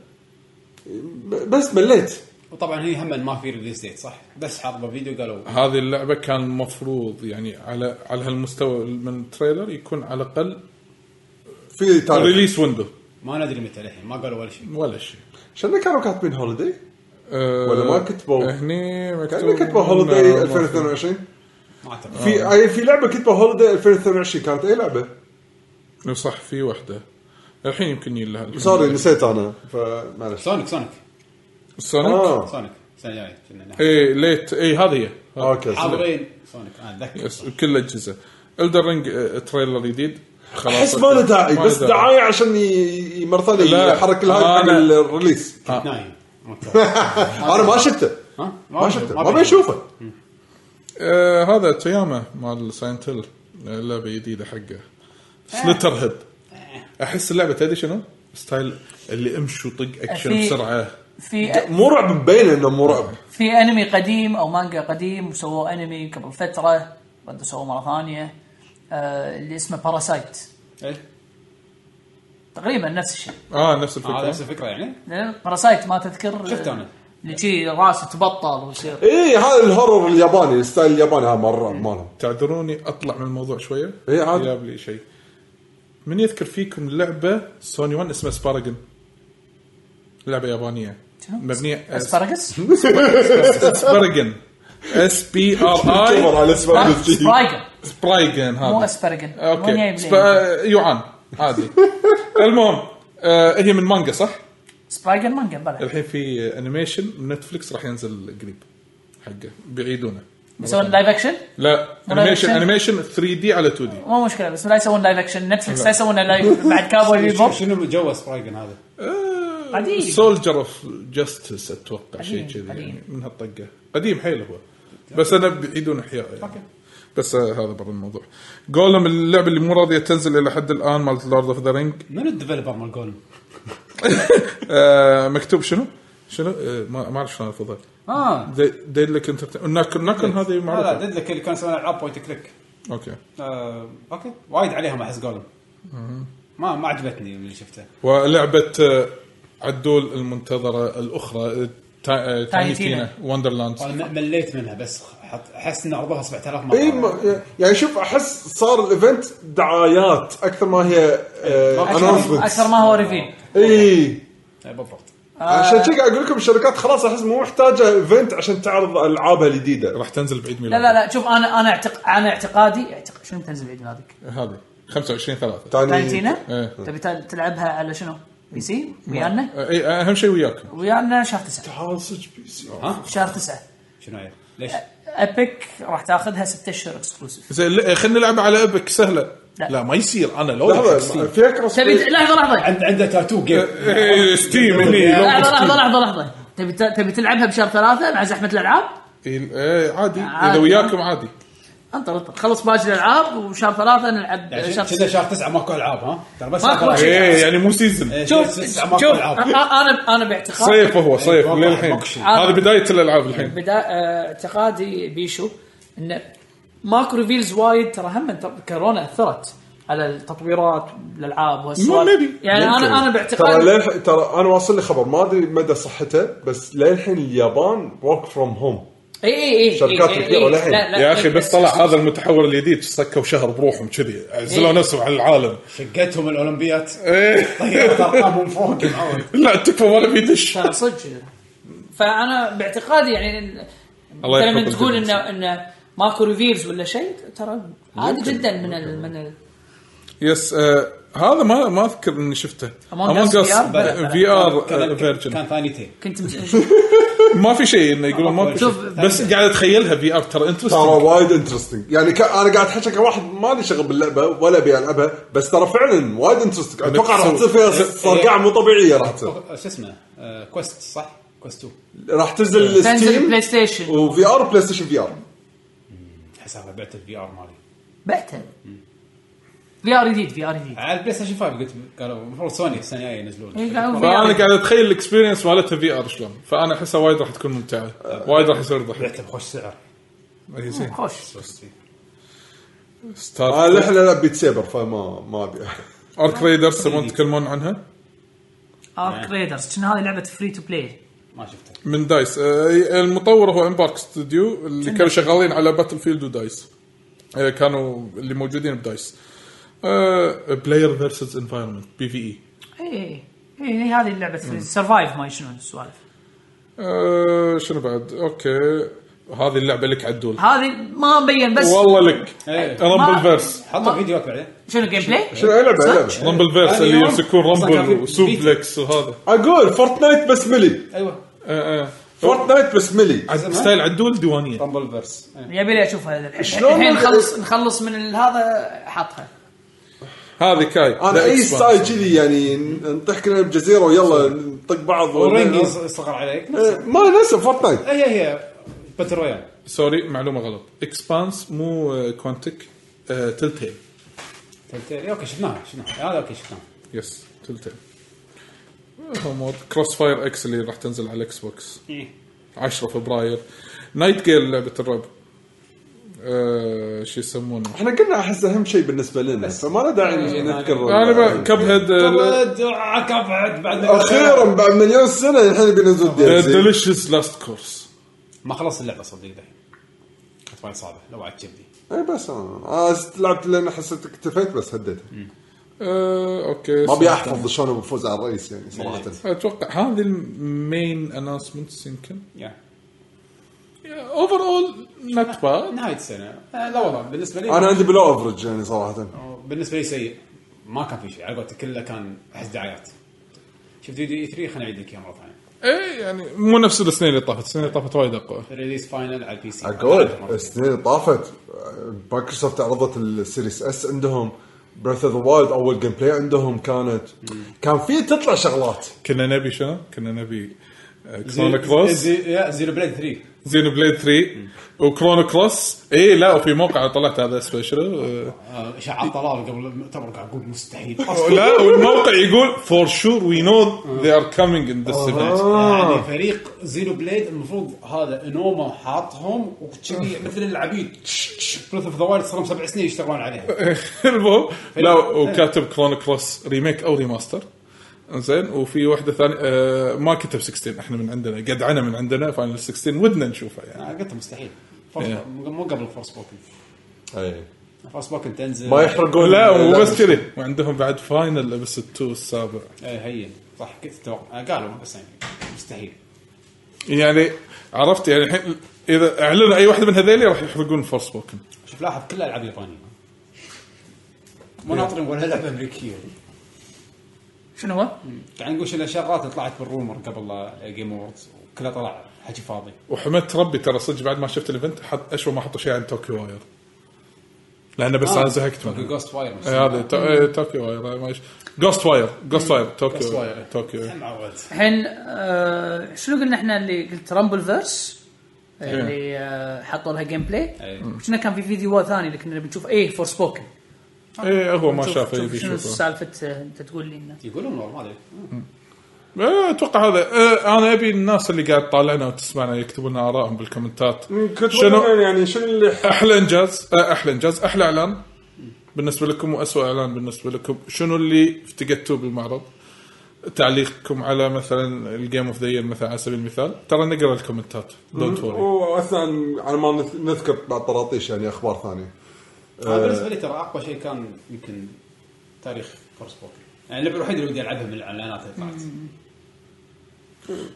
[SPEAKER 3] ب- بس مليت
[SPEAKER 1] وطبعا هي هم ما في ريليز ديت صح بس حاطه فيديو قالوا
[SPEAKER 2] هذه اللعبه كان المفروض يعني على على هالمستوى من التريلر يكون على الاقل
[SPEAKER 3] في تاريخ
[SPEAKER 2] ريليس ويندو
[SPEAKER 1] ما ندري متى الحين ما قالوا ولا شيء
[SPEAKER 2] ولا شيء
[SPEAKER 3] شنو كانوا كاتبين هوليدي؟
[SPEAKER 2] أه،
[SPEAKER 3] ولا ما كتبوا؟
[SPEAKER 2] هني
[SPEAKER 3] كانوا
[SPEAKER 2] مكتوب
[SPEAKER 3] كتبوا
[SPEAKER 2] إنه
[SPEAKER 3] هوليدي
[SPEAKER 2] ما آه.
[SPEAKER 3] 2022
[SPEAKER 1] ما اعتقد
[SPEAKER 3] في أي- في لعبه كتبوا هوليدي 2022 كانت اي لعبه؟
[SPEAKER 2] في- صح في واحده الحين يمكن يلها الحين.
[SPEAKER 3] سوري نسيت انا فمعلش
[SPEAKER 1] سونيك سونيك
[SPEAKER 2] سونيك
[SPEAKER 3] اه
[SPEAKER 1] سونيك السنه الجايه كنا نحن.
[SPEAKER 2] اي ليت اي إيه، هذه هي هذه.
[SPEAKER 3] اوكي سوري.
[SPEAKER 1] حاضرين سونيك انا اتذكر
[SPEAKER 2] يس كل الاجهزه الدر رينج آه، تريلر جديد خلاص
[SPEAKER 3] احس ما له داعي
[SPEAKER 2] ما له
[SPEAKER 3] بس دعايه عشان ي- ي- مره ثانيه
[SPEAKER 2] لا. آه.
[SPEAKER 3] يحرك الهايب حق
[SPEAKER 2] أنا-
[SPEAKER 3] الريليس
[SPEAKER 1] نايم
[SPEAKER 3] انا ما شفته
[SPEAKER 1] ها؟
[SPEAKER 3] ما شفته ما بشوفه
[SPEAKER 2] آه هذا تياما مال ساينت هيل آه، لعبه جديده حقه سلتر هيد احس اللعبه تدري شنو؟ ستايل اللي امشي وطق اكشن
[SPEAKER 4] في-
[SPEAKER 2] بسرعه
[SPEAKER 4] في
[SPEAKER 3] مو رعب مبين انه مو رعب
[SPEAKER 4] في انمي قديم او مانجا قديم وسووه انمي قبل فتره ردوا سووه مره ثانيه آه اللي اسمه باراسايت تقريبا نفس الشيء
[SPEAKER 2] اه نفس
[SPEAKER 1] هذا نفس الفكره
[SPEAKER 2] الفكره
[SPEAKER 1] يعني
[SPEAKER 4] باراسايت ما تذكر آه،
[SPEAKER 1] شفته أنا.
[SPEAKER 4] اللي شي راسه تبطل ويصير
[SPEAKER 3] ايه هذا الهورر الياباني الستايل الياباني هذا مال الرعب مالهم
[SPEAKER 2] تعذروني اطلع من الموضوع شويه
[SPEAKER 3] إيه، عادي.
[SPEAKER 2] جاب لي شيء من يذكر فيكم لعبه سوني 1 اسمها سباراجن لعبه يابانيه
[SPEAKER 4] شنو؟
[SPEAKER 2] مبنيه آه،
[SPEAKER 4] اسبرجس
[SPEAKER 2] سباراجن اس بي ار
[SPEAKER 3] كبر
[SPEAKER 2] اي
[SPEAKER 3] على اسمه جديد.
[SPEAKER 4] سبرايجن
[SPEAKER 2] سبرايجن هذا آه،
[SPEAKER 4] مو اسبرجن مو
[SPEAKER 2] اوكي
[SPEAKER 4] نايم
[SPEAKER 2] سب...
[SPEAKER 4] ليه.
[SPEAKER 2] يوعان آه، عادي المهم آه هي من مانجا صح؟
[SPEAKER 4] سبرايجن مانجا بلى
[SPEAKER 2] الحين في انيميشن من نتفلكس راح ينزل قريب حقه بيعيدونه
[SPEAKER 4] يسوون لايف اكشن
[SPEAKER 2] لا
[SPEAKER 4] ولا
[SPEAKER 2] انيميشن
[SPEAKER 4] أكشن؟
[SPEAKER 2] انيميشن 3 دي على 2 دي
[SPEAKER 4] مو مشكله بس لا يسوون لايف اكشن نتفلكس لا يسوون لايف بعد كابوي بيبوب
[SPEAKER 1] شنو جو سبرايجن هذا؟
[SPEAKER 2] آه،
[SPEAKER 4] عادي.
[SPEAKER 2] سولجر اوف جاستس اتوقع
[SPEAKER 4] قديم،
[SPEAKER 2] شيء كذي يعني
[SPEAKER 4] قديم.
[SPEAKER 2] من هالطقه قديم حيل هو بس انا بيعيدون احياء يعني. بس آه، هذا برا الموضوع جولم اللعبه اللي مو راضيه تنزل الى حد الان مالت لورد اوف ذا رينج
[SPEAKER 1] منو الديفلوبر مال جولم؟
[SPEAKER 2] آه، مكتوب شنو؟ شنو؟ آه، ما ما اعرف شلون الفضل آه.
[SPEAKER 1] اه
[SPEAKER 2] ديدلك انترتينمنت ناكن ناكن هذه
[SPEAKER 1] لا
[SPEAKER 2] معروفه
[SPEAKER 1] ديدلك اللي كان يسوون العاب بوينت كليك
[SPEAKER 2] اوكي
[SPEAKER 1] آه، اوكي وايد عليهم احس جولم ما ما عجبتني من اللي شفته
[SPEAKER 2] ولعبه آه، عدول المنتظره الاخرى آه، تا- آه، تايني
[SPEAKER 4] تينا.
[SPEAKER 2] تينا وندرلاند
[SPEAKER 1] وانا م- مليت منها بس حط- احس ان عرضها 7000 مره
[SPEAKER 3] اي ما- يعني شوف احس صار الايفنت دعايات اكثر ما هي آه،
[SPEAKER 4] اكثر
[SPEAKER 3] انونسمنت
[SPEAKER 4] أكثر آه. ما هو ريفيل
[SPEAKER 3] اي
[SPEAKER 1] إي، إيه، بالضبط
[SPEAKER 3] إيه. عشان كذا اقول لكم الشركات خلاص احس مو محتاجه ايفنت عشان تعرض العابها الجديده
[SPEAKER 2] راح تنزل بعيد
[SPEAKER 4] لا
[SPEAKER 2] ميلادك
[SPEAKER 4] لا لا شوف انا انا اعتق... انا اعتقادي اعتق... شنو تنزل عيد ميلادك؟
[SPEAKER 2] هذه 25 3
[SPEAKER 3] ثاني
[SPEAKER 4] تايتينا؟
[SPEAKER 2] إيه.
[SPEAKER 4] طيب تبي تل- تلعبها على شنو؟ بي سي؟ ويانا؟
[SPEAKER 2] اي اهم شيء وياكم
[SPEAKER 4] ويانا شهر تسعه
[SPEAKER 3] تعال صدق بي سي
[SPEAKER 4] شهر تسعه
[SPEAKER 1] شنو هي؟ ليش؟
[SPEAKER 4] ابيك راح تاخذها ست اشهر اكسكلوسيف
[SPEAKER 2] زين لا، خلينا نلعب على ابك سهله
[SPEAKER 4] لا.
[SPEAKER 2] لا, ما يصير انا لو
[SPEAKER 3] لحظه
[SPEAKER 2] ستيم
[SPEAKER 3] فيها كروس
[SPEAKER 4] تبي
[SPEAKER 3] بلاي؟
[SPEAKER 4] لحظه لحظه
[SPEAKER 1] عند عنده تاتو جيم
[SPEAKER 2] إيه، ستيم هني
[SPEAKER 4] لحظه
[SPEAKER 2] لو-
[SPEAKER 4] لحظه لحظه لحظه تبي ت- تبي تلعبها بشهر ثلاثه مع زحمه الالعاب؟
[SPEAKER 2] إيه، إيه، عادي
[SPEAKER 4] عادي.
[SPEAKER 2] اذا وياكم عادي
[SPEAKER 4] انطر انطر خلص باقي الالعاب وشهر ثلاثه نلعب شهر
[SPEAKER 1] يعني كذا شهر تسعه ماكو العاب ها؟ ترى بس
[SPEAKER 4] ماكو
[SPEAKER 1] ألعاب.
[SPEAKER 4] شيء.
[SPEAKER 2] ايه يعني مو سيزون
[SPEAKER 1] إيه، شهر
[SPEAKER 4] شوف
[SPEAKER 1] تسعة ماكو
[SPEAKER 4] شوف
[SPEAKER 1] ألعاب.
[SPEAKER 4] انا انا باعتقادي
[SPEAKER 2] صيف هو صيف
[SPEAKER 1] إيه،
[SPEAKER 2] للحين
[SPEAKER 1] ماكو شيء.
[SPEAKER 4] آه.
[SPEAKER 2] هذه بدايه الالعاب الحين
[SPEAKER 4] بدا آه، اعتقادي بيشو انه ماكو ريفيلز وايد ترى هم ترى كورونا اثرت على التطويرات الالعاب
[SPEAKER 2] مو
[SPEAKER 4] والسوالف
[SPEAKER 2] نبي.
[SPEAKER 4] يعني انا
[SPEAKER 3] يمكن.
[SPEAKER 4] انا
[SPEAKER 3] ترى
[SPEAKER 4] باعتقادي
[SPEAKER 3] للح... ترى انا واصل لي خبر ما ادري مدى صحته بس للحين اليابان ورك فروم هوم
[SPEAKER 4] اي اي اي
[SPEAKER 3] شركات
[SPEAKER 4] إي- إي-
[SPEAKER 3] كبيرة
[SPEAKER 4] إي.
[SPEAKER 3] للحين.
[SPEAKER 4] لا- لا،
[SPEAKER 2] يا
[SPEAKER 4] إي،
[SPEAKER 2] اخي
[SPEAKER 4] بس-
[SPEAKER 2] بس طلع هذا المتحول الجديد سكوا شهر بروحهم كذي عزلوا
[SPEAKER 4] إيه.
[SPEAKER 2] نفسهم عن العالم
[SPEAKER 1] شقتهم الاولمبيات
[SPEAKER 2] إيه.
[SPEAKER 4] طيب،
[SPEAKER 1] طيرت ارقامهم طيب، فوق معود
[SPEAKER 2] لا تكفى ولا بيدش
[SPEAKER 4] ترى صدق فانا باعتقادي يعني
[SPEAKER 2] الله
[SPEAKER 4] مثلا من
[SPEAKER 2] يحفظ
[SPEAKER 4] تقول
[SPEAKER 2] الجميع.
[SPEAKER 4] انه انه ماكو ريفيرز ولا شيء ترى عادي جدا من ال من ال
[SPEAKER 2] يس آه هذا ما ما اذكر اني شفته
[SPEAKER 4] Among Us VR بلى، بلى.
[SPEAKER 2] في ار فيرجن
[SPEAKER 1] كان ثانيتين
[SPEAKER 4] كنت مت-
[SPEAKER 2] ما في شيء انه يقولون ما في
[SPEAKER 4] شوف،
[SPEAKER 2] شيء. بس قاعد اتخيلها في ار ترى
[SPEAKER 3] ترى
[SPEAKER 2] انترستنج
[SPEAKER 3] وايد انترستنج يعني ك... انا قاعد احكي كواحد ما لي شغل باللعبه ولا ابي العبها بس ترى فعلا وايد انترستنج اتوقع راح تصير فيها صرقعه مو طبيعيه راح تصير
[SPEAKER 1] شو اسمه آه، كويست صح؟ كويست 2
[SPEAKER 3] راح تنزل
[SPEAKER 4] تنزل
[SPEAKER 3] ستيم
[SPEAKER 4] بلاي ستيشن
[SPEAKER 3] وفي ار بلاي ستيشن في ار
[SPEAKER 1] حسابها بعت الفي ار مالي
[SPEAKER 4] بعته في ار جديد في ار جديد
[SPEAKER 1] على البلاي ستيشن 5 قلت قالوا المفروض سوني السنه الجايه ينزلون
[SPEAKER 4] إيه، قالوا
[SPEAKER 2] فانا قاعد اتخيل الاكسبيرينس مالتها في ار شلون فانا احسها وايد راح تكون ممتعه وايد راح يصير ضحك
[SPEAKER 1] بعته بخوش سعر
[SPEAKER 2] أي زين.
[SPEAKER 4] خوش آه،
[SPEAKER 3] انا
[SPEAKER 2] ستار
[SPEAKER 3] آه، للحين العب بيت سيبر فما ما ابي
[SPEAKER 2] ارك ريدرز
[SPEAKER 4] إيه.
[SPEAKER 2] تبون تتكلمون عنها
[SPEAKER 4] ارك ريدرز كنا هذه لعبه فري تو بلاي
[SPEAKER 1] ما شفته
[SPEAKER 2] من دايس آه، المطور هو امبارك ستوديو اللي كانوا شغالين على باتل فيلد ودايس آه، كانوا اللي موجودين بدايس آه، بلاير فيرسز انفايرمنت بي في اي
[SPEAKER 4] اي اي إيه، هذه لعبه فري سرفايف ما شنو السوالف
[SPEAKER 2] آه، شنو بعد اوكي هذه اللعبه لك عدول
[SPEAKER 4] هذه ما مبين بس
[SPEAKER 2] والله لك
[SPEAKER 1] إيه.
[SPEAKER 4] أه.
[SPEAKER 2] رامبل فيرس
[SPEAKER 1] حطوا فيديوهات بعدين
[SPEAKER 4] شنو جيم بلاي؟
[SPEAKER 3] شنو هي لعبه هي لعبه
[SPEAKER 2] رامبل فيرس
[SPEAKER 1] هذه
[SPEAKER 2] اللي
[SPEAKER 1] يوم.
[SPEAKER 2] يمسكون
[SPEAKER 1] أصلاً كان في
[SPEAKER 2] رامبل
[SPEAKER 1] بيتا.
[SPEAKER 2] وسوبلكس وهذا
[SPEAKER 3] اقول فورتنايت بس ملي
[SPEAKER 1] ايوه
[SPEAKER 2] آه، آه.
[SPEAKER 3] فورتنايت بس ملي
[SPEAKER 2] عد- ستايل عدول ديوانيه
[SPEAKER 1] رامبل فيرس
[SPEAKER 4] يبي لي اشوفها
[SPEAKER 3] شلون
[SPEAKER 4] الحين نخلص نخلص من ال- هذا حطها
[SPEAKER 2] هذه كاي
[SPEAKER 3] انا
[SPEAKER 2] لا
[SPEAKER 3] اي
[SPEAKER 2] Xbox.
[SPEAKER 3] ستايل كذي يعني نطيح كلنا بجزيره ويلا نطق بعض
[SPEAKER 1] ورينج يصغر عليك إيه،
[SPEAKER 3] إيه، ما نفسه فورتنايت
[SPEAKER 1] هي هي باتل رويال
[SPEAKER 2] سوري معلومه غلط اكسبانس مو آه، كوانتك تلتيل
[SPEAKER 1] تلتيل. اوكي طيب، شفناها شفناها هذا اوكي شفناها
[SPEAKER 2] يس آه، تلتيل امور كروس فاير اكس اللي راح تنزل على الاكس بوكس 10 فبراير نايت جيل لعبه الرعب آه، شو يسمونه
[SPEAKER 3] احنا قلنا احس اهم شيء بالنسبه لنا فما له داعي
[SPEAKER 1] إيه،
[SPEAKER 3] نذكر
[SPEAKER 2] انا كب هيد
[SPEAKER 1] طب عقب بعد بعد
[SPEAKER 3] اخيرا بعد مليون سنه الحين بينزل
[SPEAKER 4] إيه،
[SPEAKER 3] DLC.
[SPEAKER 2] ديليشس لاست كورس
[SPEAKER 1] ما خلص اللعبه صدق دحين كانت وايد صعبه لو عاد كذي
[SPEAKER 3] اي إيه، بس انا أنا است- لعبت لان حسيت اكتفيت بس هديتها
[SPEAKER 2] آه، اوكي
[SPEAKER 3] ما ابي احفظ شلون بفوز على الرئيس يعني صراحه
[SPEAKER 2] اتوقع هذه المين اناونسمنتس يمكن
[SPEAKER 1] يا
[SPEAKER 2] اوفر اول نوت باد
[SPEAKER 1] نهايه السنه آه، لا والله بالنسبه لي
[SPEAKER 3] انا عندي بلو افرج يعني صراحه
[SPEAKER 1] بالنسبه لي سيء ما كان في شيء على قولتك كله كان احس دعايات شفت فيديو اي 3 خليني اعيد لك اياه مره ثانيه
[SPEAKER 2] اي يعني مو نفس السنين اللي طافت السنين اللي طافت وايد اقوى
[SPEAKER 1] ريليز فاينل على البي سي
[SPEAKER 3] اقول
[SPEAKER 1] مرة ثانية.
[SPEAKER 3] السنين طافت مايكروسوفت عرضت السيريس اس عندهم بريث اوف ذا وايلد اول جيم بلاي عندهم كانت كان في تطلع شغلات
[SPEAKER 2] كنا نبي شنو؟ كنا نبي آه، كرونو
[SPEAKER 1] زي-
[SPEAKER 2] كروس
[SPEAKER 1] زي- يا، زيرو بليد 3
[SPEAKER 2] زينو بليد 3 وكرونو كروس اي لا وفي موقع طلعت هذا سبيشل آه،
[SPEAKER 1] آه، اشاعات طلال قبل المؤتمر قاعد اقول مستحيل
[SPEAKER 2] لا والموقع يقول فور شور وي نو ذي ار كامينج ان ذس ايفنت
[SPEAKER 1] يعني فريق زيرو بليد المفروض هذا انوما حاطهم وكذي مثل العبيد بريث اوف ذا وايلد صار لهم سبع سنين يشتغلون عليها
[SPEAKER 2] المهم لا وكاتب كرونو كروس ريميك او ريماستر زين وفي واحده ثانيه آه، ما كتب 16 احنا من عندنا قدعنا من عندنا فاينل 16 ودنا نشوفها يعني
[SPEAKER 1] انا آه، قلت مستحيل فورس-
[SPEAKER 2] إيه.
[SPEAKER 1] مو قبل فورس بوكن
[SPEAKER 3] اي
[SPEAKER 1] فورس بوكن تنزل
[SPEAKER 3] ما يحرقون
[SPEAKER 2] لا مو
[SPEAKER 3] لا.
[SPEAKER 2] بس كذي وعندهم بعد فاينل ابس 2 السابع
[SPEAKER 1] اي إيه، هي صح كنت اتوقع قالوا بس يعني مستحيل
[SPEAKER 2] يعني عرفت يعني الحين اذا اعلنوا اي واحده من هذيلي راح يحرقون فورس بوكن
[SPEAKER 1] شوف لاحظ كلها العاب يابانيه مو ناطرين ولا لعبه امريكيه
[SPEAKER 4] شنو هو؟
[SPEAKER 1] قاعد يعني نقول شنو شغلات طلعت بالرومر قبل جيم اووردز وكلها طلع حكي فاضي
[SPEAKER 2] وحمدت ربي ترى صدق بعد ما شفت الايفنت حط اشوى ما حطوا شيء عن طوكيو واير لانه بس
[SPEAKER 4] آه.
[SPEAKER 2] انا زهقت منه
[SPEAKER 1] جوست واير
[SPEAKER 2] هذا تو- إيه، طوكيو واير ما إيش- جوست واير جوست واير
[SPEAKER 1] جوست
[SPEAKER 2] طوكيو
[SPEAKER 1] واير.
[SPEAKER 2] طوكيو
[SPEAKER 1] معود
[SPEAKER 4] الحين آه شنو قلنا احنا اللي قلت رامبل فيرس اللي آه حطوا لها جيم بلاي
[SPEAKER 1] إيه.
[SPEAKER 4] شنو كان في فيديو ثاني اللي كنا بنشوف ايه فور سبوكن
[SPEAKER 2] ايه هو ما
[SPEAKER 4] شوف-
[SPEAKER 2] شافه
[SPEAKER 4] شوف
[SPEAKER 2] يبي
[SPEAKER 4] شنو
[SPEAKER 2] يشوفه
[SPEAKER 4] سالفه آه، انت تقول لي انه
[SPEAKER 1] يقولون والله ما ادري
[SPEAKER 2] إيه، اتوقع هذا إيه، انا ابي الناس اللي قاعد تطالعنا وتسمعنا يكتبوا لنا ارائهم بالكومنتات
[SPEAKER 3] كنت
[SPEAKER 2] شنو
[SPEAKER 3] شنو يعني شنو اللي
[SPEAKER 2] احلى انجاز آه، احلى انجاز احلى اعلان بالنسبه لكم واسوء اعلان بالنسبه لكم شنو اللي افتقدتوه بالمعرض تعليقكم على مثلا الجيم اوف ذا مثلا على سبيل المثال ترى نقرا الكومنتات دونت وري
[SPEAKER 3] واثناء على ما نذ- نذكر بعد طراطيش يعني اخبار ثانيه
[SPEAKER 1] انا
[SPEAKER 2] آه.
[SPEAKER 1] بالنسبه لي ترى اقوى شيء كان يمكن تاريخ فورس بوكن يعني اللعبه الوحيده اللي ودي العبها من الاعلانات اللي طلعت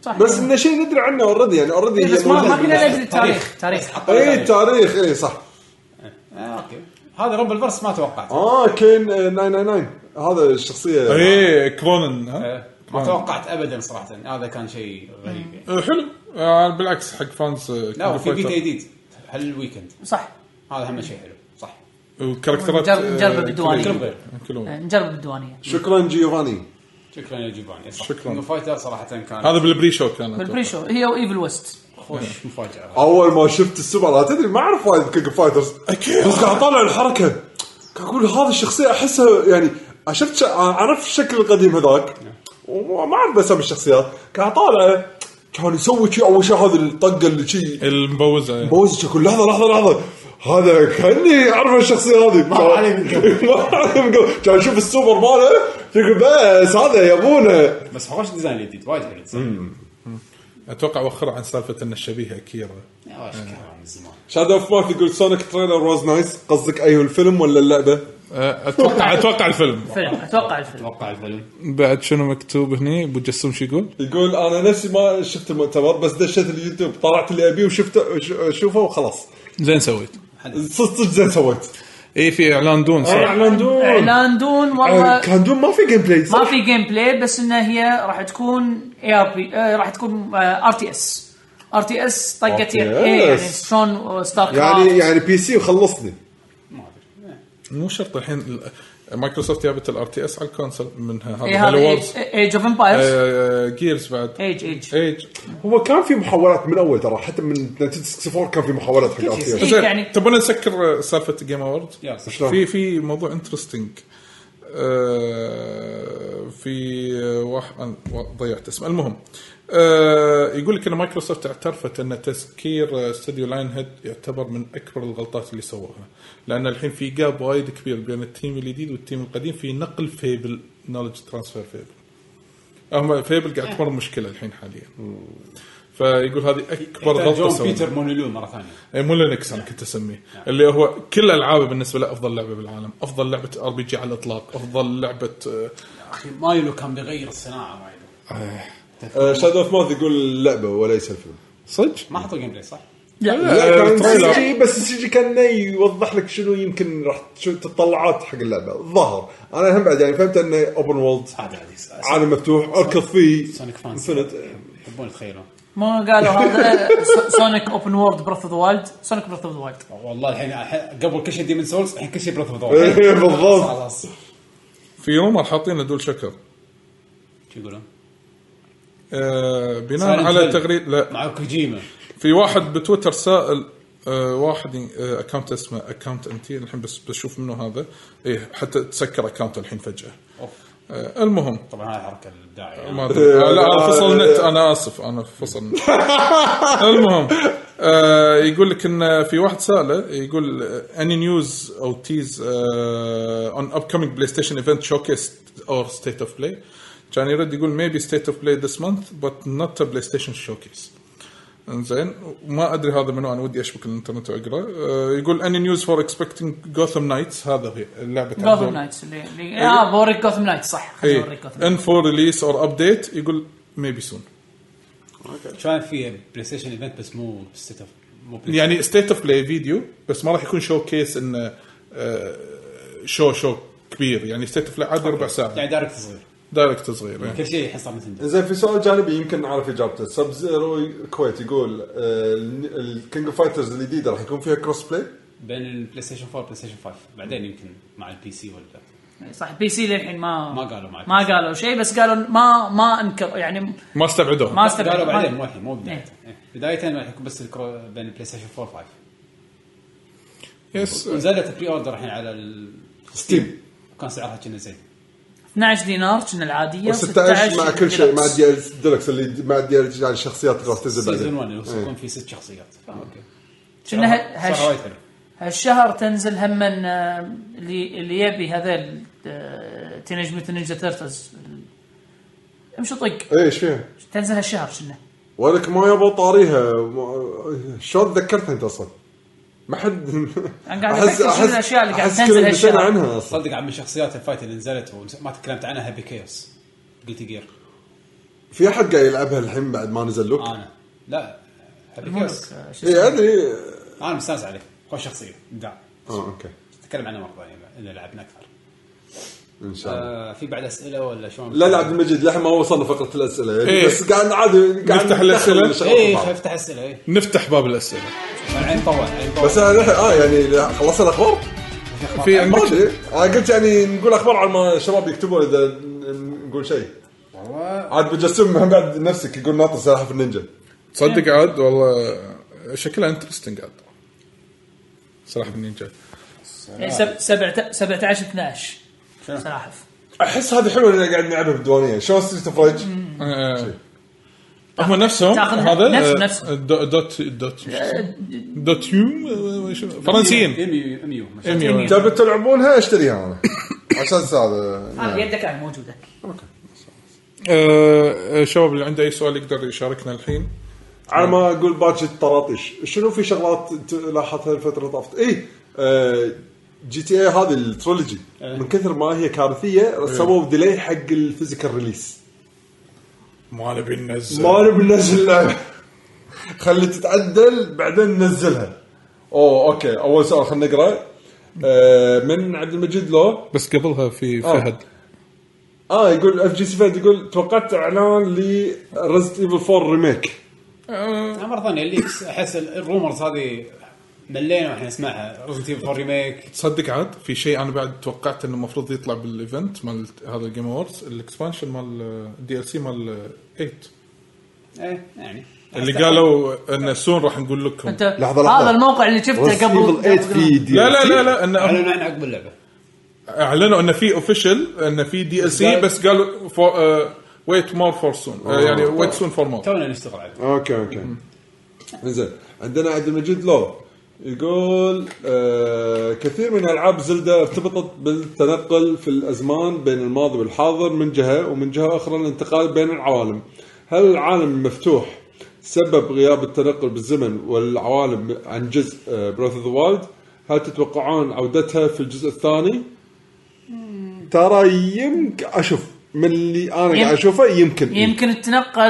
[SPEAKER 4] صح
[SPEAKER 3] بس انه شيء ندري عنه اوريدي يعني اوريدي
[SPEAKER 4] إيه، بس ما ما كنا ندري التاريخ تاريخ
[SPEAKER 2] إيه،
[SPEAKER 3] اي إيه، تاريخ اي صح
[SPEAKER 1] آه، اوكي هذا رمبل فيرس ما توقعت
[SPEAKER 3] اه كين آه، 999 هذا الشخصيه
[SPEAKER 2] اي إيه، كرونن ها
[SPEAKER 1] آه، ما توقعت ابدا صراحه هذا كان شيء غريب يعني
[SPEAKER 2] آه، حلو آه، بالعكس حق فانس آه،
[SPEAKER 1] لا
[SPEAKER 2] كونغ
[SPEAKER 1] وفي
[SPEAKER 2] فايتر.
[SPEAKER 1] بيتا جديد هالويكند
[SPEAKER 4] صح
[SPEAKER 1] هذا اهم شيء حلو صح
[SPEAKER 2] وكاركترات
[SPEAKER 4] نجرب-
[SPEAKER 2] آه،
[SPEAKER 4] نجرب الديوانية.
[SPEAKER 2] كلهم-
[SPEAKER 1] كلهم
[SPEAKER 2] كلهم
[SPEAKER 4] نجرب بالديوانيه
[SPEAKER 3] شكرا جيوفاني
[SPEAKER 1] شكرا يا جيباني صح.
[SPEAKER 2] شكراً.
[SPEAKER 1] إنه فايتر صراحه كان
[SPEAKER 2] هذا بالبري شو كان
[SPEAKER 4] بالبري شو هي وايفل ويست
[SPEAKER 1] خوش مفاجاه
[SPEAKER 3] اول ما شفت السوبر لا تدري ما اعرف وايد كينج اوف فايترز بس قاعد اطالع الحركه قاعد اقول هذه الشخصيه احسها يعني شفت ش- عرفت الشكل القديم هذاك وما اعرف اسامي الشخصيات قاعد اطالعه كان يسوي شي اول شيء هذه الطقه اللي شي
[SPEAKER 2] المبوزه يعني.
[SPEAKER 3] بوزك كل لحظه لحظه لحظه هذا كاني اعرف الشخصيه هذه ما
[SPEAKER 1] عليه من قبل.
[SPEAKER 3] ما عليه من قبل. كان اشوف السوبر ماله يقول بس هذا يبونه
[SPEAKER 1] بس خوش ديزاين الجديد وايد حلو صراحة.
[SPEAKER 2] اتوقع وخر عن سالفه ان الشبيهه كيرا
[SPEAKER 1] يا وش كلام من زمان
[SPEAKER 3] شادو اوف ماث يقول سونيك تريلر واز نايس قصدك اي الفيلم ولا اللعبه؟
[SPEAKER 2] آه، اتوقع اتوقع الفيلم
[SPEAKER 4] فيلم اتوقع الفيلم
[SPEAKER 1] اتوقع الفيلم
[SPEAKER 2] بعد شنو مكتوب هني ابو جسوم شو يقول؟
[SPEAKER 3] يقول انا نفسي ما شفت المؤتمر بس دشيت اليوتيوب طلعت اللي ابيه وشفته ش- اشوفه وخلاص
[SPEAKER 2] زين سويت
[SPEAKER 3] صدق صدق زين سويت
[SPEAKER 2] اي في اعلان دون صح
[SPEAKER 3] اعلان دون
[SPEAKER 4] اعلان دون والله
[SPEAKER 3] كان دون نعم. ما في جيم بلاي
[SPEAKER 4] ما
[SPEAKER 3] صح؟
[SPEAKER 4] في جيم بلاي بس انها هي راح تكون اي ار بي آه، راح تكون ار تي اس ار تي اس طقت يعني
[SPEAKER 3] RTS.
[SPEAKER 4] يعني شلون ستار كرافت
[SPEAKER 3] يعني يعني بي سي وخلصني
[SPEAKER 1] ما ادري إيه.
[SPEAKER 2] مو شرط الحين ال- مايكروسوفت جابت الار تي اس على الكونسل منها
[SPEAKER 4] اي
[SPEAKER 2] هذا هالو
[SPEAKER 4] إيه، هذا إيه،
[SPEAKER 2] وورز
[SPEAKER 4] ايج اوف
[SPEAKER 3] آه،
[SPEAKER 4] امبايرز
[SPEAKER 2] جيرز آه، بعد
[SPEAKER 4] ايج ايج
[SPEAKER 2] ايج
[SPEAKER 3] هو كان في محاولات من اول ترى حتى من 1964 كان في محاولات حق ار
[SPEAKER 4] شيء.
[SPEAKER 3] تي اس
[SPEAKER 2] زين
[SPEAKER 4] يعني-
[SPEAKER 2] تبون نسكر آه، سالفه جيم اوورد
[SPEAKER 1] يا صح.
[SPEAKER 3] إيه، شلون؟
[SPEAKER 2] في في موضوع انترستنج آه، في آه، واحد أنا ضيعت اسمه المهم آه، يقول لك ان مايكروسوفت اعترفت ان تسكير آه، استوديو لاين هيد يعتبر من اكبر الغلطات اللي سووها لان الحين في جاب وايد كبير بين التيم الجديد والتيم القديم في نقل فيبل نولج ترانسفير فيبل هم فيبل قاعد تمر مشكله الحين حاليا فيقول هذه اكبر غلطه
[SPEAKER 1] جون
[SPEAKER 2] سووها
[SPEAKER 1] بيتر مونولو مره ثانيه
[SPEAKER 2] اي إيه، مو لينكس انا كنت اسميه اللي هو كل العابه بالنسبه له افضل لعبه بالعالم افضل لعبه ار بي جي على الاطلاق افضل لعبه آه،
[SPEAKER 1] اخي مايلو كان بيغير الصناعه مايلو
[SPEAKER 3] شادو اوف ماث يقول اللعبه وليس الفيلم
[SPEAKER 2] صدق
[SPEAKER 1] ما حطوا جيم بلاي صح؟
[SPEAKER 3] لا
[SPEAKER 2] آه،
[SPEAKER 3] كان
[SPEAKER 2] تريلر.
[SPEAKER 3] سي جي بس السي جي كان يوضح لك شنو يمكن راح شو التطلعات حق اللعبه الظاهر انا هم بعد يعني فهمت انه اوبن وولد
[SPEAKER 1] عادي عادي س- س-
[SPEAKER 3] عالم مفتوح اركض فيه
[SPEAKER 1] سونيك فانز
[SPEAKER 3] انفنت
[SPEAKER 1] يحبون يتخيلون
[SPEAKER 4] ما قالوا هذا آه، س- سونيك اوبن وورد بريث اوف ذا وايلد سونيك بريث اوف ذا وايلد
[SPEAKER 1] والله الحين الحين- قبل كل شيء ديمن سولز الحين كل شيء بريث اوف
[SPEAKER 3] إيه، بالضبط.
[SPEAKER 2] في رومر حاطين له دول شكر
[SPEAKER 1] شو يقولون؟
[SPEAKER 2] آه، بناء على تغريده لا
[SPEAKER 1] مع كوجيما
[SPEAKER 2] في واحد بتويتر سائل آه، واحد اكونت اسمه اكونت انتي الحين بس بشوف منه هذا ايه حتى تسكر اكونت الحين فجاه
[SPEAKER 1] اوف
[SPEAKER 2] آه، المهم
[SPEAKER 1] طبعا هاي الحركه الابداعيه يعني.
[SPEAKER 2] ما ادري آه، لا انا فصل النت انا اسف انا فصل النت المهم آه يقول لك ان في واحد ساله يقول آه، اني نيوز او تيز اون اب كومينج بلاي ستيشن ايفنت شوكيس اور ستيت اوف بلاي كان يرد يقول ميبي ستيت اوف بلاي ذس مانث بت نوت بلاي ستيشن شوكيس انزين ما ادري هذا منو انا ودي اشبك الانترنت واقرا آه يقول اني نيوز فور اكسبكتنج جوثم نايتس هذا هي اللعبه
[SPEAKER 4] جوثم
[SPEAKER 2] هذول.
[SPEAKER 4] نايتس اللي- اللي اه بوريك جوثم نايتس صح
[SPEAKER 2] إيه.
[SPEAKER 3] إيه.
[SPEAKER 4] خليني اوريك جوثم نايتس
[SPEAKER 2] ان فور ريليس اور ابديت يقول ميبي سون
[SPEAKER 1] كان في بلاي ستيشن ايفنت بس مو ستيت اوف مو بلاي
[SPEAKER 2] يعني ستيت اوف بلاي فيديو بس ما راح يكون شو كيس انه آه، شو شو كبير يعني ستيت اوف بلاي عادي ربع ساعه
[SPEAKER 1] يعني دايركت صغير
[SPEAKER 2] دايركت صغير يعني.
[SPEAKER 1] كل شيء الحين صار مثل ده.
[SPEAKER 3] زين في سؤال جانبي يمكن نعرف اجابته سب زيرو الكويت يقول آه، الكينج اوف فايترز الجديده راح يكون فيها كروس بلاي
[SPEAKER 1] بين البلاي ستيشن 4 والبلاي ستيشن 5 بعدين يمكن مع البي سي ولا
[SPEAKER 4] صح بي سي للحين ما
[SPEAKER 1] ما قالوا مع
[SPEAKER 4] ما قالوا شيء بس قالوا ما ما انكر يعني
[SPEAKER 2] ما استبعدوه
[SPEAKER 4] ما
[SPEAKER 1] قالوا
[SPEAKER 4] استبعدوا
[SPEAKER 1] بعدين مو
[SPEAKER 4] ما-
[SPEAKER 1] الحين مو بدايته إيه. بداية راح يكون بس الكرو بين البلاي ستيشن 4 و 5
[SPEAKER 2] يس
[SPEAKER 1] ونزلت بري اوردر الحين على ال-
[SPEAKER 3] ستيم
[SPEAKER 1] كان سعرها كنا زين
[SPEAKER 4] 12 دينار كنا العاديه
[SPEAKER 3] و16 مع كل شيء مع
[SPEAKER 4] ديلكس.
[SPEAKER 3] الدي ال ديلكس اللي مع الدي ال يعني الشخصيات اللي راح تنزل
[SPEAKER 1] سيزون
[SPEAKER 3] بعدين إيه.
[SPEAKER 1] 1 يكون في ست شخصيات اوكي
[SPEAKER 4] كنا ه-
[SPEAKER 1] سعرها وايد
[SPEAKER 4] هالش-
[SPEAKER 1] حلو
[SPEAKER 4] هالشهر تنزل آه، هم آه، اللي اللي يبي هذول تينيج ميوت نينجا تيرتلز امشي طق
[SPEAKER 3] ايش إيه، فيها؟
[SPEAKER 4] تنزل هالشهر كنا
[SPEAKER 3] ولك ما يبغى طاريها ما- شلون تذكرتها انت اصلا؟ ما حد
[SPEAKER 4] أنا قاعد أفكر شنو الأشياء اللي قاعد
[SPEAKER 3] أحس
[SPEAKER 4] تنزل
[SPEAKER 3] كلنا نسينا
[SPEAKER 4] هالشهر.
[SPEAKER 3] عنها اصلا
[SPEAKER 1] صدق عن من شخصيات الفايت اللي نزلت وما تكلمت عنها هابي كيوس قلت جير
[SPEAKER 3] في احد قاعد يلعبها الحين بعد ما نزل لوك
[SPEAKER 4] آه.
[SPEAKER 3] إيه،
[SPEAKER 1] انا لا هابي
[SPEAKER 4] الملك
[SPEAKER 1] كيوس
[SPEAKER 4] آه، شو
[SPEAKER 3] اي
[SPEAKER 4] اسمه؟
[SPEAKER 3] ادري
[SPEAKER 1] انا مستانس عليه خوش شخصيه ابداع
[SPEAKER 3] اه اوكي
[SPEAKER 1] نتكلم عنه مره ثانيه اذا لعبنا اكثر
[SPEAKER 3] ان شاء الله
[SPEAKER 1] آه في بعد اسئله ولا شلون
[SPEAKER 3] لا لا عبد المجيد لحين ما وصلنا فقره الاسئله يعني
[SPEAKER 2] إيه.
[SPEAKER 3] بس قاعد عادي قاعد
[SPEAKER 2] نفتح
[SPEAKER 3] ندخل
[SPEAKER 2] الأسئلة؟
[SPEAKER 3] شغل
[SPEAKER 4] إيه.
[SPEAKER 1] اي
[SPEAKER 3] بعض.
[SPEAKER 1] افتح اسئله اي
[SPEAKER 2] نفتح باب الاسئله
[SPEAKER 1] الحين طول الحين طول
[SPEAKER 3] بس انا لح- اه يعني لح- خلصنا الاخبار؟
[SPEAKER 2] في
[SPEAKER 3] ما
[SPEAKER 2] عندك
[SPEAKER 3] ادري انا قلت يعني نقول اخبار على ما الشباب يكتبون اذا ن- نقول شيء
[SPEAKER 1] والله
[SPEAKER 3] عاد بجسم هم بعد نفسك يقول ناطر سلاحف النينجا
[SPEAKER 2] تصدق عاد والله آه، شكلها انترستنج عاد صراحه النينجا
[SPEAKER 3] إيه.
[SPEAKER 4] يعني سب- سبعة- 17 12
[SPEAKER 1] شنو؟
[SPEAKER 4] سلاحف
[SPEAKER 3] احس هذه حلوه اللي قاعد نلعبها بالديوانيه شلون ستريت اوف ريج؟
[SPEAKER 2] آه. هم نفسهم
[SPEAKER 4] تاخذ
[SPEAKER 2] هذا
[SPEAKER 4] نفس-
[SPEAKER 2] آه،
[SPEAKER 4] نفس.
[SPEAKER 2] دو- دوت دوت دوت يوم آه، شنو؟ فرنسيين
[SPEAKER 1] اميو اميو ما شاء الله.
[SPEAKER 2] إيميو.
[SPEAKER 3] تبي تلعبونها اشتريها انا عشان
[SPEAKER 1] آه.
[SPEAKER 3] هذا
[SPEAKER 4] هذا يدك انا موجوده
[SPEAKER 2] آه، آه، شباب اللي عنده اي سؤال يقدر يشاركنا الحين
[SPEAKER 3] على ما اقول باكر الطراطيش شنو في شغلات ت- لاحظتها الفتره طافت؟ اي جي تي اي هذه الترولوجي من كثر ما هي كارثيه سووا ديلي حق الفيزيكال ريليس
[SPEAKER 2] ما نبي ننزل
[SPEAKER 3] ما نبي ننزل اللعبه إيه. خلي تتعدل بعدين ننزلها اوه اوكي اول سؤال خلينا نقرا آه، من عبد المجيد لو
[SPEAKER 2] بس قبلها في
[SPEAKER 3] آه.
[SPEAKER 2] فهد آه،
[SPEAKER 3] اه يقول اف جي سي فهد يقول توقعت اعلان لرزت ايفل 4 ريميك
[SPEAKER 1] أنا مره ثانيه الليكس احس ال- الرومرز هذه ملينا واحنا نسمعها ريزنت ايفل 4 ريميك
[SPEAKER 2] تصدق عاد في شيء انا بعد توقعت انه المفروض يطلع بالايفنت مال هذا الجيم اووردز الاكسبانشن مال الدي ال سي مال 8
[SPEAKER 1] ايه يعني
[SPEAKER 2] اللي قالوا انه سون راح نقول لكم
[SPEAKER 4] انت
[SPEAKER 3] لحظة، لحظة.
[SPEAKER 4] هذا الموقع اللي شفته قبل
[SPEAKER 2] لا لا لا لا انه
[SPEAKER 1] اعلنوا عن عقب اللعبه
[SPEAKER 2] اعلنوا انه في اوفيشل انه في دي ال سي
[SPEAKER 1] قال-
[SPEAKER 2] بس قالوا آه، ويت مور فور سون يعني ويت سون فور مور
[SPEAKER 1] تونا نشتغل عليه
[SPEAKER 3] اوكي اوكي زين عندنا عبد المجيد لو يقول آه كثير من العاب زلدة ارتبطت بالتنقل في الازمان بين الماضي والحاضر من جهه ومن جهه اخرى الانتقال بين العوالم. هل العالم المفتوح سبب غياب التنقل بالزمن والعوالم عن جزء آه، براث اوف ذا وايلد؟ هل تتوقعون عودتها في الجزء الثاني؟ ترى يمكن اشوف من اللي انا
[SPEAKER 4] يم-
[SPEAKER 3] قاعد اشوفه يمكن
[SPEAKER 4] إيه. يمكن تتنقل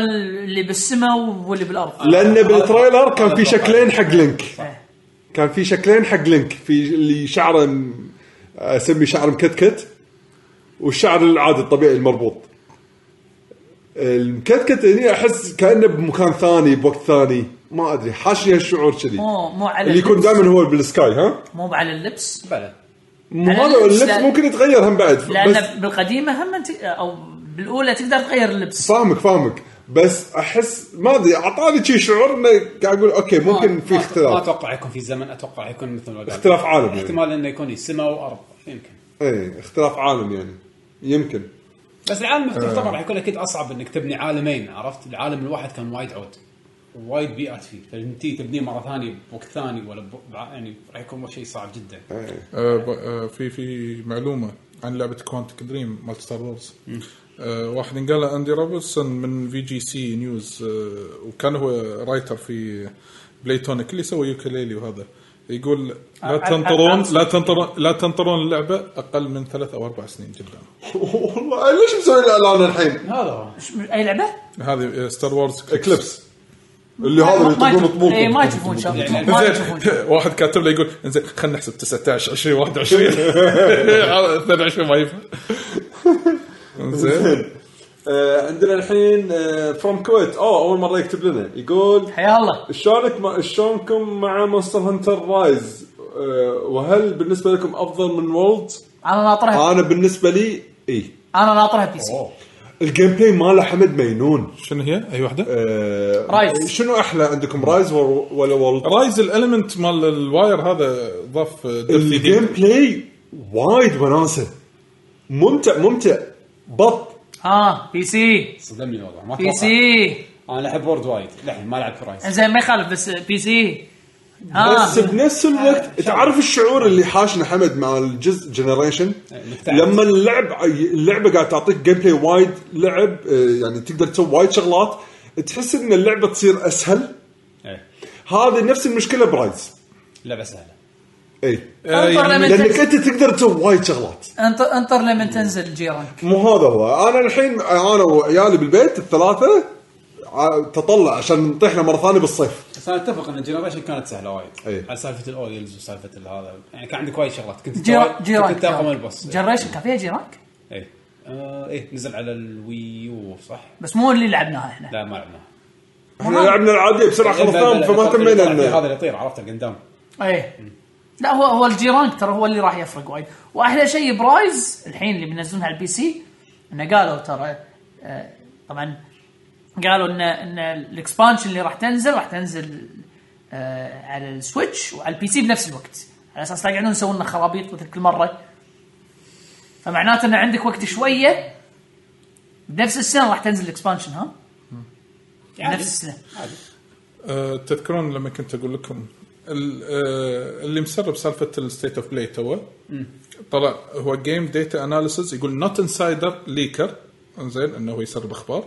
[SPEAKER 4] اللي بالسماء واللي بالارض
[SPEAKER 3] لان بالتريلر كان في شكلين حق لينك
[SPEAKER 4] إيه.
[SPEAKER 3] كان في شكلين حق لينك في اللي شعره م- اسمي شعر مكتكت والشعر العادي الطبيعي المربوط المكتكت هني احس كانه بمكان ثاني بوقت ثاني ما ادري حاشني هالشعور كذي
[SPEAKER 4] مو مو على
[SPEAKER 3] اللي يكون
[SPEAKER 4] اللبس.
[SPEAKER 3] دائما هو بالسكاي ها
[SPEAKER 4] مو على اللبس
[SPEAKER 1] بلى
[SPEAKER 3] ما
[SPEAKER 4] أنا
[SPEAKER 3] أدري،
[SPEAKER 4] اللبس
[SPEAKER 3] اللبس
[SPEAKER 4] لا-
[SPEAKER 3] ممكن يتغير هم بعد بس
[SPEAKER 4] لان بالقديمه هم انت او بالاولى تقدر تغير اللبس
[SPEAKER 3] فاهمك فاهمك بس احس ما ادري اعطاني شي شعور انه قاعد اقول اوكي ممكن في
[SPEAKER 1] ما- ما
[SPEAKER 3] اختلاف
[SPEAKER 1] اتوقع يكون في زمن اتوقع يكون مثل ما قال
[SPEAKER 3] اختلاف عالمي. يعني.
[SPEAKER 1] احتمال انه يكون سماء وارض يمكن
[SPEAKER 3] ايه اختلاف عالم يعني يمكن
[SPEAKER 1] بس العالم المفتوح طبعا
[SPEAKER 3] آه.
[SPEAKER 1] راح يكون اكيد اصعب انك تبني عالمين عرفت العالم الواحد كان وايد عود وايد بيئات فيه فانت تبنيه مره ثانيه بوقت ثاني ولا ب... يعني راح يكون شيء صعب جدا
[SPEAKER 3] إيه.
[SPEAKER 2] آه، ب- آه، في في معلومه عن لعبه كوانتك دريم مال ستار وورز آه، واحد قال اندي روبرتسون من في جي سي نيوز آه، وكان هو رايتر في بلايتونيك اللي يسوي يوكليلي وهذا يقول لا
[SPEAKER 4] أ- أ-
[SPEAKER 2] تنطرون
[SPEAKER 4] أ-
[SPEAKER 2] لا تنطرون لا تنطرون اللعبه اقل من ثلاث او اربع سنين جدا
[SPEAKER 3] والله ليش مسوي الاعلان الحين؟
[SPEAKER 1] هذا هو
[SPEAKER 4] إيش- اي لعبه؟
[SPEAKER 2] هذه آه، ستار وورز
[SPEAKER 3] اكليبس اللي هذا اللي
[SPEAKER 4] ما- ما
[SPEAKER 3] يطقون
[SPEAKER 4] يشوف- إيه، ما
[SPEAKER 3] طموطهم
[SPEAKER 4] يشوفون شر
[SPEAKER 1] يعني
[SPEAKER 4] ما يشوفون شر.
[SPEAKER 2] واحد كاتب له يقول انزين خلينا نحسب 19 20 21 22 آه، ما يفهم انزين
[SPEAKER 3] آه، عندنا الحين آه، فروم كويت اوه اول مره يكتب لنا يقول
[SPEAKER 4] حيا الله
[SPEAKER 3] شلونك مع- شلونكم مع مونستر هانتر رايز آه، وهل بالنسبه لكم افضل من وولد؟
[SPEAKER 4] انا ناطرها
[SPEAKER 3] انا بالنسبه لي اي
[SPEAKER 4] انا ناطرها بي سي
[SPEAKER 1] أوه.
[SPEAKER 3] الجيم بلاي ماله حمد مينون
[SPEAKER 2] شنو هي؟ اي واحده؟
[SPEAKER 3] آه،
[SPEAKER 4] رايز.
[SPEAKER 3] شنو احلى عندكم رايز ور- ولا وولد؟
[SPEAKER 2] رايز الالمنت مال الواير هذا ضاف دبث
[SPEAKER 3] الجيم
[SPEAKER 2] جديد
[SPEAKER 3] بلاي وايد وناسه ممتع ممتع بط
[SPEAKER 4] اه بي سي
[SPEAKER 1] صدمني والله ما
[SPEAKER 4] بي
[SPEAKER 1] اتوقع
[SPEAKER 4] سي
[SPEAKER 1] انا احب وورد وايد لحين ما لعب فرايز
[SPEAKER 4] زين ما يخالف بس بي سي آه.
[SPEAKER 3] بس بنفس الوقت تعرف الشعور اللي حاشنا حمد مع الجزء جنريشن
[SPEAKER 1] مكتئب.
[SPEAKER 3] لما اللعب اللعبه قاعد تعطيك جيم بلاي وايد لعب آه، يعني تقدر تسوي وايد شغلات تحس ان اللعبه تصير اسهل
[SPEAKER 1] إيه.
[SPEAKER 3] هذه نفس المشكله برايز
[SPEAKER 1] لعبه سهله
[SPEAKER 3] اي
[SPEAKER 4] انطر لما
[SPEAKER 3] لانك
[SPEAKER 4] تنزل
[SPEAKER 3] انت تقدر تسوي وايد شغلات
[SPEAKER 4] انطر انطر لما تنزل جيرانك
[SPEAKER 3] مو هذا هو انا الحين انا وعيالي بالبيت الثلاثه ع- تطلع عشان نطيحنا مره ثانيه بالصيف
[SPEAKER 1] بس انا اتفق ان الجنريشن كانت سهله وايد
[SPEAKER 3] إيه.
[SPEAKER 1] على سالفه الاوريلز وسالفه هذا يعني كان عندك وايد شغلات كنت
[SPEAKER 4] جيرا-
[SPEAKER 1] تتوا-
[SPEAKER 4] جيرانك
[SPEAKER 1] كنت تاخذ من البوس
[SPEAKER 4] جنريشن كان فيها جيرانك
[SPEAKER 1] اي آه، ايه نزل على الويو صح؟
[SPEAKER 4] بس مو اللي لعبناها احنا
[SPEAKER 1] لا ما لعبناه
[SPEAKER 3] احنا لعبنا العاديه بسرعه خلصناهم فما تمينا إنه-
[SPEAKER 1] هذا اللي يطير عرفته قدام
[SPEAKER 4] ايه لا هو هو الجيرانك ترى هو اللي راح يفرق وايد واحلى شيء برايز الحين اللي بينزلونها على البي سي انه قالوا ترى آه، طبعا قالوا ان ان الاكسبانشن اللي راح تنزل راح تنزل آه، على السويتش وعلى البي سي بنفس الوقت على اساس لا يقعدون يسوون لنا خرابيط مثل كل مره فمعناته ان عندك وقت شويه بنفس السنه راح تنزل الاكسبانشن ها؟
[SPEAKER 1] عادي.
[SPEAKER 4] نفس السنه
[SPEAKER 1] عادي
[SPEAKER 2] أه، تذكرون لما كنت اقول لكم ال- أه، اللي مسرب سالفه الستيت اوف بلاي توه طلع هو جيم ديتا اناليسز يقول نوت انسايدر ليكر انزين انه هو يسرب اخبار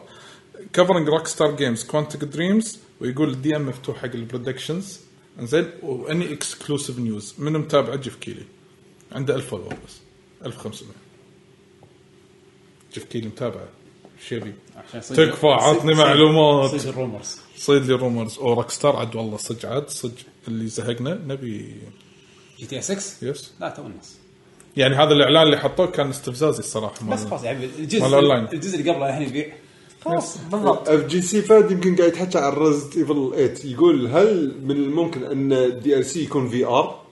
[SPEAKER 2] كفرنج روك ستار جيمز كوانتك دريمز ويقول دي ام مفتوح حق البرودكشنز انزين واني اكسكلوسيف نيوز من متابعه جيف كيلي عنده 1000 فولور بس 1500 جيف كيلي متابعه شو يبي؟
[SPEAKER 1] عشان يصير-
[SPEAKER 2] تكفى عطني
[SPEAKER 1] يصير-
[SPEAKER 2] معلومات
[SPEAKER 1] يصير الرومرز
[SPEAKER 2] صيد لي رومرز او روك ستار عاد والله صدق عاد صدق اللي زهقنا نبي
[SPEAKER 1] جي تي 6
[SPEAKER 2] يس
[SPEAKER 1] لا تو الناس
[SPEAKER 2] يعني هذا الاعلان اللي حطوه كان استفزازي الصراحه
[SPEAKER 1] بس
[SPEAKER 2] مال-
[SPEAKER 1] خلاص يعني الجزء
[SPEAKER 2] مال أونلاين.
[SPEAKER 1] الجزء اللي قبله الحين يبيع
[SPEAKER 4] خلاص بالضبط
[SPEAKER 3] اف جي سي فهد يمكن قاعد يتحكى عن ريزد ايفل 8 يقول هل من الممكن ان الدي ال سي يكون في ار؟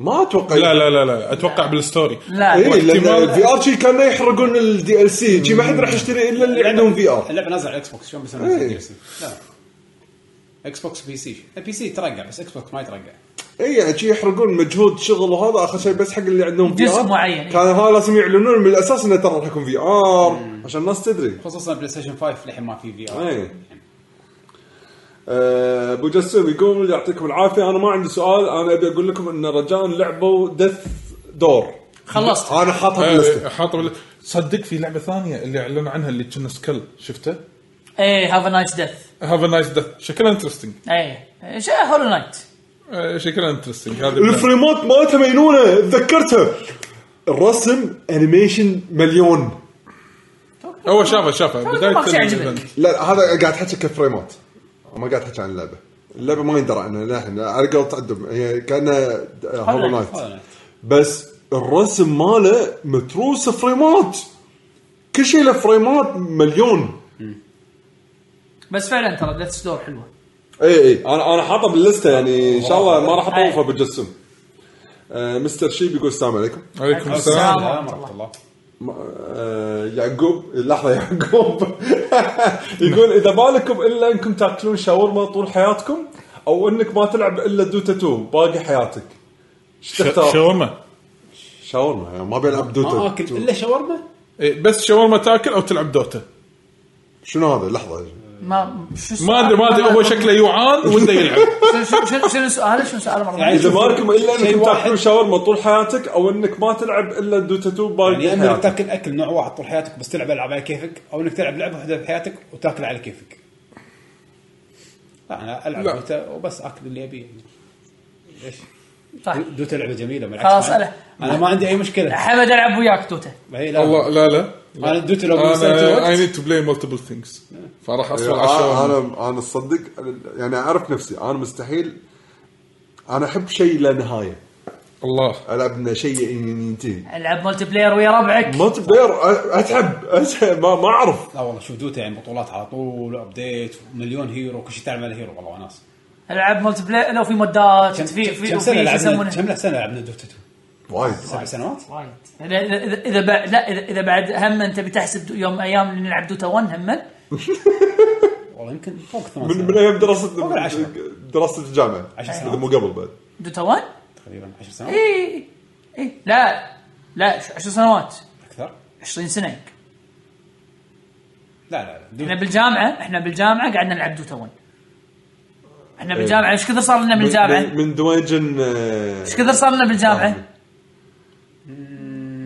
[SPEAKER 3] ما إيه، اتوقع
[SPEAKER 2] لا لا لا لا اتوقع بالستوري
[SPEAKER 4] لا
[SPEAKER 3] اي لان
[SPEAKER 2] واحتمال-
[SPEAKER 3] في ار شي كانوا يحرقون الدي ال سي شي ما حد راح يشتري الا اللي يعني عندهم في ار
[SPEAKER 1] اللعبه نازله على الاكس بوكس شلون بيسوون
[SPEAKER 3] إيه.
[SPEAKER 1] DLC؟ لا اكس بوكس بي سي البي سي يترقع بس اكس بوكس ما يترقع
[SPEAKER 3] اي يعني شي يحرقون مجهود شغل وهذا اخر شيء بس حق اللي عندهم في
[SPEAKER 4] جزء
[SPEAKER 3] ار
[SPEAKER 4] معين.
[SPEAKER 3] كان هذا لازم يعلنون من الاساس انه ترى راح يكون في ار عشان الناس تدري
[SPEAKER 1] خصوصا بلاي ستيشن 5 للحين ما في في ار
[SPEAKER 3] إيه. آه، ابو جسم يقول يعطيكم العافيه انا ما عندي سؤال انا ابي اقول لكم ان رجاء لعبوا دث دور
[SPEAKER 4] خلصت.
[SPEAKER 3] انا حاطها باللسته
[SPEAKER 2] آه، حاطه بال- صدق في لعبه ثانيه اللي اعلنوا عنها اللي كنا سكل شفته
[SPEAKER 4] ايه هاف ا نايس ديث
[SPEAKER 2] هاف ا نايس ديث شكلها انترستنج
[SPEAKER 4] ايه شيء هولو نايت
[SPEAKER 2] شكلها انترستنج هذا
[SPEAKER 3] الفريمات مالتها مجنونه تذكرتها الرسم انيميشن مليون
[SPEAKER 2] هو شافه شافه
[SPEAKER 4] ما راح يعجبك.
[SPEAKER 2] ال-
[SPEAKER 3] لا لا، هذا قاعد احكي كفريمات ما قاعد احكي عن اللعبه اللعبه ما يندرى عنها للحين على قولة عدم هي كانها هولو نايت
[SPEAKER 1] Hollow Knight.
[SPEAKER 3] بس الرسم ماله متروس فريمات كل شيء له فريمات مليون
[SPEAKER 4] بس فعلا ترى ديث ستور حلوه
[SPEAKER 3] اي اي انا انا إيه. حاطه باللسته يعني ان شاء الله ما راح
[SPEAKER 4] أي.
[SPEAKER 3] اطوفها بالجسم آه، مستر شيب يقول السلام عليكم
[SPEAKER 2] عليكم
[SPEAKER 4] السلام.
[SPEAKER 2] السلام
[SPEAKER 1] لا، ما رحت الله
[SPEAKER 3] آه، يعقوب لحظه يعقوب يقول اذا بالكم الا انكم تاكلون شاورما طول حياتكم او انك ما تلعب الا دوتا 2 باقي حياتك ايش
[SPEAKER 2] ش-
[SPEAKER 3] تختار؟
[SPEAKER 2] شاورما
[SPEAKER 3] شاورما يعني ما بيلعب دوتا
[SPEAKER 1] ما اكل الا شاورما
[SPEAKER 2] إيه، بس شاورما تاكل او تلعب دوتا
[SPEAKER 3] شنو هذا لحظه
[SPEAKER 1] يعني
[SPEAKER 4] ما شو السؤال؟
[SPEAKER 2] ما ادري ما ادري هو شكله جوعان وده يلعب
[SPEAKER 4] شنو- شنو شنو شنو سؤاله شنو سؤاله مره
[SPEAKER 1] يعني
[SPEAKER 4] ثانية؟
[SPEAKER 3] اذا بالكم الا
[SPEAKER 1] شيء
[SPEAKER 3] انكم
[SPEAKER 1] واحد.
[SPEAKER 3] تاكلون شاورما طول حياتك او انك ما تلعب الا دوتا 2 باقي
[SPEAKER 1] يعني يا انك
[SPEAKER 3] حياتك
[SPEAKER 1] تاكل اكل نوع واحد طول حياتك بس تلعب العاب على كيفك او انك تلعب لعبه واحده بحياتك وتاكل على كيفك. لا انا العب
[SPEAKER 2] لا.
[SPEAKER 1] دوتا وبس اكل اللي ابيه ليش؟
[SPEAKER 4] طيب.
[SPEAKER 1] دوتا لعبه جميله بالعكس
[SPEAKER 4] خلاص،
[SPEAKER 1] أنا-
[SPEAKER 4] أنا-
[SPEAKER 1] انا ما عندي اي مشكله
[SPEAKER 4] حمد العب وياك توته
[SPEAKER 1] هي لا
[SPEAKER 2] والله لا لا
[SPEAKER 1] انا دوتا لو وصلت
[SPEAKER 2] انا اي
[SPEAKER 1] الوقت
[SPEAKER 2] نيد تو بلاي مالتيبل ثينكس فراح اصبر على
[SPEAKER 3] آه،
[SPEAKER 2] الشاورما
[SPEAKER 3] انا انا تصدق يعني اعرف نفسي انا مستحيل انا احب شيء لا نهايه
[SPEAKER 2] الله
[SPEAKER 3] العب لنا شيء ينتهي
[SPEAKER 4] العب ملتي بلاير ويا ربعك
[SPEAKER 3] مالتي بلاير أ- اتعب اتعب ما, ما اعرف
[SPEAKER 1] لا والله شوف دوتا يعني بطولات على طول ابديت مليون هيرو كل شيء تعمل على هيرو والله وناس
[SPEAKER 4] العب ملتي بلاير لو في مودات في في
[SPEAKER 1] كم
[SPEAKER 4] في شو
[SPEAKER 1] سنه لعبنا
[SPEAKER 4] يسمونه
[SPEAKER 1] كم سنه لعبنا دوتا 2
[SPEAKER 3] وايد
[SPEAKER 1] سبع سنوات
[SPEAKER 4] وايد. اذا اذا إذا بعد لا إذا- اذا بعد هم انت بتحسب دو- يوم ايام اللي نلعب دوتا 1 هم
[SPEAKER 1] والله يمكن فوق ثمان
[SPEAKER 3] من,
[SPEAKER 1] سنوات
[SPEAKER 3] من ايام دراسه
[SPEAKER 1] فوق العشرة.
[SPEAKER 3] دراسه الجامعه
[SPEAKER 1] عشر
[SPEAKER 3] إذا
[SPEAKER 1] سنوات.
[SPEAKER 3] مو قبل بعد
[SPEAKER 4] دوتا 1
[SPEAKER 1] تقريبا 10
[SPEAKER 4] إيه.
[SPEAKER 1] سنوات
[SPEAKER 4] اي اي إيه. لا لا ش- 10 سنوات
[SPEAKER 1] اكثر
[SPEAKER 4] 20 سنه
[SPEAKER 1] لا لا لا
[SPEAKER 4] احنا
[SPEAKER 1] دوتا-
[SPEAKER 4] بالجامعه احنا بالجامعه قعدنا نلعب دوتا 1 احنا بالجامعه ايش كثر صار لنا بالجامعه؟
[SPEAKER 5] من دواجن آه،
[SPEAKER 4] ايش كثر صار لنا بالجامعه؟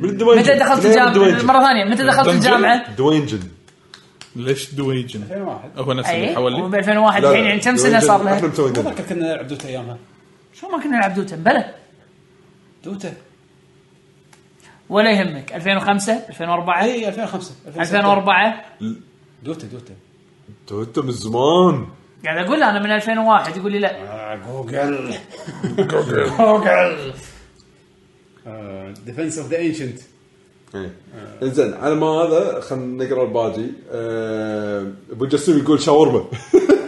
[SPEAKER 5] من دواجن
[SPEAKER 4] متى دخلت
[SPEAKER 5] لين
[SPEAKER 4] الجامعه؟
[SPEAKER 5] دواجن.
[SPEAKER 4] مره ثانيه متى دخلت الجامعه؟
[SPEAKER 5] دواجن
[SPEAKER 2] ليش دويجن؟
[SPEAKER 1] 2001
[SPEAKER 2] هو نفس اللي
[SPEAKER 4] اي ب
[SPEAKER 2] حولي
[SPEAKER 4] 2001
[SPEAKER 5] لا،
[SPEAKER 4] الحين يعني كم سنه
[SPEAKER 5] دواجن
[SPEAKER 4] صار لها؟
[SPEAKER 5] احنا مسويين
[SPEAKER 1] ما
[SPEAKER 5] دواجن.
[SPEAKER 1] اتذكر كنا نلعب دوتا ايامها
[SPEAKER 4] شو ما كنا نلعب دوتا بلى
[SPEAKER 1] دوتا
[SPEAKER 4] ولا يهمك 2005 2004
[SPEAKER 5] إيه.
[SPEAKER 1] اي 2005 2006.
[SPEAKER 4] 2004
[SPEAKER 1] دوتا دوتا
[SPEAKER 5] توتا من زمان
[SPEAKER 4] قاعد اقول انا من 2001 يقول لي لا
[SPEAKER 1] آه، جوجل جوجل آه، ديفنس اوف ذا انشنت
[SPEAKER 5] إيه.
[SPEAKER 3] زين على ما هذا خلينا نقرا الباقي آه، ابو جسيم يقول شاورما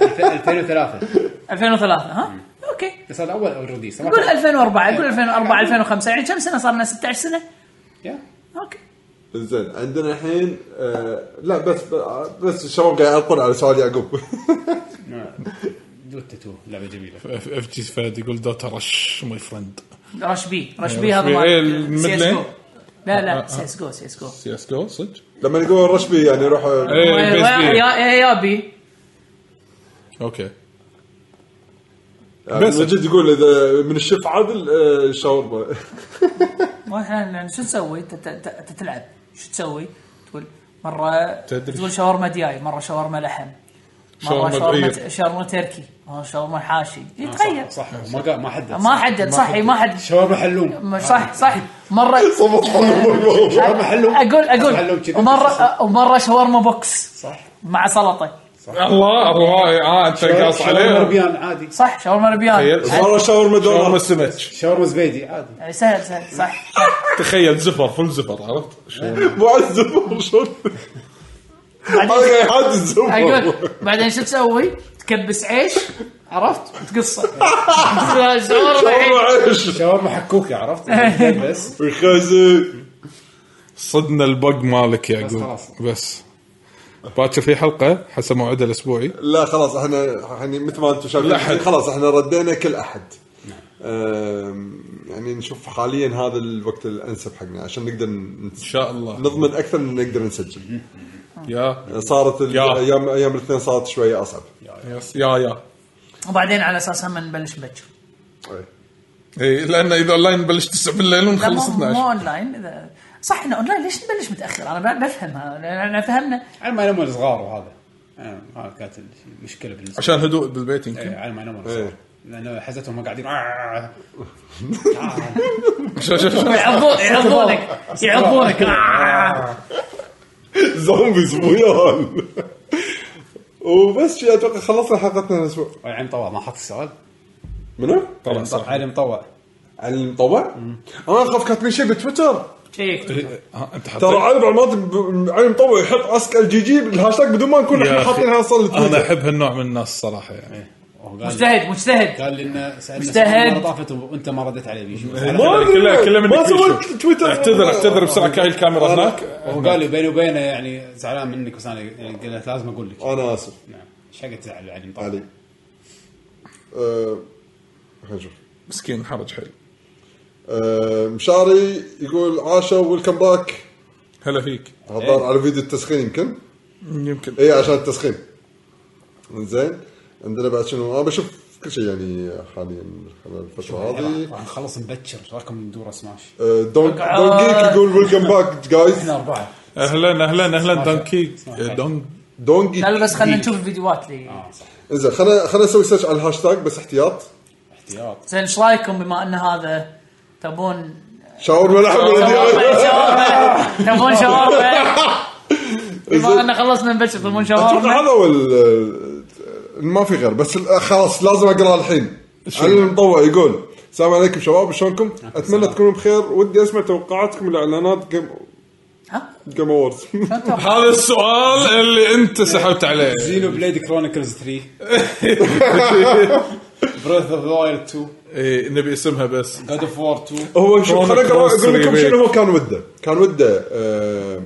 [SPEAKER 1] 2003
[SPEAKER 4] 2003 ها اوكي
[SPEAKER 1] بس هذا اول اوريدي
[SPEAKER 4] قول 2004 قول 2004 2005 يعني كم سنه صار لنا 16 سنه اوكي
[SPEAKER 3] زين عندنا الحين آه، لا بس بس الشباب قاعد يعرضون على سؤال يعقوب
[SPEAKER 1] دوتا 2 لعبه جميله
[SPEAKER 2] اف جي فهد يقول دوتا رش ماي فرند
[SPEAKER 4] رش بي رش
[SPEAKER 2] إيه،
[SPEAKER 4] بي
[SPEAKER 2] رش
[SPEAKER 4] هذا
[SPEAKER 2] بي. إيه،
[SPEAKER 4] مال
[SPEAKER 2] الميد
[SPEAKER 4] سي اس
[SPEAKER 2] لين.
[SPEAKER 4] جو لا
[SPEAKER 2] آه،
[SPEAKER 4] لا
[SPEAKER 2] آه.
[SPEAKER 4] سي اس جو سي اس جو
[SPEAKER 2] سي اس جو صدق؟
[SPEAKER 3] لما يقول رشبي يعني روح
[SPEAKER 2] إيه، بيس بي.
[SPEAKER 4] يا يا- يا بي
[SPEAKER 2] اوكي
[SPEAKER 3] بس
[SPEAKER 2] بس.
[SPEAKER 3] مجد يعني يقول اذا من الشيف عادل آه، شاورما
[SPEAKER 4] واحنا شو تسوي؟ أنت- أنت أنت- أنت تلعب شو تسوي؟ تقول مره
[SPEAKER 2] تدري.
[SPEAKER 4] تقول شاورما دياي مره شاورما لحم
[SPEAKER 2] شاورما طيب. آه،
[SPEAKER 4] مره شاورما
[SPEAKER 2] بعير.
[SPEAKER 4] شاورما تركي مره شاورما حاشي يتغير
[SPEAKER 1] صح ما قا- ما حدد
[SPEAKER 4] طيب. ما حدد صحي ما حد
[SPEAKER 1] شاورما حلوم
[SPEAKER 4] ما- صح صح مره
[SPEAKER 3] صبت حلو
[SPEAKER 1] شاورما حلوم
[SPEAKER 4] اقول
[SPEAKER 1] حلوم
[SPEAKER 4] اقول
[SPEAKER 1] كذي.
[SPEAKER 4] ومره ومره شاورما بوكس
[SPEAKER 1] صح
[SPEAKER 4] مع سلطه
[SPEAKER 2] الله الله
[SPEAKER 1] آه،
[SPEAKER 2] اه انت قاص
[SPEAKER 1] شاورما
[SPEAKER 2] عليه
[SPEAKER 1] ربيان عادي
[SPEAKER 4] صح شاورما ربيان
[SPEAKER 2] تخيل.
[SPEAKER 3] والله شاورما
[SPEAKER 2] شاورما
[SPEAKER 3] دولار
[SPEAKER 2] السمك
[SPEAKER 1] شاورما زبيدي عادي
[SPEAKER 4] يعني سهل سهل صح
[SPEAKER 2] تخيل زفر فل زفر عرفت؟ شاورما.
[SPEAKER 3] مو على الزبر شلون
[SPEAKER 4] بعدين
[SPEAKER 3] هذا قاعد الزبر
[SPEAKER 4] اقول بعدين شو تسوي؟ تكبس عيش عرفت؟ وتقصه شاورما
[SPEAKER 3] شاورما
[SPEAKER 4] عيش.
[SPEAKER 3] عيش
[SPEAKER 1] شاورما حكوكه عرفت بس
[SPEAKER 3] الخزي
[SPEAKER 2] صدنا البق مالك يا
[SPEAKER 1] بس
[SPEAKER 2] عقوب
[SPEAKER 1] خلاص.
[SPEAKER 2] بس باكر في حلقه حسب موعدها الاسبوعي
[SPEAKER 3] لا خلاص احنا يعني مثل ما انتم شايفين
[SPEAKER 2] الأحد.
[SPEAKER 3] خلاص احنا ردينا كل احد
[SPEAKER 2] نعم.
[SPEAKER 3] آم، يعني نشوف حاليا هذا الوقت الانسب حقنا عشان نقدر
[SPEAKER 2] ان
[SPEAKER 3] نس-
[SPEAKER 2] شاء الله
[SPEAKER 3] نضمن اكثر من نقدر نسجل
[SPEAKER 2] يا
[SPEAKER 3] صارت ال-
[SPEAKER 2] يا.
[SPEAKER 3] ايام ايام الاثنين صارت شويه اصعب
[SPEAKER 2] يس- يا يا
[SPEAKER 4] وبعدين على اساس هم نبلش مبكر
[SPEAKER 3] أي.
[SPEAKER 2] اي لان اذا اونلاين نبلش 9 بالليل
[SPEAKER 4] لا مو
[SPEAKER 2] ونخلص
[SPEAKER 4] مو
[SPEAKER 2] 12
[SPEAKER 4] اونلاين اذا صح احنا اونلاين ليش نبلش متاخر؟ انا ب- بفهم هذا، انا فهمنا
[SPEAKER 1] على ما ينامون صغار وهذا آه، هذا كانت المشكله بالنسبه
[SPEAKER 2] عشان هدوء بالبيت يمكن
[SPEAKER 1] إيه، على ما ينامون
[SPEAKER 3] إيه.
[SPEAKER 1] صغار لانه حزتهم آه، هم قاعدين
[SPEAKER 2] شو- شو- شو-
[SPEAKER 4] يعضون يعضونك يعضونك آه.
[SPEAKER 3] زومبيز مو ياهال وبس شي اتوقع خلصنا حلقتنا الاسبوع
[SPEAKER 1] علي مطوع ما حط السؤال
[SPEAKER 3] منو؟
[SPEAKER 2] طبعا صح
[SPEAKER 1] علي مطوع
[SPEAKER 3] على المطوع؟ انا اخاف كاتبين شيء بتويتر
[SPEAKER 4] شيك.
[SPEAKER 2] ها، انت
[SPEAKER 3] ترى
[SPEAKER 2] حطيت
[SPEAKER 3] علي بعض المرات ب- علي المطوع يحط اسك ال جي جي بالهاشتاج بدون ما نكون
[SPEAKER 2] يا
[SPEAKER 3] احنا
[SPEAKER 2] أخي.
[SPEAKER 3] حاطينها اصلا
[SPEAKER 2] انا
[SPEAKER 3] لتويتر إيه.
[SPEAKER 2] احب هالنوع من الناس صراحه يعني
[SPEAKER 1] وقال-
[SPEAKER 4] مجتهد مجتهد
[SPEAKER 1] قال لي انه سالنا
[SPEAKER 4] مجتهد.
[SPEAKER 1] سؤال مره طافت وانت ما رديت عليه بيشو
[SPEAKER 3] ما أدري.
[SPEAKER 2] كله كله
[SPEAKER 3] ما
[SPEAKER 2] منك
[SPEAKER 3] سويت
[SPEAKER 2] بيشوف.
[SPEAKER 3] تويتر. آه.
[SPEAKER 2] اعتذر اعتذر بسرعه كاي الكاميرا هناك
[SPEAKER 1] وهو قال لي بيني وبينه يعني زعلان منك بس انا يعني قلت لازم اقول لك
[SPEAKER 3] انا اسف
[SPEAKER 1] نعم ايش حق تزعل علي طيب. مطوع
[SPEAKER 3] علي أه، خلينا نشوف
[SPEAKER 2] مسكين حرج حيل
[SPEAKER 3] أه، مشاري يقول عاشا ويلكم باك
[SPEAKER 2] هلا فيك
[SPEAKER 3] هذا على فيديو التسخين يمكن
[SPEAKER 2] يمكن
[SPEAKER 3] اي عشان التسخين زين عندنا بعد شنو انا بشوف كل شيء يعني حاليا خلال الفتره هذه
[SPEAKER 1] راح نخلص مبكر ايش رايكم ندور سماش؟
[SPEAKER 3] أه، دون دون جيك يقول ويلكم باك جايز
[SPEAKER 1] احنا اربعه
[SPEAKER 2] اهلا اهلا اهلا دونكي إيه، دونك
[SPEAKER 3] دون جيك
[SPEAKER 4] لا بس خلينا نشوف الفيديوهات اللي
[SPEAKER 1] اه صح
[SPEAKER 3] زين خلينا خلينا نسوي سيرش على الهاشتاج بس احتياط
[SPEAKER 1] احتياط
[SPEAKER 4] زين ايش رايكم بما ان هذا تبون
[SPEAKER 3] شاورما لحم
[SPEAKER 4] شاورما شاورما تبون شاورما بما ان خلصنا نبشر تبون
[SPEAKER 3] اتوقع
[SPEAKER 4] شاورما
[SPEAKER 3] هذا هو ال- ما في غير بس ال- خلاص لازم اقرا الحين علي المطوع يقول السلام عليكم شباب شلونكم؟ اتمنى تكونوا بخير ودي اسمع توقعاتكم لاعلانات جيم
[SPEAKER 4] ها؟
[SPEAKER 3] جيم اووردز
[SPEAKER 2] هذا السؤال اللي
[SPEAKER 3] إيه.
[SPEAKER 2] انت سحبت عليه
[SPEAKER 1] زينو بليد كرونيكلز 3 بريث اوف ذا وايلد 2
[SPEAKER 2] إيه، نبي اسمها بس
[SPEAKER 1] جاد اوف وور 2
[SPEAKER 3] هو
[SPEAKER 2] كرونا
[SPEAKER 3] شوف خليني اقرا
[SPEAKER 2] كروس
[SPEAKER 3] اقول لكم
[SPEAKER 2] ريميك.
[SPEAKER 3] شنو هو كان وده كان وده آه،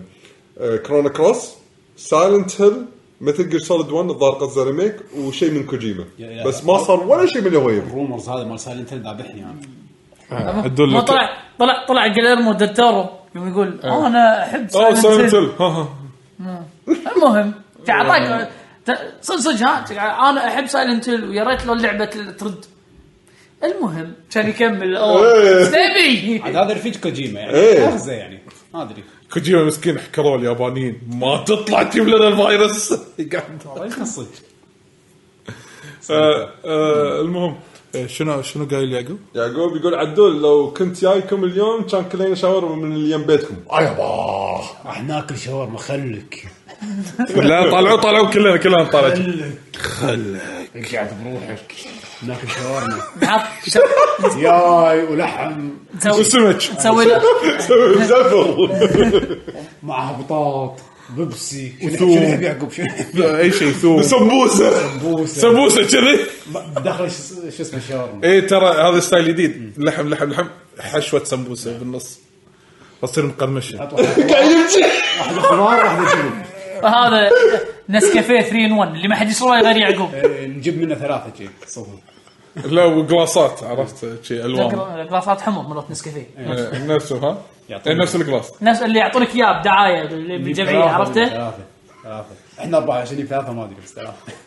[SPEAKER 3] آه، كرونا كروس سايلنت هيل مثل جير سوليد 1 الظاهر قصده ريميك وشيء من كوجيما
[SPEAKER 1] يا- يا.
[SPEAKER 3] بس ما صار ولا شيء من اللي هو يبغى
[SPEAKER 1] الرومرز هذا مال سايلنت هيل ذابحني انا
[SPEAKER 2] عدول
[SPEAKER 4] ما
[SPEAKER 2] لك
[SPEAKER 4] طلع طلع طلع جليرمو ديل تورو يوم يقول انا احب
[SPEAKER 2] اوه
[SPEAKER 4] Silent Hill.
[SPEAKER 2] سايلنت هيل
[SPEAKER 4] المهم اعطاك ت- صدق صدق ها انا احب سايلنت هيل ويا ريت لو اللعبه تل- ترد المهم كان يكمل اوه سيبي
[SPEAKER 1] عاد هذا رفيج كوجيما يعني
[SPEAKER 5] إيه.
[SPEAKER 1] اخزه يعني ما ادري
[SPEAKER 2] كوجيما مسكين حكروا اليابانيين ما تطلع تجيب لنا الفيروس قاعد
[SPEAKER 1] والله يمكن صدق
[SPEAKER 2] آه، آه، المهم آه، شنو شنو قايل يعقوب؟
[SPEAKER 5] يعقوب يقول عدول لو كنت جايكم اليوم كان كلنا شاورما من اللي يم بيتكم
[SPEAKER 1] راح ناكل شاورما خلك
[SPEAKER 2] لا طالعوا طالعوا كلنا كلنا طالعوا
[SPEAKER 1] ايش قاعد بروحك ناكل شاورما
[SPEAKER 4] عط- شو-
[SPEAKER 1] ياي ولحم
[SPEAKER 4] تسوي
[SPEAKER 2] وسمك
[SPEAKER 4] تسوي له-
[SPEAKER 5] زفر
[SPEAKER 1] معها بطاط بيبسي شنو-
[SPEAKER 2] وثوم.
[SPEAKER 1] شنو يحب يعقوب شنو يحب
[SPEAKER 2] اي شيء ثوم
[SPEAKER 5] سمبوسه
[SPEAKER 1] بوسه
[SPEAKER 2] سمبوسه كذي
[SPEAKER 1] داخل شو شو اسمه شاورما
[SPEAKER 2] اي ترى هذا ستايل جديد لحم لحم لحم حشوه سمبوسه بالنص فتصير مقرمشه
[SPEAKER 5] قاعد يمشي
[SPEAKER 1] واحده خضار واحده جبن
[SPEAKER 4] هذا نسكافيه 3 ان 1 اللي ما حد يشربه غير يعقوب
[SPEAKER 1] إيه، نجيب منه ثلاثه شي صفر
[SPEAKER 2] لا وقلاصات عرفت شي الوان
[SPEAKER 4] قلاصات حمر مالت نسكافيه
[SPEAKER 2] آه، نفسه ها
[SPEAKER 1] يعطيك.
[SPEAKER 2] إيه، نفس القلاص
[SPEAKER 4] نفس اللي يعطونك اياه بدعايه
[SPEAKER 1] إيه،
[SPEAKER 4] اللي بالجمعيه
[SPEAKER 1] ثلاثة،
[SPEAKER 4] عرفته؟
[SPEAKER 1] ثلاثه ثلاثه احنا 24 ثلاثه ما ادري بس ثلاثه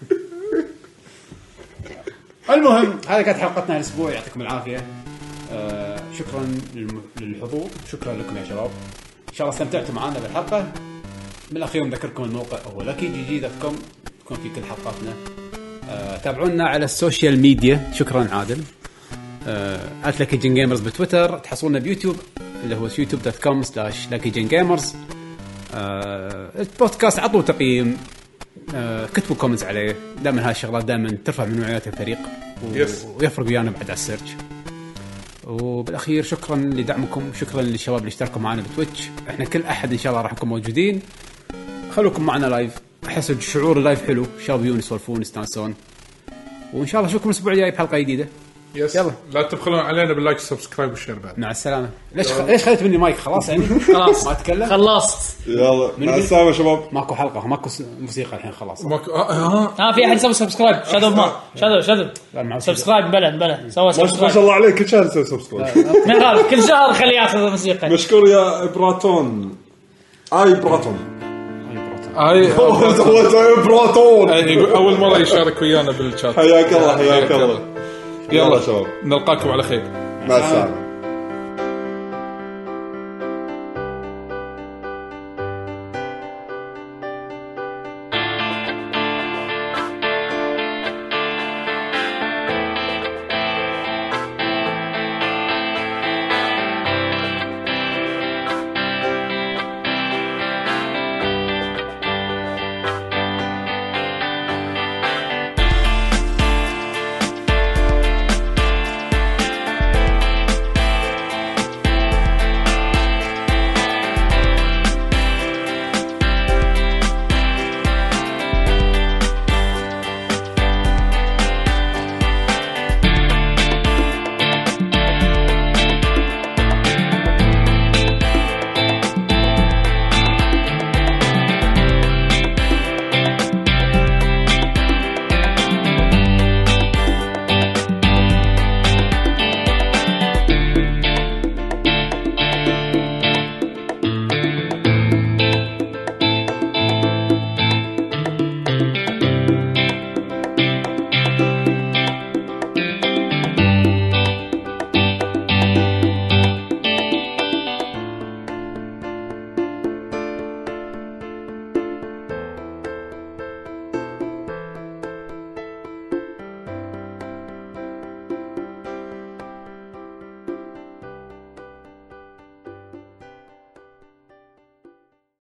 [SPEAKER 1] المهم هذه كانت حلقتنا الاسبوع يعطيكم العافيه آه شكرا للم- للحضور شكرا لكم يا شباب ان شاء الله استمتعتوا معنا بالحلقه بالاخير نذكركم الموقع هو لكي جي جي دوت كوم تكون في كل حلقاتنا آه تابعونا على السوشيال ميديا شكرا عادل آه لكي جن جيمرز بتويتر تحصلونا بيوتيوب اللي هو يوتيوب دوت كوم سلاش لكي جن جيمرز آه، البودكاست عطوا تقييم آه، كتبوا كومنتس عليه دائما هاي الشغلات دائما ترفع من نوعيات الفريق و...
[SPEAKER 2] Yes.
[SPEAKER 1] ويفرق ويانا بعد على السيرش وبالاخير شكرا لدعمكم شكرا للشباب اللي اشتركوا معنا بتويتش احنا كل احد ان شاء الله راح نكون موجودين خلوكم معنا لايف احس شعور اللايف حلو الشباب يجون يسولفون يستانسون وان شاء الله اشوفكم الاسبوع الجاي بحلقه جديده
[SPEAKER 2] يس
[SPEAKER 1] يلا.
[SPEAKER 2] لا تبخلون علينا باللايك سبسكرايب والشير بعد
[SPEAKER 1] مع السلامه ليش ليش خليت مني مايك خلاص يعني
[SPEAKER 4] خلاص
[SPEAKER 1] ما اتكلم
[SPEAKER 4] خلصت
[SPEAKER 5] يلا مع السلامه شباب
[SPEAKER 1] ماكو حلقه ماكو س- موسيقى الحين خلاص
[SPEAKER 2] ماكو آه، آه.
[SPEAKER 4] ها في احد سوى
[SPEAKER 5] آه،
[SPEAKER 4] سبسكرايب شادو ما شادو شادو
[SPEAKER 1] لا، مع السلامة.
[SPEAKER 4] سبسكرايب بلا بلا سوى
[SPEAKER 5] ما شاء
[SPEAKER 4] سبسكرايب
[SPEAKER 5] الله عليك كل شهر تسوي سبسكرايب
[SPEAKER 4] ما يخالف كل شهر خليه ياخذ موسيقى
[SPEAKER 5] مشكور يا براتون اي براتون
[SPEAKER 2] هاي
[SPEAKER 5] سويت اي براتون
[SPEAKER 2] هاي يقول اول مره يشارك ويانا بالشات
[SPEAKER 5] حياك الله حياك الله يلا
[SPEAKER 2] يلا
[SPEAKER 5] شباب
[SPEAKER 2] نلقاكم على خير
[SPEAKER 5] مع السلامه